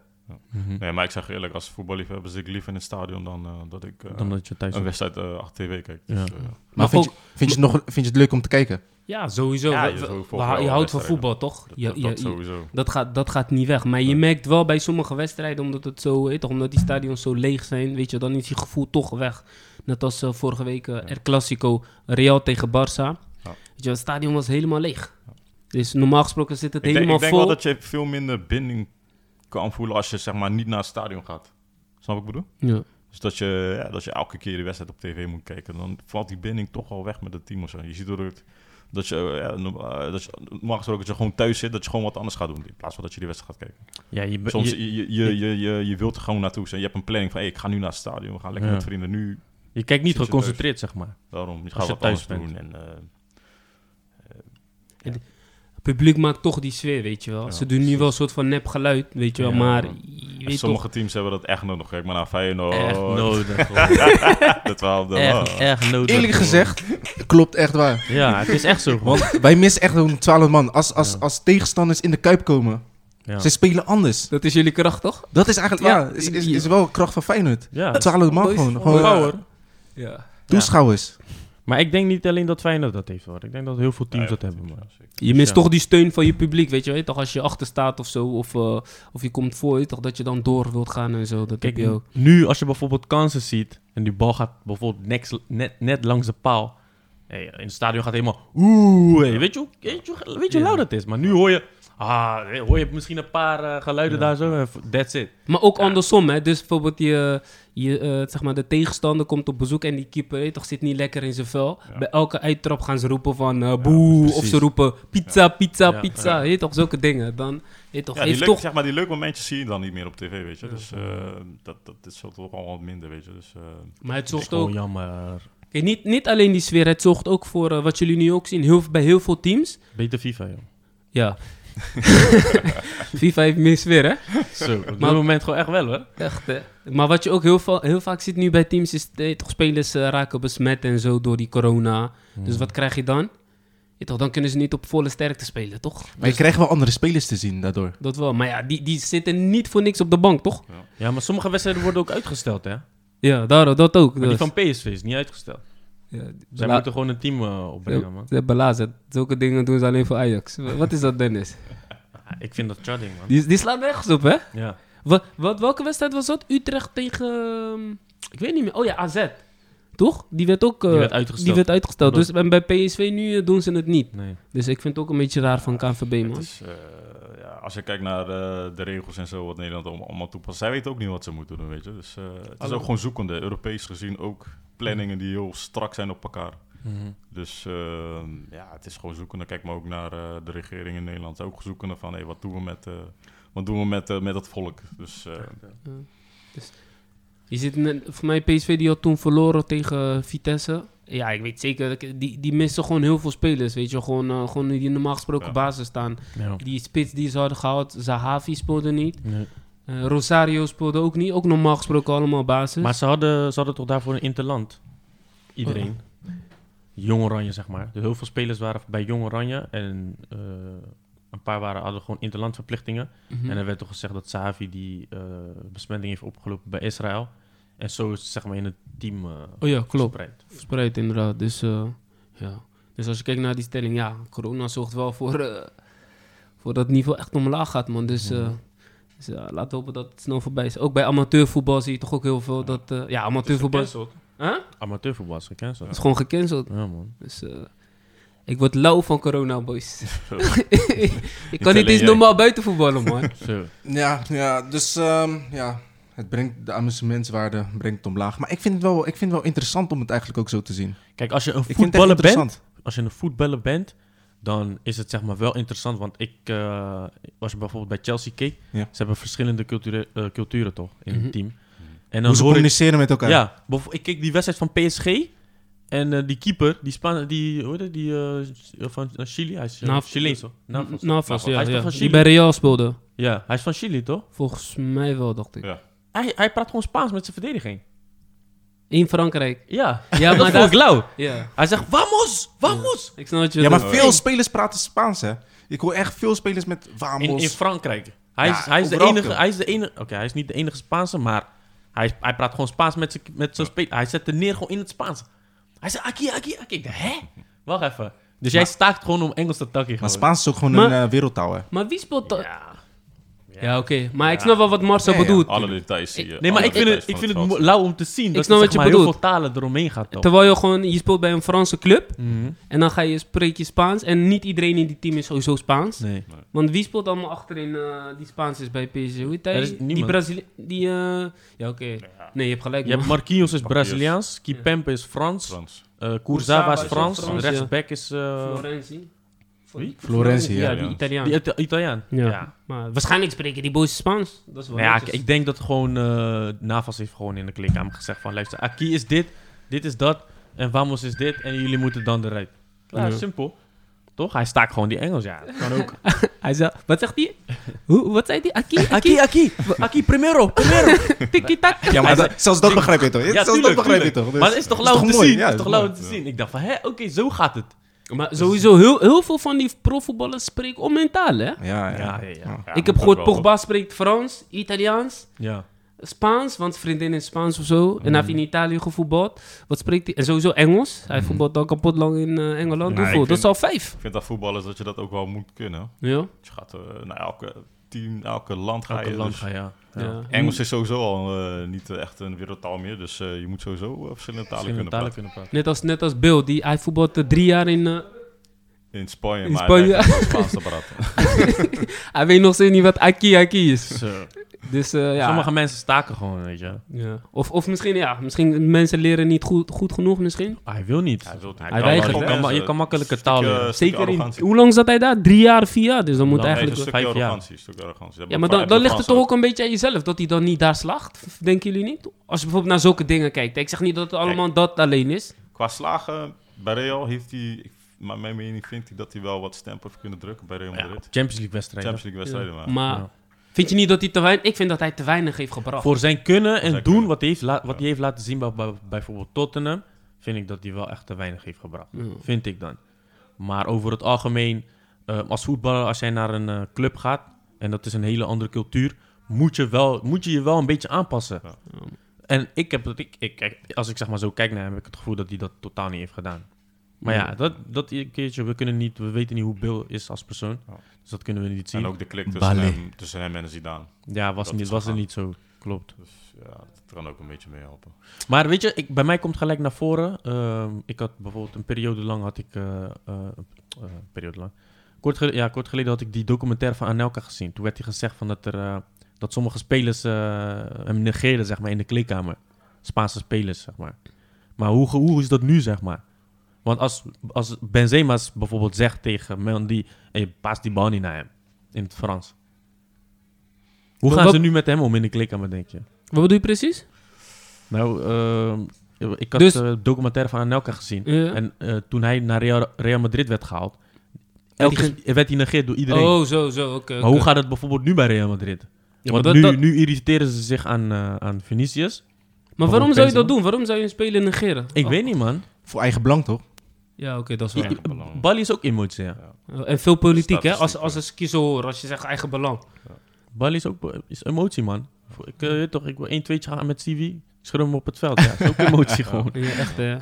Speaker 2: Mhm.
Speaker 3: Nee, maar ik zeg je eerlijk, als voetballiefhebber zit ik liever in het stadion dan eh, dat ik eh,
Speaker 2: Dan dat je thuis
Speaker 3: een wedstrijd eh, achter tv kijk. Dus,
Speaker 2: Ja.
Speaker 3: eh,
Speaker 1: Maar
Speaker 4: Maar
Speaker 1: vind,
Speaker 4: ook-
Speaker 1: je, vind, je het nog, vind je het leuk om te kijken?
Speaker 4: Ja, sowieso.
Speaker 3: Ja,
Speaker 4: We-
Speaker 3: je
Speaker 4: we-
Speaker 3: zou
Speaker 4: we-
Speaker 3: volgens mij
Speaker 4: je
Speaker 3: wel
Speaker 4: houdt van
Speaker 3: wedstrijden.
Speaker 4: voetbal, toch?
Speaker 3: dat,
Speaker 4: Ja,
Speaker 3: dat,
Speaker 4: ja,
Speaker 3: dat
Speaker 4: ja.
Speaker 3: sowieso.
Speaker 4: Dat gaat, dat gaat niet weg. Maar je
Speaker 3: Nee.
Speaker 4: merkt wel bij sommige wedstrijden, omdat, het zo, weet, toch, omdat die stadions zo leeg zijn, weet je, dan is die gevoel toch weg. Net als eh, vorige week eh El Clasico, Real tegen Barça. Weet je, het stadion was helemaal leeg. Dus normaal gesproken zit het
Speaker 3: Ik denk,
Speaker 4: helemaal
Speaker 3: ik denk
Speaker 4: vol.
Speaker 3: wel dat je veel minder binding kan voelen als je zeg maar niet naar het stadion gaat. Snap wat ik bedoel?
Speaker 4: ja.
Speaker 3: Dus dat je, ja, dat je elke keer de wedstrijd op tv moet kijken, dan valt die binding toch al weg met het team of zo. Je ziet door het, dat je, eh, ja, no- eh, dat je normaal gesproken dat je gewoon thuis zit, dat je gewoon wat anders gaat doen in plaats van dat je die wedstrijd gaat kijken.
Speaker 2: Ja, je, be-
Speaker 3: Soms
Speaker 2: je,
Speaker 3: je, je, je, je, je, je wilt er gewoon naartoe. Zeg, Je hebt een planning van, hey, ik ga nu naar het stadion, we gaan lekker
Speaker 2: Ja.
Speaker 3: met vrienden nu.
Speaker 2: je kijkt niet
Speaker 3: zit je
Speaker 2: geconcentreerd, zeg maar.
Speaker 3: Daarom, je
Speaker 2: Als
Speaker 3: gaat
Speaker 2: je
Speaker 3: wat anders
Speaker 2: thuis
Speaker 3: doen. En, eh,
Speaker 4: Het publiek maakt toch die sfeer, weet je wel.
Speaker 3: Ja,
Speaker 4: Ze doen nu wel een soort van nep geluid, weet je wel.
Speaker 3: Ja.
Speaker 4: maar je
Speaker 3: en
Speaker 4: weet
Speaker 3: sommige teams hebben dat echt nodig. Kijk maar naar Feyenoord. Oh.
Speaker 2: Echt nodig. hoor.
Speaker 3: Dat wel, dat wel.
Speaker 2: echt, echt nodig.
Speaker 1: Eerlijk
Speaker 2: hoor.
Speaker 1: gezegd, klopt echt waar.
Speaker 2: Ja, het is echt zo. gewoon.
Speaker 1: Want wij missen echt zo'n 12 man. Als, als, als tegenstanders in de kuip komen,
Speaker 2: Ja.
Speaker 1: ze spelen anders.
Speaker 4: toch, dat is jullie kracht, toch?
Speaker 1: Dat is eigenlijk, ja,
Speaker 4: Ja,
Speaker 1: is, is, is wel kracht van Feyenoord.
Speaker 2: Ja,
Speaker 1: 12 man
Speaker 4: dat is
Speaker 1: gewoon.
Speaker 4: wel
Speaker 1: gewoon eh,
Speaker 2: power.
Speaker 4: Ja.
Speaker 1: toeschouwers.
Speaker 2: Maar ik denk niet alleen dat Feyenoord dat heeft, hoor. Ik denk dat heel veel teams
Speaker 3: Ja,
Speaker 2: dat hebben, man.
Speaker 3: zeker.
Speaker 4: Je mist
Speaker 2: Ja.
Speaker 4: toch die steun van je publiek, weet je wel. Toch als je achter staat of zo, of, eh, of je komt voor, weet je toch, dat je dan door wilt gaan en zo. Dat
Speaker 2: Kijk,
Speaker 4: heb je ook.
Speaker 2: nu als je bijvoorbeeld kansen ziet en die bal gaat bijvoorbeeld next- net, net langs de paal. Hey, in het stadion gaat helemaal oeh. hey, weet je hoe, weet je, hoe- weet je hoe
Speaker 4: Ja.
Speaker 2: luid dat is? Maar nu hoor je, ah, hey, hoor je misschien een paar eh, geluiden daar zo. en v- That's it.
Speaker 4: Maar ook andersom, hè. Dus bijvoorbeeld je, je, eh, zeg maar de tegenstander komt op bezoek en die keeper weet je toch, zit niet lekker in zijn vel. Bij elke uittrap gaan ze roepen van eh, boe, of
Speaker 1: precies.
Speaker 4: ze roepen pizza, pizza,
Speaker 2: Ja.
Speaker 4: pizza. Weet je toch, zulke dingen. Dan, weet je toch,
Speaker 3: Ja, die
Speaker 4: heeft
Speaker 3: leuk,
Speaker 4: toch...
Speaker 3: zeg maar, die leuke momentjes zie je dan niet meer op tv, weet je. Dus eh, dat, dat is zo toch al wat minder, weet je. Dus, eh,
Speaker 4: Maar het
Speaker 2: Dat
Speaker 4: zorgt
Speaker 2: is gewoon
Speaker 4: ook...
Speaker 2: jammer.
Speaker 4: Kijk, niet, niet alleen die sfeer, het zorgt ook voor eh, wat jullie nu ook zien heel, bij heel veel teams.
Speaker 2: Beter FIFA, joh.
Speaker 4: Ja. FIFA heeft meer sfeer, hè?
Speaker 2: Zo, op dit
Speaker 4: Maar-
Speaker 2: moment gewoon echt wel, hoor.
Speaker 4: Echt, hè? Maar wat je ook heel, va- heel vaak ziet nu bij teams is... eh, toch spelers eh, raken besmet en zo door die corona. Dus wat krijg je dan? Je toch, dan kunnen ze niet op volle sterkte spelen, toch?
Speaker 1: Maar
Speaker 2: Dus-
Speaker 1: je krijgt wel andere spelers te zien daardoor.
Speaker 4: Dat wel. Maar ja, die, die zitten niet voor niks op de bank, toch?
Speaker 2: Ja, maar sommige wedstrijden worden ook uitgesteld, hè.
Speaker 4: Ja, daarom, dat ook.
Speaker 2: Maar die
Speaker 4: Dus-
Speaker 2: van PSV is niet uitgesteld.
Speaker 4: ja,
Speaker 2: Zij
Speaker 4: bela-
Speaker 2: moeten gewoon een team eh, opbrengen, man.
Speaker 4: Ze hebben belazerd. Zulke dingen doen ze alleen voor Ajax. Wa- Wat is dat, Dennis?
Speaker 2: Ah, Ik vind dat charting, man.
Speaker 4: Die, die slaat nergens op, hè?
Speaker 2: Ja.
Speaker 4: Wat, wat, welke wedstrijd was dat? Utrecht tegen... ehm, Ik weet niet meer. Oh ja, AZ. Toch? Die werd ook... eh,
Speaker 2: Die werd uitgesteld.
Speaker 4: die werd uitgesteld.
Speaker 2: Klopt.
Speaker 4: Dus en bij PSV nu eh, doen ze het niet.
Speaker 2: Nee.
Speaker 4: Dus ik vind het ook een beetje raar van KNVB,
Speaker 2: Hm.
Speaker 3: Het
Speaker 4: man.
Speaker 3: is, eh, ja, als je kijkt naar eh, de regels en zo, wat Nederland allemaal, allemaal toepast. Zij weten ook niet wat ze moeten doen, weet je. Dus eh, het is ook gewoon zoekende. Europees gezien ook planningen die heel strak zijn op elkaar.
Speaker 2: Mhm.
Speaker 3: Dus eh, ja, het is gewoon zoekende. Kijk maar ook naar eh, de regering in Nederland. Ook zoekende van, hey, wat doen we met, eh, wat doen we met, eh, met het volk? Dus eh,
Speaker 4: Je zit met, voor mij PSV die had toen verloren tegen eh, Vitesse. Ja, ik weet zeker. dat ik- Die, die missen gewoon heel veel spelers, weet je. Gewoon, eh, gewoon die normaal gesproken
Speaker 3: Ja.
Speaker 4: basis staan.
Speaker 2: Ja.
Speaker 4: Die spits die ze hadden gehaald, Zahavi speelde niet. Eh, Rosario speelde ook niet. Ook normaal gesproken allemaal basis.
Speaker 2: Maar ze hadden, ze hadden toch daarvoor een interland? Iedereen.
Speaker 4: Oh.
Speaker 2: Jong Oranje, zeg maar. Dus heel veel spelers waren bij Jong Oranje. En eh, een paar waren, hadden gewoon interlandverplichtingen.
Speaker 4: Mhm.
Speaker 2: En er werd toch gezegd dat Savi die eh, besmetting heeft opgelopen bij Israël. En zo is het zeg maar in het team eh
Speaker 4: Oh ja, klopt.
Speaker 2: verspreid.
Speaker 4: Verspreid inderdaad. Dus, eh, ja. dus als je kijkt naar die stelling, ja, corona zorgt wel voor, eh, voor dat het niveau echt omlaag gaat, man. Dus, eh dus ja, laten we hopen dat het snel voorbij is. Ook bij amateurvoetbal zie je toch ook heel veel dat... eh, ja, amateurvoetbal is, Huh?
Speaker 2: Amateurvoetbal is gecanceld.
Speaker 4: is gewoon gecanceld.
Speaker 2: Ja, man.
Speaker 4: Dus eh, ik word lauw van corona, boys. ik kan
Speaker 3: alleen
Speaker 4: niet eens
Speaker 3: jij.
Speaker 4: normaal buiten voetballen, man.
Speaker 2: Zo.
Speaker 1: Ja, ja dus ehm, ja, het brengt de amusementswaarde brengt het omlaag. Maar ik vind het, wel, ik vind het wel interessant om het eigenlijk ook zo te zien.
Speaker 2: Kijk, als je een
Speaker 1: Ik vind
Speaker 2: voetballer
Speaker 1: het echt
Speaker 2: bent,
Speaker 1: interessant.
Speaker 2: als je een voetballer bent, dan is het zeg maar wel interessant. Want ik, eh, als je bijvoorbeeld bij Chelsea keek,
Speaker 1: Ja.
Speaker 2: ze hebben verschillende culturen, eh, culturen toch in
Speaker 4: Mhm.
Speaker 2: het team. En
Speaker 1: Hoe ze
Speaker 2: hoor ik,
Speaker 1: communiceren met elkaar.
Speaker 2: ja, bijvo- ik keek die wedstrijd van PSG en eh, die keeper, die Span, die, hoe heet het, die eh, van eh, Chili, hij is eh,
Speaker 4: Nav-
Speaker 2: Chileens toch? Navas.
Speaker 4: Navas, ja,
Speaker 2: Hij is toch
Speaker 4: ja.
Speaker 2: van
Speaker 4: Die
Speaker 2: Chili?
Speaker 4: bij Real speelde.
Speaker 2: Ja, hij is van Chili toch?
Speaker 4: Volgens mij wel, dacht ik.
Speaker 3: Ja.
Speaker 2: Hij, hij praat gewoon Spaans met zijn verdediging.
Speaker 4: In Frankrijk.
Speaker 2: Ja,
Speaker 4: Ja,
Speaker 2: dat
Speaker 4: maar
Speaker 2: vond ik
Speaker 4: daar...
Speaker 2: lauw.
Speaker 4: Ja,
Speaker 2: Hij zegt, vamos, vamos.
Speaker 4: ik snap wat je
Speaker 1: Ja,
Speaker 4: bedoelt.
Speaker 1: maar veel spelers praten Spaans, hè? Ik hoor echt veel spelers met Vamos.
Speaker 2: In, in Frankrijk. Hij,
Speaker 1: Ja,
Speaker 2: is, hij, is de
Speaker 1: overal
Speaker 2: enige,
Speaker 1: veel.
Speaker 2: hij is de enige. Oké, hij is niet de enige Spaanse, maar hij, is- hij praat gewoon Spaans met zijn met zijn speler. Hij zet er neer gewoon in het Spaans. Hij zegt aki, aki, aki. Ik dacht, hè? Wacht even. Dus jij staakt gewoon om Engels te takken.
Speaker 1: maar
Speaker 2: gewoon.
Speaker 1: Spaans is ook gewoon
Speaker 4: Maar-
Speaker 1: een eh, wereldtaal, hè?
Speaker 4: Maar wie speelt dat? Ja,
Speaker 2: Ja.
Speaker 4: oké. Maar ik snap wel wat Marcel
Speaker 1: Ja, ja.
Speaker 4: bedoelt.
Speaker 3: alle details zie je.
Speaker 2: Nee, maar
Speaker 3: alle
Speaker 2: ik vind het,
Speaker 3: details
Speaker 2: ik
Speaker 3: van
Speaker 2: vind het
Speaker 3: veld.
Speaker 2: mo- lauw om te zien dat
Speaker 4: snap
Speaker 2: je,
Speaker 4: wat
Speaker 2: zeg
Speaker 4: je
Speaker 2: maar, heel veel
Speaker 4: bedoelt.
Speaker 2: talen eromheen gaat. Toch?
Speaker 4: Terwijl je gewoon, je speelt bij een Franse club.
Speaker 2: Mhm.
Speaker 4: En dan ga je, spreek je Spaans. En niet iedereen in die team is sowieso Spaans.
Speaker 2: Nee.
Speaker 4: Want wie speelt allemaal achterin eh, die Spaans is bij PSG? Hoe heet hij?
Speaker 2: Er is
Speaker 4: die
Speaker 2: niemand.
Speaker 4: Brazili... Die, eh, Ja, oké. Nee, je hebt gelijk.
Speaker 2: Je hebt
Speaker 4: man.
Speaker 2: Marquinhos is Braziliaans, Kipempe is Frans,
Speaker 3: Frans.
Speaker 2: eh
Speaker 4: Kurzawa
Speaker 2: Kurzawa
Speaker 4: is
Speaker 2: is Frans,
Speaker 4: Frans, ja.
Speaker 2: rechtsback is eh
Speaker 4: Florenzi.
Speaker 2: wie?
Speaker 1: Florenzi, ja.
Speaker 4: Ja, die
Speaker 3: Ja.
Speaker 4: Italiaan.
Speaker 2: die Ita- Italiaan.
Speaker 4: ja.
Speaker 2: ja.
Speaker 4: Maar waarschijnlijk spreken die boys Spaans. Dat is wel
Speaker 2: Nou ja, ik,
Speaker 4: netjes.
Speaker 2: ik denk dat gewoon eh, Navas heeft gewoon in de kleedkamer gezegd van... luister, Aki is dit, dit is dat en Vamos is dit en jullie moeten dan eruit. Klaar,
Speaker 4: Ja.
Speaker 2: simpel. Toch? Hij staakt gewoon die Engels, ja. Kan ook.
Speaker 4: Hij zei... Wat zegt hij? Hoe, wat zei hij? Aki? Aki?
Speaker 2: Aki, Aki, Aki, primero, primero.
Speaker 4: Tiki-tak?
Speaker 1: Ja, maar
Speaker 2: Hij
Speaker 1: dat, zelfs dat begrijp je toch? zelfs dat
Speaker 2: tuurlijk,
Speaker 1: begrijp je
Speaker 2: tuurlijk.
Speaker 1: toch? Dus-
Speaker 2: maar het is toch
Speaker 1: dat
Speaker 2: lauw te
Speaker 1: mooi?
Speaker 2: zien?
Speaker 1: Ja,
Speaker 2: het is
Speaker 1: dat
Speaker 2: toch
Speaker 1: is
Speaker 2: lauw
Speaker 1: mooi.
Speaker 2: te zien? Ik dacht van, hè, oké, zo gaat het.
Speaker 4: Maar sowieso, heel, heel veel van die profvoetballers spreken onmentaal, hè?
Speaker 1: Ja, ja.
Speaker 2: Ja, ja, ja.
Speaker 3: Ja,
Speaker 4: ik
Speaker 3: moet
Speaker 4: heb
Speaker 3: ook
Speaker 4: gehoord,
Speaker 3: wel,
Speaker 4: Pogba spreekt Frans, Italiaans,
Speaker 2: Ja.
Speaker 4: Spaans, want zijn vriendin is Spaans of zo. En hij
Speaker 3: Mm.
Speaker 4: heeft in Italië gevoetbald. Wat spreekt hij? En sowieso Engels. Hij voetbalt al kapot lang in eh, Engeland.
Speaker 3: Ja,
Speaker 4: Hoeveel? Dat
Speaker 3: ik vind-
Speaker 4: is al vijf.
Speaker 3: Ik vind dat voetballers dat je dat ook wel moet kunnen.
Speaker 4: Ja.
Speaker 3: Je gaat eh, naar elke team, elke land ga
Speaker 2: Elke
Speaker 3: je.
Speaker 2: land
Speaker 3: dus
Speaker 2: ga je, Mm. ja.
Speaker 4: ja.
Speaker 2: ja.
Speaker 3: Engels is sowieso al eh, niet echt een wereldtaal meer, dus eh, je moet sowieso eh, verschillende talen kunnen
Speaker 2: Verschillende talen
Speaker 3: praten.
Speaker 2: kunnen praten.
Speaker 4: Net als, net als Bill, die, hij voetbalt eh, drie jaar in... eh,
Speaker 3: In Spanje,
Speaker 4: In
Speaker 3: maar
Speaker 4: Spanje.
Speaker 3: Spanje. hij blijft Spaans te praten.
Speaker 4: hij weet nog steeds niet wat Aki Aki is.
Speaker 2: Zo.
Speaker 4: Dus eh, ja.
Speaker 2: Sommige mensen staken gewoon, weet je.
Speaker 4: ja. Of, of misschien, ja, misschien mensen leren niet goed, goed genoeg misschien.
Speaker 2: Hij wil niet.
Speaker 3: Hij wil het niet.
Speaker 2: Hij
Speaker 3: Hij
Speaker 2: weigert,
Speaker 4: weigert,
Speaker 2: je
Speaker 4: hè?
Speaker 2: kan ma- Je kan makkelijker
Speaker 3: eh,
Speaker 2: taal
Speaker 3: Stukje-
Speaker 2: leren.
Speaker 3: stukje
Speaker 4: Zeker in...
Speaker 3: arrogantie.
Speaker 4: Hoe lang zat hij daar? Drie jaar, vier jaar. Dus dan moet
Speaker 2: Lang
Speaker 3: Nee,
Speaker 4: eigenlijk...
Speaker 3: een stukje
Speaker 2: Vijf jaar.
Speaker 3: arrogantie. een stukje arrogantie. Dat
Speaker 4: Ja,
Speaker 3: heb
Speaker 4: maar
Speaker 3: ik
Speaker 4: dan,
Speaker 3: van-
Speaker 4: dan ligt
Speaker 3: heb
Speaker 4: het
Speaker 3: ik van
Speaker 4: toch ook een beetje aan jezelf dat hij dan niet daar slaagt? Denken jullie niet? Als je bijvoorbeeld naar zulke dingen kijkt. Ik zeg niet dat het allemaal dat alleen is.
Speaker 3: Qua Qua slagen bij Real heeft hij, ik- maar mijn mening vindt hij dat hij wel wat stemp heeft kunnen drukken bij Real
Speaker 2: Ja,
Speaker 3: Madrid.
Speaker 2: Champions League wedstrijden.
Speaker 3: Champions League wedstrijden, maar.
Speaker 4: Maar
Speaker 2: Ja.
Speaker 4: vind je niet dat hij te weinig... Ik vind dat hij te weinig heeft gebracht.
Speaker 2: Voor zijn kunnen en
Speaker 3: Oh. zijn
Speaker 2: doen
Speaker 3: kunnen.
Speaker 2: wat hij heeft, la- wat hij heeft laten zien bij, bij- bijvoorbeeld Tottenham, vind ik dat hij wel echt te weinig heeft gebracht.
Speaker 4: Ja.
Speaker 2: Vind ik dan. Maar over het algemeen, eh, als voetballer, als jij naar een eh, club gaat en dat is een hele andere cultuur, moet je, wel, moet je je wel een beetje aanpassen.
Speaker 3: Ja.
Speaker 2: En ik heb dat, ik, ik, kijk, als ik zeg maar zo kijk naar hem, heb ik het gevoel dat hij dat totaal niet heeft gedaan. Maar ja, dat, dat een keertje, we, kunnen niet, we weten niet hoe Bill is als persoon.
Speaker 3: Ja.
Speaker 2: Dus dat kunnen we niet zien.
Speaker 3: En ook de klik tussen
Speaker 1: Ballet.
Speaker 3: hem, tussen hem en Zidane.
Speaker 2: ja, was,
Speaker 3: dat
Speaker 2: niet,
Speaker 3: is
Speaker 2: was er
Speaker 3: gegaan.
Speaker 2: niet zo. Klopt.
Speaker 3: Dus ja, dat kan ook een beetje meehelpen.
Speaker 2: Maar weet je, ik, bij mij komt gelijk naar voren. ehm, ik had bijvoorbeeld een periode lang had ik. eh, eh, eh, periode lang. Kort, gele- ja, kort geleden had ik die documentaire van Anelka gezien. Toen werd hij gezegd van dat, er, eh, dat sommige spelers eh, hem negeren zeg maar, in de kleedkamer. Spaanse spelers, zeg maar. Maar hoe, ge- hoe is dat nu, zeg maar? Want als, als Benzema bijvoorbeeld zegt tegen Mandy... Hey, paas die bal niet naar hem, in het Frans. Hoe
Speaker 4: Wat-
Speaker 2: gaan
Speaker 4: wat-
Speaker 2: ze nu met hem om in de kleedkamer, denk je?
Speaker 4: Wat bedoel je precies?
Speaker 2: Nou, ehm, ik had
Speaker 4: Dus-
Speaker 2: de documentaire van Anelka gezien.
Speaker 4: Ja.
Speaker 2: En eh, toen hij naar Real, Real Madrid werd gehaald, elke
Speaker 4: ging-
Speaker 2: sp- werd hij negeerd door iedereen.
Speaker 4: Oh, zo, zo. Oké. oké.
Speaker 2: Maar hoe gaat het bijvoorbeeld nu bij Real Madrid?
Speaker 4: Ja, maar
Speaker 2: Want
Speaker 4: dat-
Speaker 2: nu,
Speaker 4: dat-
Speaker 2: nu irriteren ze zich aan, eh aan Vinicius.
Speaker 4: Maar waarom zou je dat
Speaker 2: Benzema?
Speaker 4: doen? Waarom zou je een speler negeren?
Speaker 2: Ik
Speaker 4: Oh.
Speaker 2: weet niet, man.
Speaker 1: Voor eigen belang, toch?
Speaker 4: Ja, oké, dat is
Speaker 3: Ja.
Speaker 4: waar.
Speaker 3: Eigen belang.
Speaker 2: Bali is ook emotie, ja.
Speaker 4: En veel politiek, hè? Als,
Speaker 3: Statistiek,
Speaker 4: als een schizo hoor, als je zegt eigen belang.
Speaker 2: Bali is ook be- is emotie, man. Voor- Ik eh, weet toch, ik wil 1 2 gaan met CV, ik schudden hem op het veld. Ja, is ook emotie gewoon.
Speaker 4: Ja, echt, hè?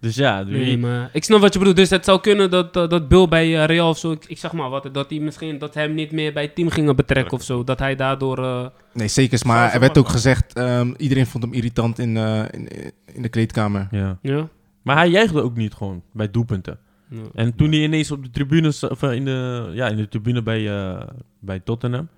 Speaker 2: Dus ja, doe
Speaker 4: Nee,
Speaker 2: je-
Speaker 4: maar ik snap wat je bedoelt. Dus het zou kunnen dat, dat, dat Bill bij eh, Real of zo, ik, ik zeg maar wat, dat hij misschien dat hem niet meer bij het team gingen betrekken of zo. Dat hij daardoor. eh,
Speaker 1: Nee, zeker. Maar er werd ook gezegd, ehm, iedereen vond hem irritant in, eh, in, in de kleedkamer.
Speaker 2: ja.
Speaker 4: ja?
Speaker 2: Maar hij juichte ook niet gewoon bij doelpunten.
Speaker 4: Ja.
Speaker 2: En toen hij ineens op de tribune, sta- of eh, in de, ja, in de tribune bij, eh, bij Tottenham.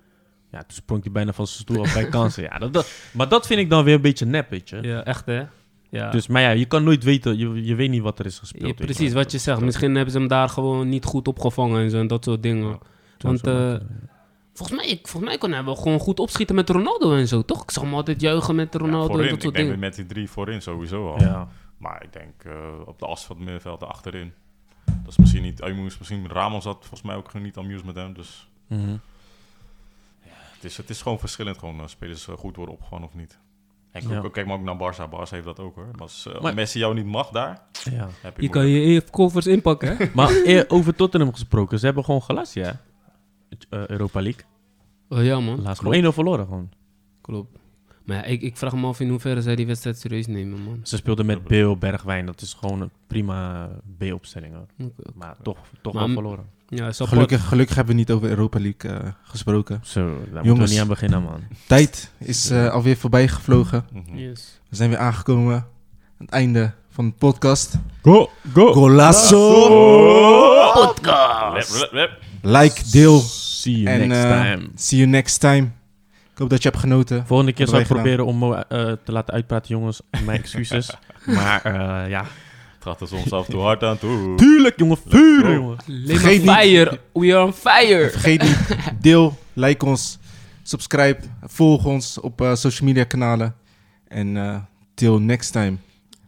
Speaker 2: Ja, toen sprong hij bijna van zijn stoel af bij kansen. Ja, dat, dat, maar dat vind ik dan weer een beetje nep, weet je.
Speaker 4: Ja, echt hè? Ja.
Speaker 2: Dus, maar ja, je kan nooit weten, je, je weet niet wat er is gespeeld.
Speaker 4: Ja,
Speaker 2: weet je
Speaker 4: precies
Speaker 2: wel.
Speaker 4: wat je zegt. Misschien hebben ze hem daar gewoon niet goed opgevangen en zo en dat soort dingen.
Speaker 3: Ja,
Speaker 4: Want
Speaker 2: zo,
Speaker 4: eh, volgens, mij, ik- volgens mij kon hij wel gewoon goed opschieten met Ronaldo en zo, toch? Ik zag hem altijd juichen met
Speaker 3: Ja,
Speaker 4: Ronaldo en
Speaker 3: voorin,
Speaker 4: dat
Speaker 3: ik
Speaker 4: soort
Speaker 3: denk
Speaker 4: dingen.
Speaker 3: met die drie voorin sowieso al.
Speaker 2: Ja.
Speaker 3: Maar ik denk eh, op de as van het middenveld achterin. Dat is misschien niet Aymoes, misschien Ramos had volgens mij ook gewoon niet amused met hem. Dus
Speaker 2: Mhm.
Speaker 3: het is, het is gewoon verschillend, gewoon eh, spelers eh, goed worden opgevangen of niet. En
Speaker 2: Ja.
Speaker 3: kijk, kijk maar ook naar Barça. Barça heeft dat ook hoor. Maar als eh,
Speaker 2: Maar-
Speaker 3: Messi jou niet mag daar,
Speaker 2: ja.
Speaker 3: heb ik
Speaker 4: Je kan je even covers inpakken, hè?
Speaker 2: Maar eh, over Tottenham gesproken, ze hebben gewoon gelast, ja. Het, eh, Europa League.
Speaker 4: Oh, ja, man.
Speaker 2: Laatst gewoon 1-0 verloren gewoon.
Speaker 4: Klopt. Maar ja, ik, ik vraag me af in hoeverre zij die wedstrijd serieus nemen, man.
Speaker 2: Ze speelden met Beel, Bergwijn. Dat is gewoon een prima eh, B-opstelling. hoor.
Speaker 4: Oké.
Speaker 2: Maar toch, toch
Speaker 4: Maar-
Speaker 2: wel verloren.
Speaker 4: Ja, is apart.
Speaker 1: Gelukkig, gelukkig hebben we niet over Europa League eh, gesproken.
Speaker 2: Zo, daar moeten we
Speaker 1: Jongens.
Speaker 2: niet aan beginnen, man.
Speaker 1: Tijd is eh, alweer voorbij gevlogen.
Speaker 3: Mhm.
Speaker 4: Yes.
Speaker 1: We zijn weer aangekomen aan het einde van de podcast.
Speaker 2: Go, go. Oh.
Speaker 1: Golazo!
Speaker 3: Lep, lep, lep.
Speaker 1: Like, deel.
Speaker 2: See you
Speaker 1: En
Speaker 2: next
Speaker 1: eh,
Speaker 2: time.
Speaker 1: see you next time. Ik hoop dat je hebt genoten.
Speaker 2: Volgende keer
Speaker 1: Wat
Speaker 2: zal ik
Speaker 1: hebben wij
Speaker 2: proberen om Mo eh, te laten uitpraten, jongens. Mijn excuses. maar eh, ja.
Speaker 3: Het gaat er soms af en toe hard aan toe.
Speaker 2: Tuurlijk, jongen. Vuren, jongen.
Speaker 1: Vergeet niet-
Speaker 4: fire. We are on fire.
Speaker 1: Vergeet niet, deel, like ons, subscribe, volg ons op eh, social media kanalen. En eh till next time.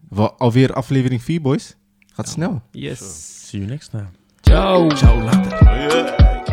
Speaker 1: Wa- alweer aflevering 4, boys. Gaat snel.
Speaker 4: Yes.
Speaker 2: See you next time.
Speaker 4: Ciao.
Speaker 1: Ciao, later.
Speaker 3: Yeah.